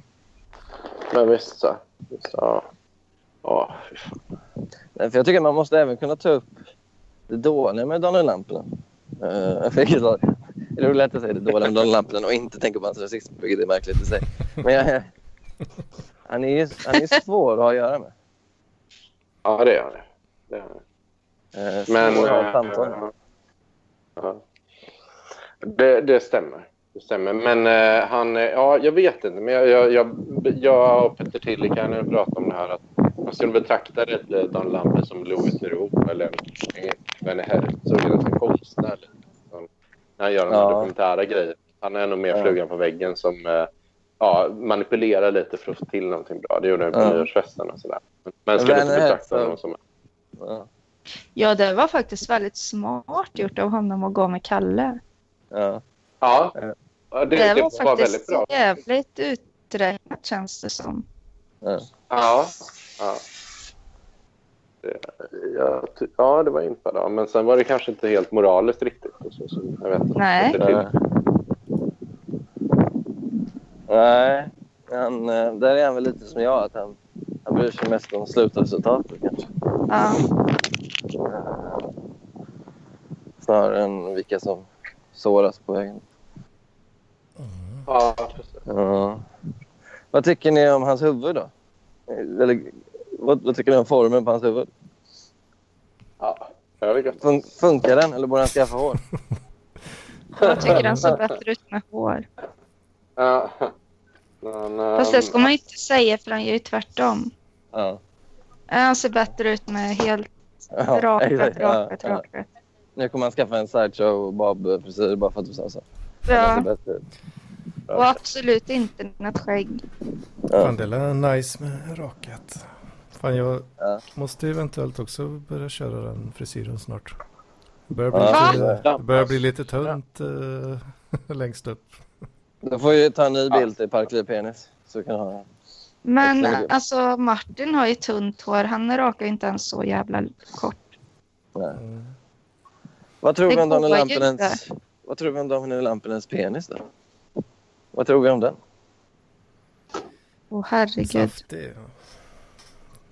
H: Men visst så. Visst, ja. Ja, fy fan.
E: Nej, Eh, För jag tycker man måste även kunna ta upp det dåliga med Daniel Lampinen. Uh, vilket var det är roligt att jag säger det dåliga med Daniel Lampinen och inte tänka på hans rasism, vilket är märkligt i sig. Men jag, han, är ju, han är ju svår att ha att göra med.
H: ja det är han. Det är han.
E: Uh,
H: Men...
E: svår att ha
H: eh,
E: ett samtal med.
H: ja. Det, det stämmer. Det stämmer. Men eh, han, eh, ja, jag vet inte. Men jag, jag, jag, jag och Petter Tillikainen pratade om det här att man skulle betrakta det, Dan Lampe som Louis Theroux eller en- en Herzog eller en konstnär. Liksom, när han gör de här
E: Ja.
H: dokumentära grejer. Han är nog mer
E: Ja.
H: flugan på väggen som eh, ja, manipulerar lite för att få till någonting bra. Det gjorde han på
E: Ja.
H: nyårsfesten och sådär. Men man skulle inte
E: Werner
H: betrakta
E: Herzog.
H: honom som...
E: Ja.
B: Ja, det var faktiskt väldigt smart gjort av honom att gå med Kalle.
E: Ja.
H: Ja,
E: Ja.
H: ja det,
B: Eh, Det,
H: det
B: var
H: var, väldigt
B: faktiskt
H: bra.
B: jävligt uträknat känns det som.
H: Ja. Ja, det, jag ty- ja, det var inför då. Men sen var det kanske inte helt moraliskt riktigt. Och så, så jag vet inte.
B: Nej.
H: Det till-
E: Nej. Eh, Nej, han, eh, där är han väl lite som jag. Att han, han bryr sig mest om slutresultatet kanske.
B: Ja.
E: Snarare än vilka som såras på vägen.
H: Ja, precis.
E: Ja. Vad tycker ni om hans huvud då? Eller, vad, vad tycker ni om formen på hans huvud?
H: Ja, det var gött.
E: Fun funkar den eller borde han skaffa hår?
B: Jag tycker han ser bättre ut med hår.
H: Ja. Men, ehm,
B: Fast det ska man ju inte säga för han gör ju tvärtom.
E: Ja.
B: Ja, Han ser bättre ut med helt
E: Ja,
B: rakat,
E: exakt. Ja,
B: rakat,
E: ja.
B: rakat.
E: Nu kommer han skaffa en sideshow och bob frisyr bara för att du sa så. Han
B: Ja,
E: ser bättre ut.
B: och absolut inte något skägg.
A: Fan,
E: Ja.
A: det är nice med rakat. Fan, jag
E: Ja.
A: måste eventuellt också börja köra den frisyren snart. Det börjar bli,
E: Ja.
A: lite, det börjar bli lite tunt eh, längst upp.
E: Då får vi ta en ny bild till Parkliv Penis. Så kan han...
B: Men
E: Verkligen.
B: alltså Martin har ju tunt hår. Han rakar ju inte ens så jävla kort.
E: Vad tror
B: Det
E: vi om Daniel
B: går ju
E: Lampinens... Vad tror vi om Daniel Lampinens penis då? Vad tror vi om den?
B: Åh herregud.
A: Saftig. ja.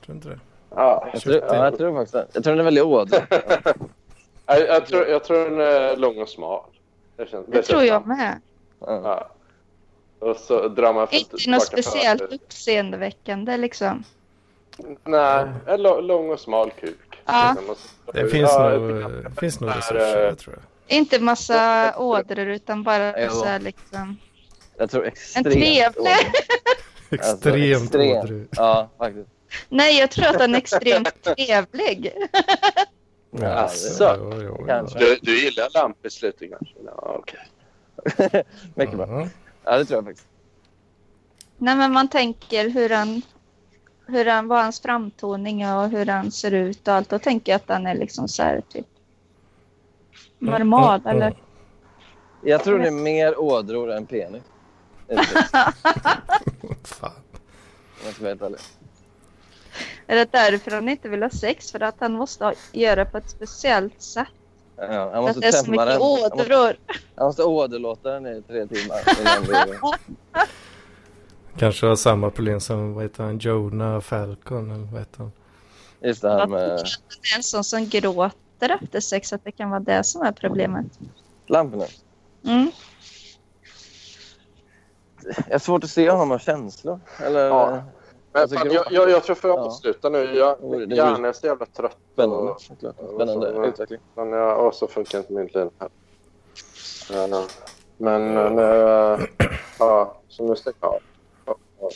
A: Tror inte det.
H: ja.
E: Jag tror, ja, jag tror faktiskt det. Jag tror den är väldigt ådrig.
H: jag, jag, tror, jag tror den är lång och smal. Det, känns,
B: Det
H: känns
B: tror jag
H: bra.
B: med.
E: Ja.
H: Ja. Och så drar man... för-
B: Inte något
H: tillbaka
B: speciellt
H: för-
B: uppseendeväckande liksom.
H: Nej, en lång, lång och smal kuk.
B: Ja.
H: Liksom, och så-
A: Det finns,
H: ja,
A: nog,
H: det kan-
A: eh, finns nog
H: Där,
A: resurser,
H: eh,
A: jag tror jag.
B: Inte massa ådror utan bara
E: Jo.
B: så här, liksom.
E: Jag tror
B: En
E: extremt
B: trevlig.
E: ådrig. Alltså,
A: Extremt
E: extrem.
A: ådrig.
E: Ja, faktiskt.
B: Nej, jag tror att han är extremt trevlig.
A: Ja,
H: Alltså,
A: jo, jo, jo.
E: kanske.
H: Du, du gillar lampbesluten kanske? Ja, okej.
E: Mycket bra.
A: Ja.
E: Ja, det tror jag faktiskt.
B: Nej, men man tänker hur han, hur han, vad hans framtoning är och hur han ser ut och allt. Då tänker jag att han är liksom så här typ normal
A: Mm,
B: eller
E: Jag tror det är mer ådror än penis. Om
A: Fan.
E: jag ska vara helt ärlig.
B: Är det därför han inte vill ha sex? För att han måste ha, göra på ett speciellt sätt?
E: Ja, han
B: För att
E: måste
B: det är så
E: tämma
B: mycket
E: den. Han måste,
B: ådror.
E: han måste åderlåta den i tre timmar. Innan det,
A: Kanske har samma problem som, vad heter han, Jonah Falcon eller vad heter han?
E: just det här med
B: Det är en sån som gråter efter sex, att det kan vara det som är problemet.
E: lamporna.
B: Mm.
E: Jag har svårt att se honom ha känslor. Eller,
H: Ja. Men
E: Alltså,
H: fan,
E: grova.
H: jag, jag, jag tror för jag
E: Ja.
H: avslutar nu. Jag,
E: Oj,
H: min
E: det
H: hjärna är så jävla trött.
E: Spännande,
H: Och,
E: såklart. Spännande
H: Och så-
E: utveckling.
H: men jag, och så funkar inte min lina här. Men, men nu... äh, Ja, så nu stänger jag av. Ja, ja.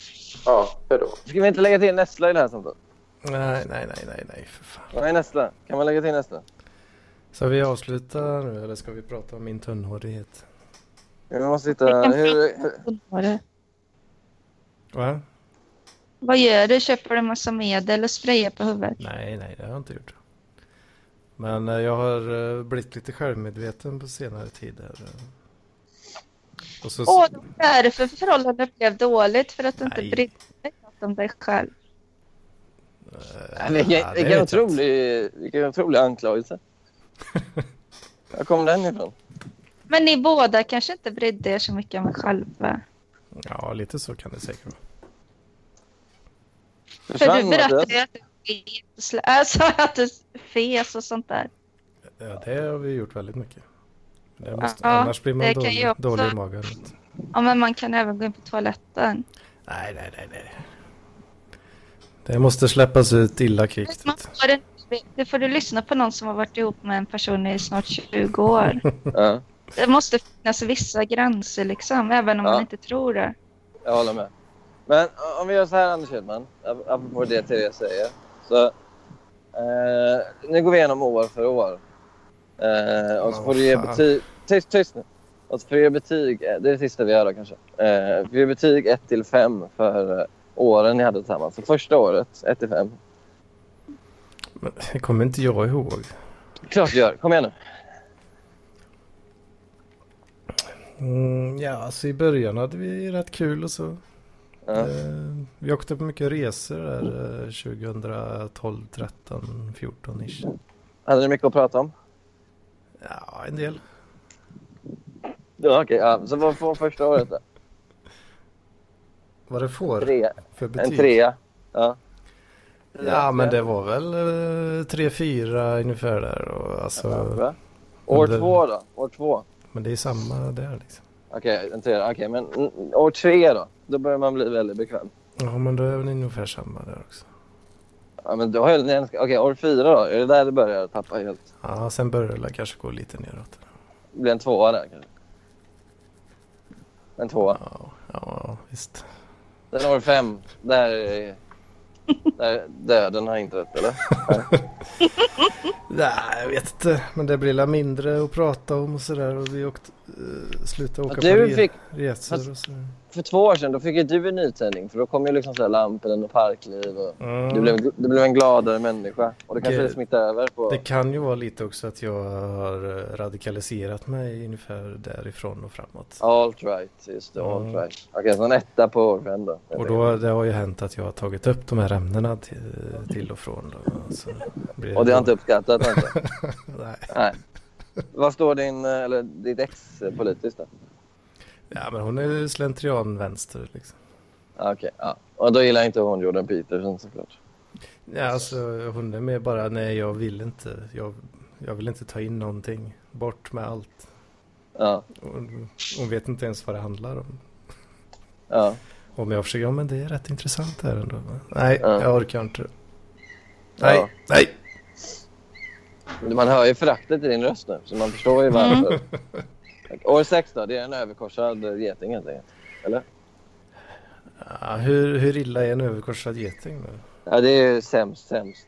H: Ja, hej då.
E: Ska vi inte lägga till Nessla i det här samtalet?
A: Nej, nej, nej, nej, nej, för fan.
E: Nej, Nessla. Kan man lägga till Nessla?
A: Ska vi avsluta nu eller ska vi prata om min tunnhårighet?
E: Vi måste hitta...
B: Vi kan prata.
E: Hur, hur,
B: Tonåre.
A: Va?
B: Vad gör du? Köper du en massa medel och sprayar på huvudet?
A: Nej, nej, det har jag inte gjort. Men eh, jag har eh, blivit lite självmedveten på senare tid. Här. eh. Och så,
B: Åh, det var därför förhållandet blev dåligt, för att du inte
A: Nej.
B: brydde dig något om dig själv.
A: eh,
E: Ja, Vilken,
A: ja, det
E: vilken,
A: vet jag inte.
E: otrolig, vilken otrolig anklagelse. Var kom den ifrån?
B: Men ni båda kanske inte brydde er så mycket om er själva.
A: Ja, lite så kan det säkert vara.
B: För du berättade
E: Mattias?
B: ju att du fes, alltså, att du fes och sånt där.
A: Ja, det har vi gjort väldigt mycket. Det måste,
B: Ja,
A: annars blir man
B: det kan
A: dålig,
B: jag också.
A: dålig i magen.
B: Ja, men man kan även gå in på toaletten.
A: Nej, nej, nej, nej. Det måste släppas ut illa kvickt.
B: Man får en, det får du lyssna på någon som har varit ihop med en person i snart 20 år.
E: Ja.
B: Det måste finnas vissa gränser liksom, även om
E: Ja.
B: man inte tror det.
E: Jag håller med. Men om vi gör så här, Anders Hedman, ap- apropå det Therese säger. Så, eh, nu går vi igenom år för år. Eh, och så
A: Åh,
E: får du ge
A: fan.
E: betyg... Tyst, tyst nu! Och så får du ge betyg, eh, det är det sista vi gör då kanske. Eh, får du ge betyg 1 till 5 för eh, åren ni hade tillsammans. Så första året, 1 till 5.
A: Men det kommer inte jag ihåg.
E: Klart du gör, kom igen nu.
A: Mm, ja, alltså i början hade vi rätt kul och så.
E: Ja.
A: Eh, vi åkte på mycket resor där eh, 2012, 13, 14 ish.
E: Hade ni mycket att prata om?
A: Ja, en del.
E: Ja, okej. ja. Så vad får första året då?
A: Vad det får
E: Tre,
A: för
E: en
A: betyg?
E: trea. Ja.
A: Ja, men det var väl eh, tre, fyra ungefär där. Och, alltså,
E: Ja, bra. År
A: Under-
E: två då? År två?
A: Men det är samma där liksom.
E: Okej, en trea. Okej, men mm, år tre då? Då börjar man bli väldigt bekväm.
A: Ja, men då är väl ungefär samma där också.
E: Ja, men då har jag, okej, år fyra då? Är det där det börjar tappa helt?
A: Ja, sen börjar det kanske gå lite neråt.
E: Det blir en tvåa där kanske? En tvåa.
A: Ja, ja visst.
E: Sen år fem, där är... Där döden har inträtt, eller?
A: Nej, jag vet inte. Men det blir la mindre att prata om och sådär. Och vi åkte, eh, slutade åka på
E: Att du
A: re-
E: fick-
A: resor och sådär.
E: För två år sedan då fick ju du en nytändning, för då kom ju liksom så här lampen och parkliv. Och
A: Mm.
E: du, blev, du blev en gladare människa. Och det kanske
A: Gud.
E: det smittade över på...
A: Det kan ju vara lite också att jag har eh, radikaliserat mig ungefär därifrån och framåt.
E: Alt right, just det. Alt
A: Mm.
E: right. Okej, så en etta på år sedan då.
A: Och då, det har ju hänt att jag har tagit upp de här ämnena till, till och från. Då. Så blir
E: Och det har inte uppskattat alltså.
A: Nej.
E: Nej. Vad står din, eh, eller ditt ex eh, politiskt då?
A: Ja, men hon är ju slentrian vänster liksom.
E: Ah, Okej, ja. Och då gillar inte hon Jordan Peterson såklart.
A: Ja, alltså hon är med bara, nej jag vill inte. Jag, jag vill inte ta in någonting. Bort med allt.
E: Ja,
A: Hon, hon vet inte ens vad det handlar om.
E: ja.
A: Om jag försöker, ja men det är rätt intressant här ändå. Nej,
E: Ja.
A: jag orkar inte. Nej,
E: Ja.
A: nej.
E: Man hör ju föraktet i din röst nu, så man förstår ju varför.
A: Mm.
E: År sex då, det är en överkorsad eh, geting helt enkelt.
A: Ja, hur, hur illa är en överkorsad geting nu?
E: Ja, det är ju sämst, sämst.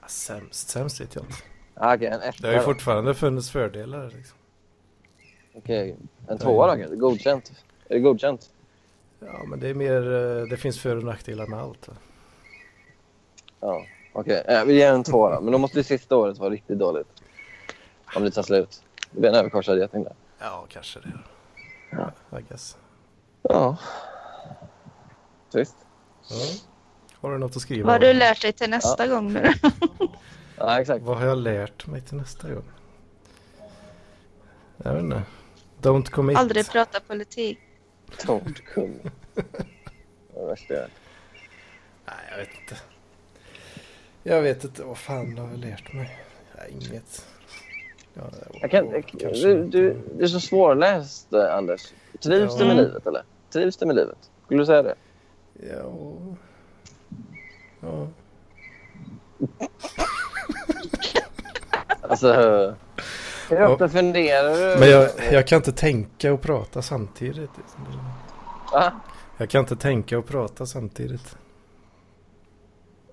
A: Ja, sämst, sämst vet jag inte.
E: Ah, Okej, en
A: Det har ju
E: etta då.
A: fortfarande funnits fördelar. Liksom.
E: Okej, en tvåa då kanske? Godkänt. Är det godkänt?
A: Ja, men det är mer, eh, det finns för och nackdelar med allt. va?
E: Ja, okej. Eh, vi ger en tvåa då. Men då måste ju sista året vara riktigt dåligt. Om det tar slut. Det blir en överkorsad geting där.
A: Ja, kanske det. I guess.
E: Ja. Trist.
A: Har du något att skriva?
B: Vad har
A: om?
B: du lärt dig till nästa gång nu då?
E: Ja, exakt.
A: Vad har jag lärt mig till nästa gång? Jag vet inte. Don't commit.
B: Aldrig prata politik.
E: Tårtkung. Det var det värsta jag vet.
A: Nej, jag vet inte. Jag vet inte. Vad fan har jag lärt mig? Ja, inget. Ja,
E: jag kan,
A: och-
E: jag,
A: kanske
E: du,
A: inte.
E: du, du är så svårläst, eh, Anders. Trivs du med
B: Ja.
E: livet, eller? Trivs du med livet? Skulle du säga det?
A: Ja. ja.
E: Alltså... Hur
A: Ja.
E: ofta funderar du?
A: Men jag, jag kan inte tänka och prata samtidigt.
E: Va?
A: Jag kan inte tänka och prata samtidigt.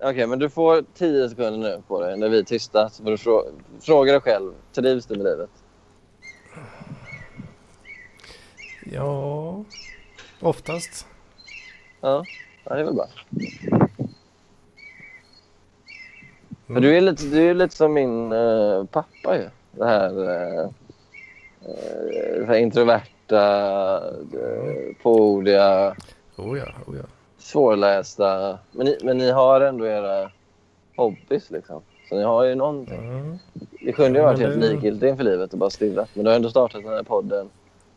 E: Okej, men du får tio sekunder nu på dig när vi är tysta. Så får du frå- fråga dig själv. Trivs du med livet?
A: Ja, oftast.
E: Ja, ja det är väl bra.
A: Mm.
E: Men du är lite, du är lite som min eh, pappa ju. Det här, eh, eh, det här introverta, uh, podiga,
A: Oh ja, oh ja.
E: svårlästa. Men ni, men ni har ändå era hobbys liksom. Så ni har ju någonting.
A: Mm.
E: Det kunde ju ha varit
A: Ja,
E: helt
A: men det-
E: likgiltig inför livet och bara stirrat. Men du har ändå startat den här podden.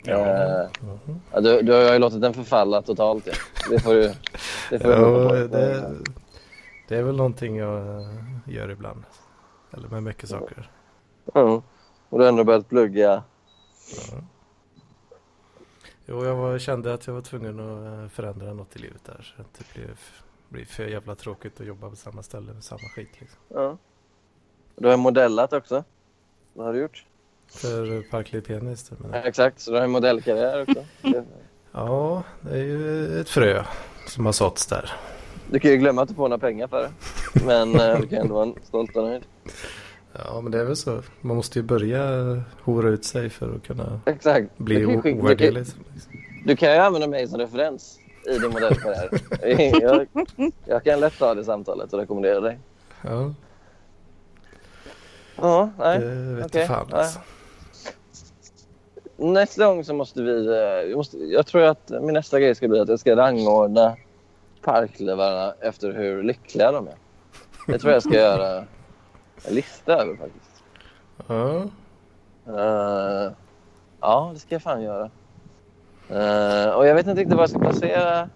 A: Ja.
E: Eh,
A: Mhm.
E: ja, du, du har ju låtit den förfalla totalt. Ja. Det får du... Det får du jobba på.
A: Ja, det, det är väl någonting jag eh, gör ibland. Eller med mycket saker.
E: Mm. Och du har ändå börjat plugga.
A: Jo, jag var, kände att jag var tvungen att eh, förändra något i livet där. Så att det blev, blir för jävla tråkigt att jobba på samma ställe med samma skit. Liksom.
E: Ja. Du har modellat också. Vad har du gjort?
A: För Parkley Penis. där, Men,
E: Exakt, så du har en modellkarriär också.
A: ja, det är ju ett frö som har såtts där.
E: Du kan ju glömma att du får några pengar för det. Men eh, du kan ändå vara stolt och nöjd.
A: Ja, men det är väl så. Man måste ju börja hora ut sig för att kunna
E: Exakt.
A: bli
E: Du kan ju
A: o-
E: skicka-
A: ovärderlig.
E: Du kan ju använda mig som referens i din modellkarriär. jag, jag kan lätt ta det samtalet och rekommendera dig.
A: Ja,
E: Ja, nej.
A: det vet
E: okej.
A: jag fan
E: Ja.
A: alltså.
E: Nästa gång så måste vi... eh, Jag, måste, jag tror att min nästa grej ska bli att jag ska rangordna parklövarna efter hur lyckliga de är. Det tror jag ska göra en lista över faktiskt.
A: Ja,
E: Eh, ja, det ska jag fan göra. Eh, och jag vet inte riktigt var jag ska placera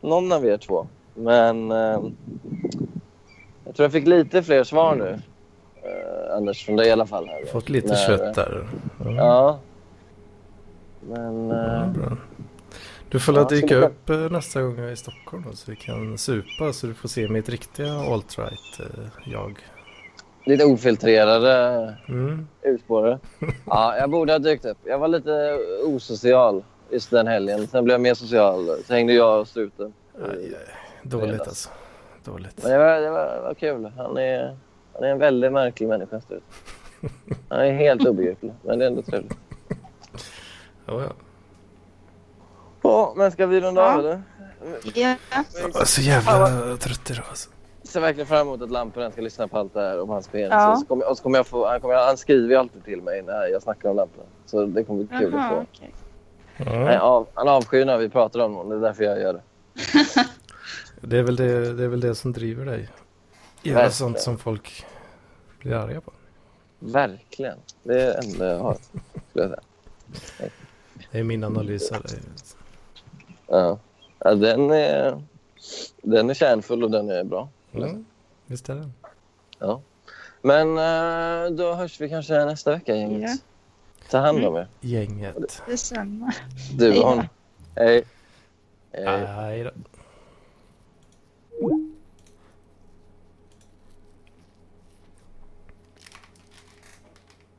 E: någon av er två. Men eh, jag tror jag fick lite fler svar nu. Eh, Anders, från dig i alla fall. Här,
A: fått lite
E: När-
A: kött där. Ja,
E: Ja. Men... eh,
A: ja, bra. Du får väl
E: Ja,
A: dyka
E: så-
A: upp eh, nästa gång jag är i Stockholm då, så vi kan supa så du får se mitt riktiga eh, alt-right-jag.
E: lite ofiltrerade
A: Mm.
E: urspårare. Ja, jag borde ha dykt upp. Jag var lite osocial just den helgen. Sen blev jag mer social. Så hängde jag och struten.
A: Aj, aj. Dåligt
E: Fredags.
A: alltså. Dåligt.
E: Men det var, det var, det var kul. Han är, han är en väldigt märklig människa. Strut. Han är helt obegriplig, men det är ändå trevligt.
A: Ja, ja.
E: Ja, men ska vi runda av
B: Ja.
E: eller?
B: Ja.
A: Jag är så jävla trött idag alltså.
E: ser verkligen fram emot att Lamporna ska lyssna på allt det här om hans penis.
B: Ja.
E: Och så kommer, och så kommer jag få, han, kommer, han skriver ju alltid till mig när jag snackar om Lamporna. Så det kommer bli kul att få.
B: Jaha, okej.
E: Nej,
A: Ja.
E: av, han avskyr när vi pratar om honom. Det är därför jag gör det.
A: Det, är väl det, det är väl det som driver dig. Göra
E: Verkligen.
A: sånt som folk blir arga på.
E: Verkligen. Det är det enda jag har. Skulle jag säga.
A: Det är min analys av dig.
E: Ja. Ja, den, är, den är kärnfull och den är bra.
A: Mm. Visst är det?
E: Men eh, då hörs vi kanske nästa vecka, gänget.
B: Ja.
E: Ta hand om er.
A: Gänget.
B: Detsamma.
E: Du och
B: Ja.
E: hon. Hej. Hej.
A: Aj då.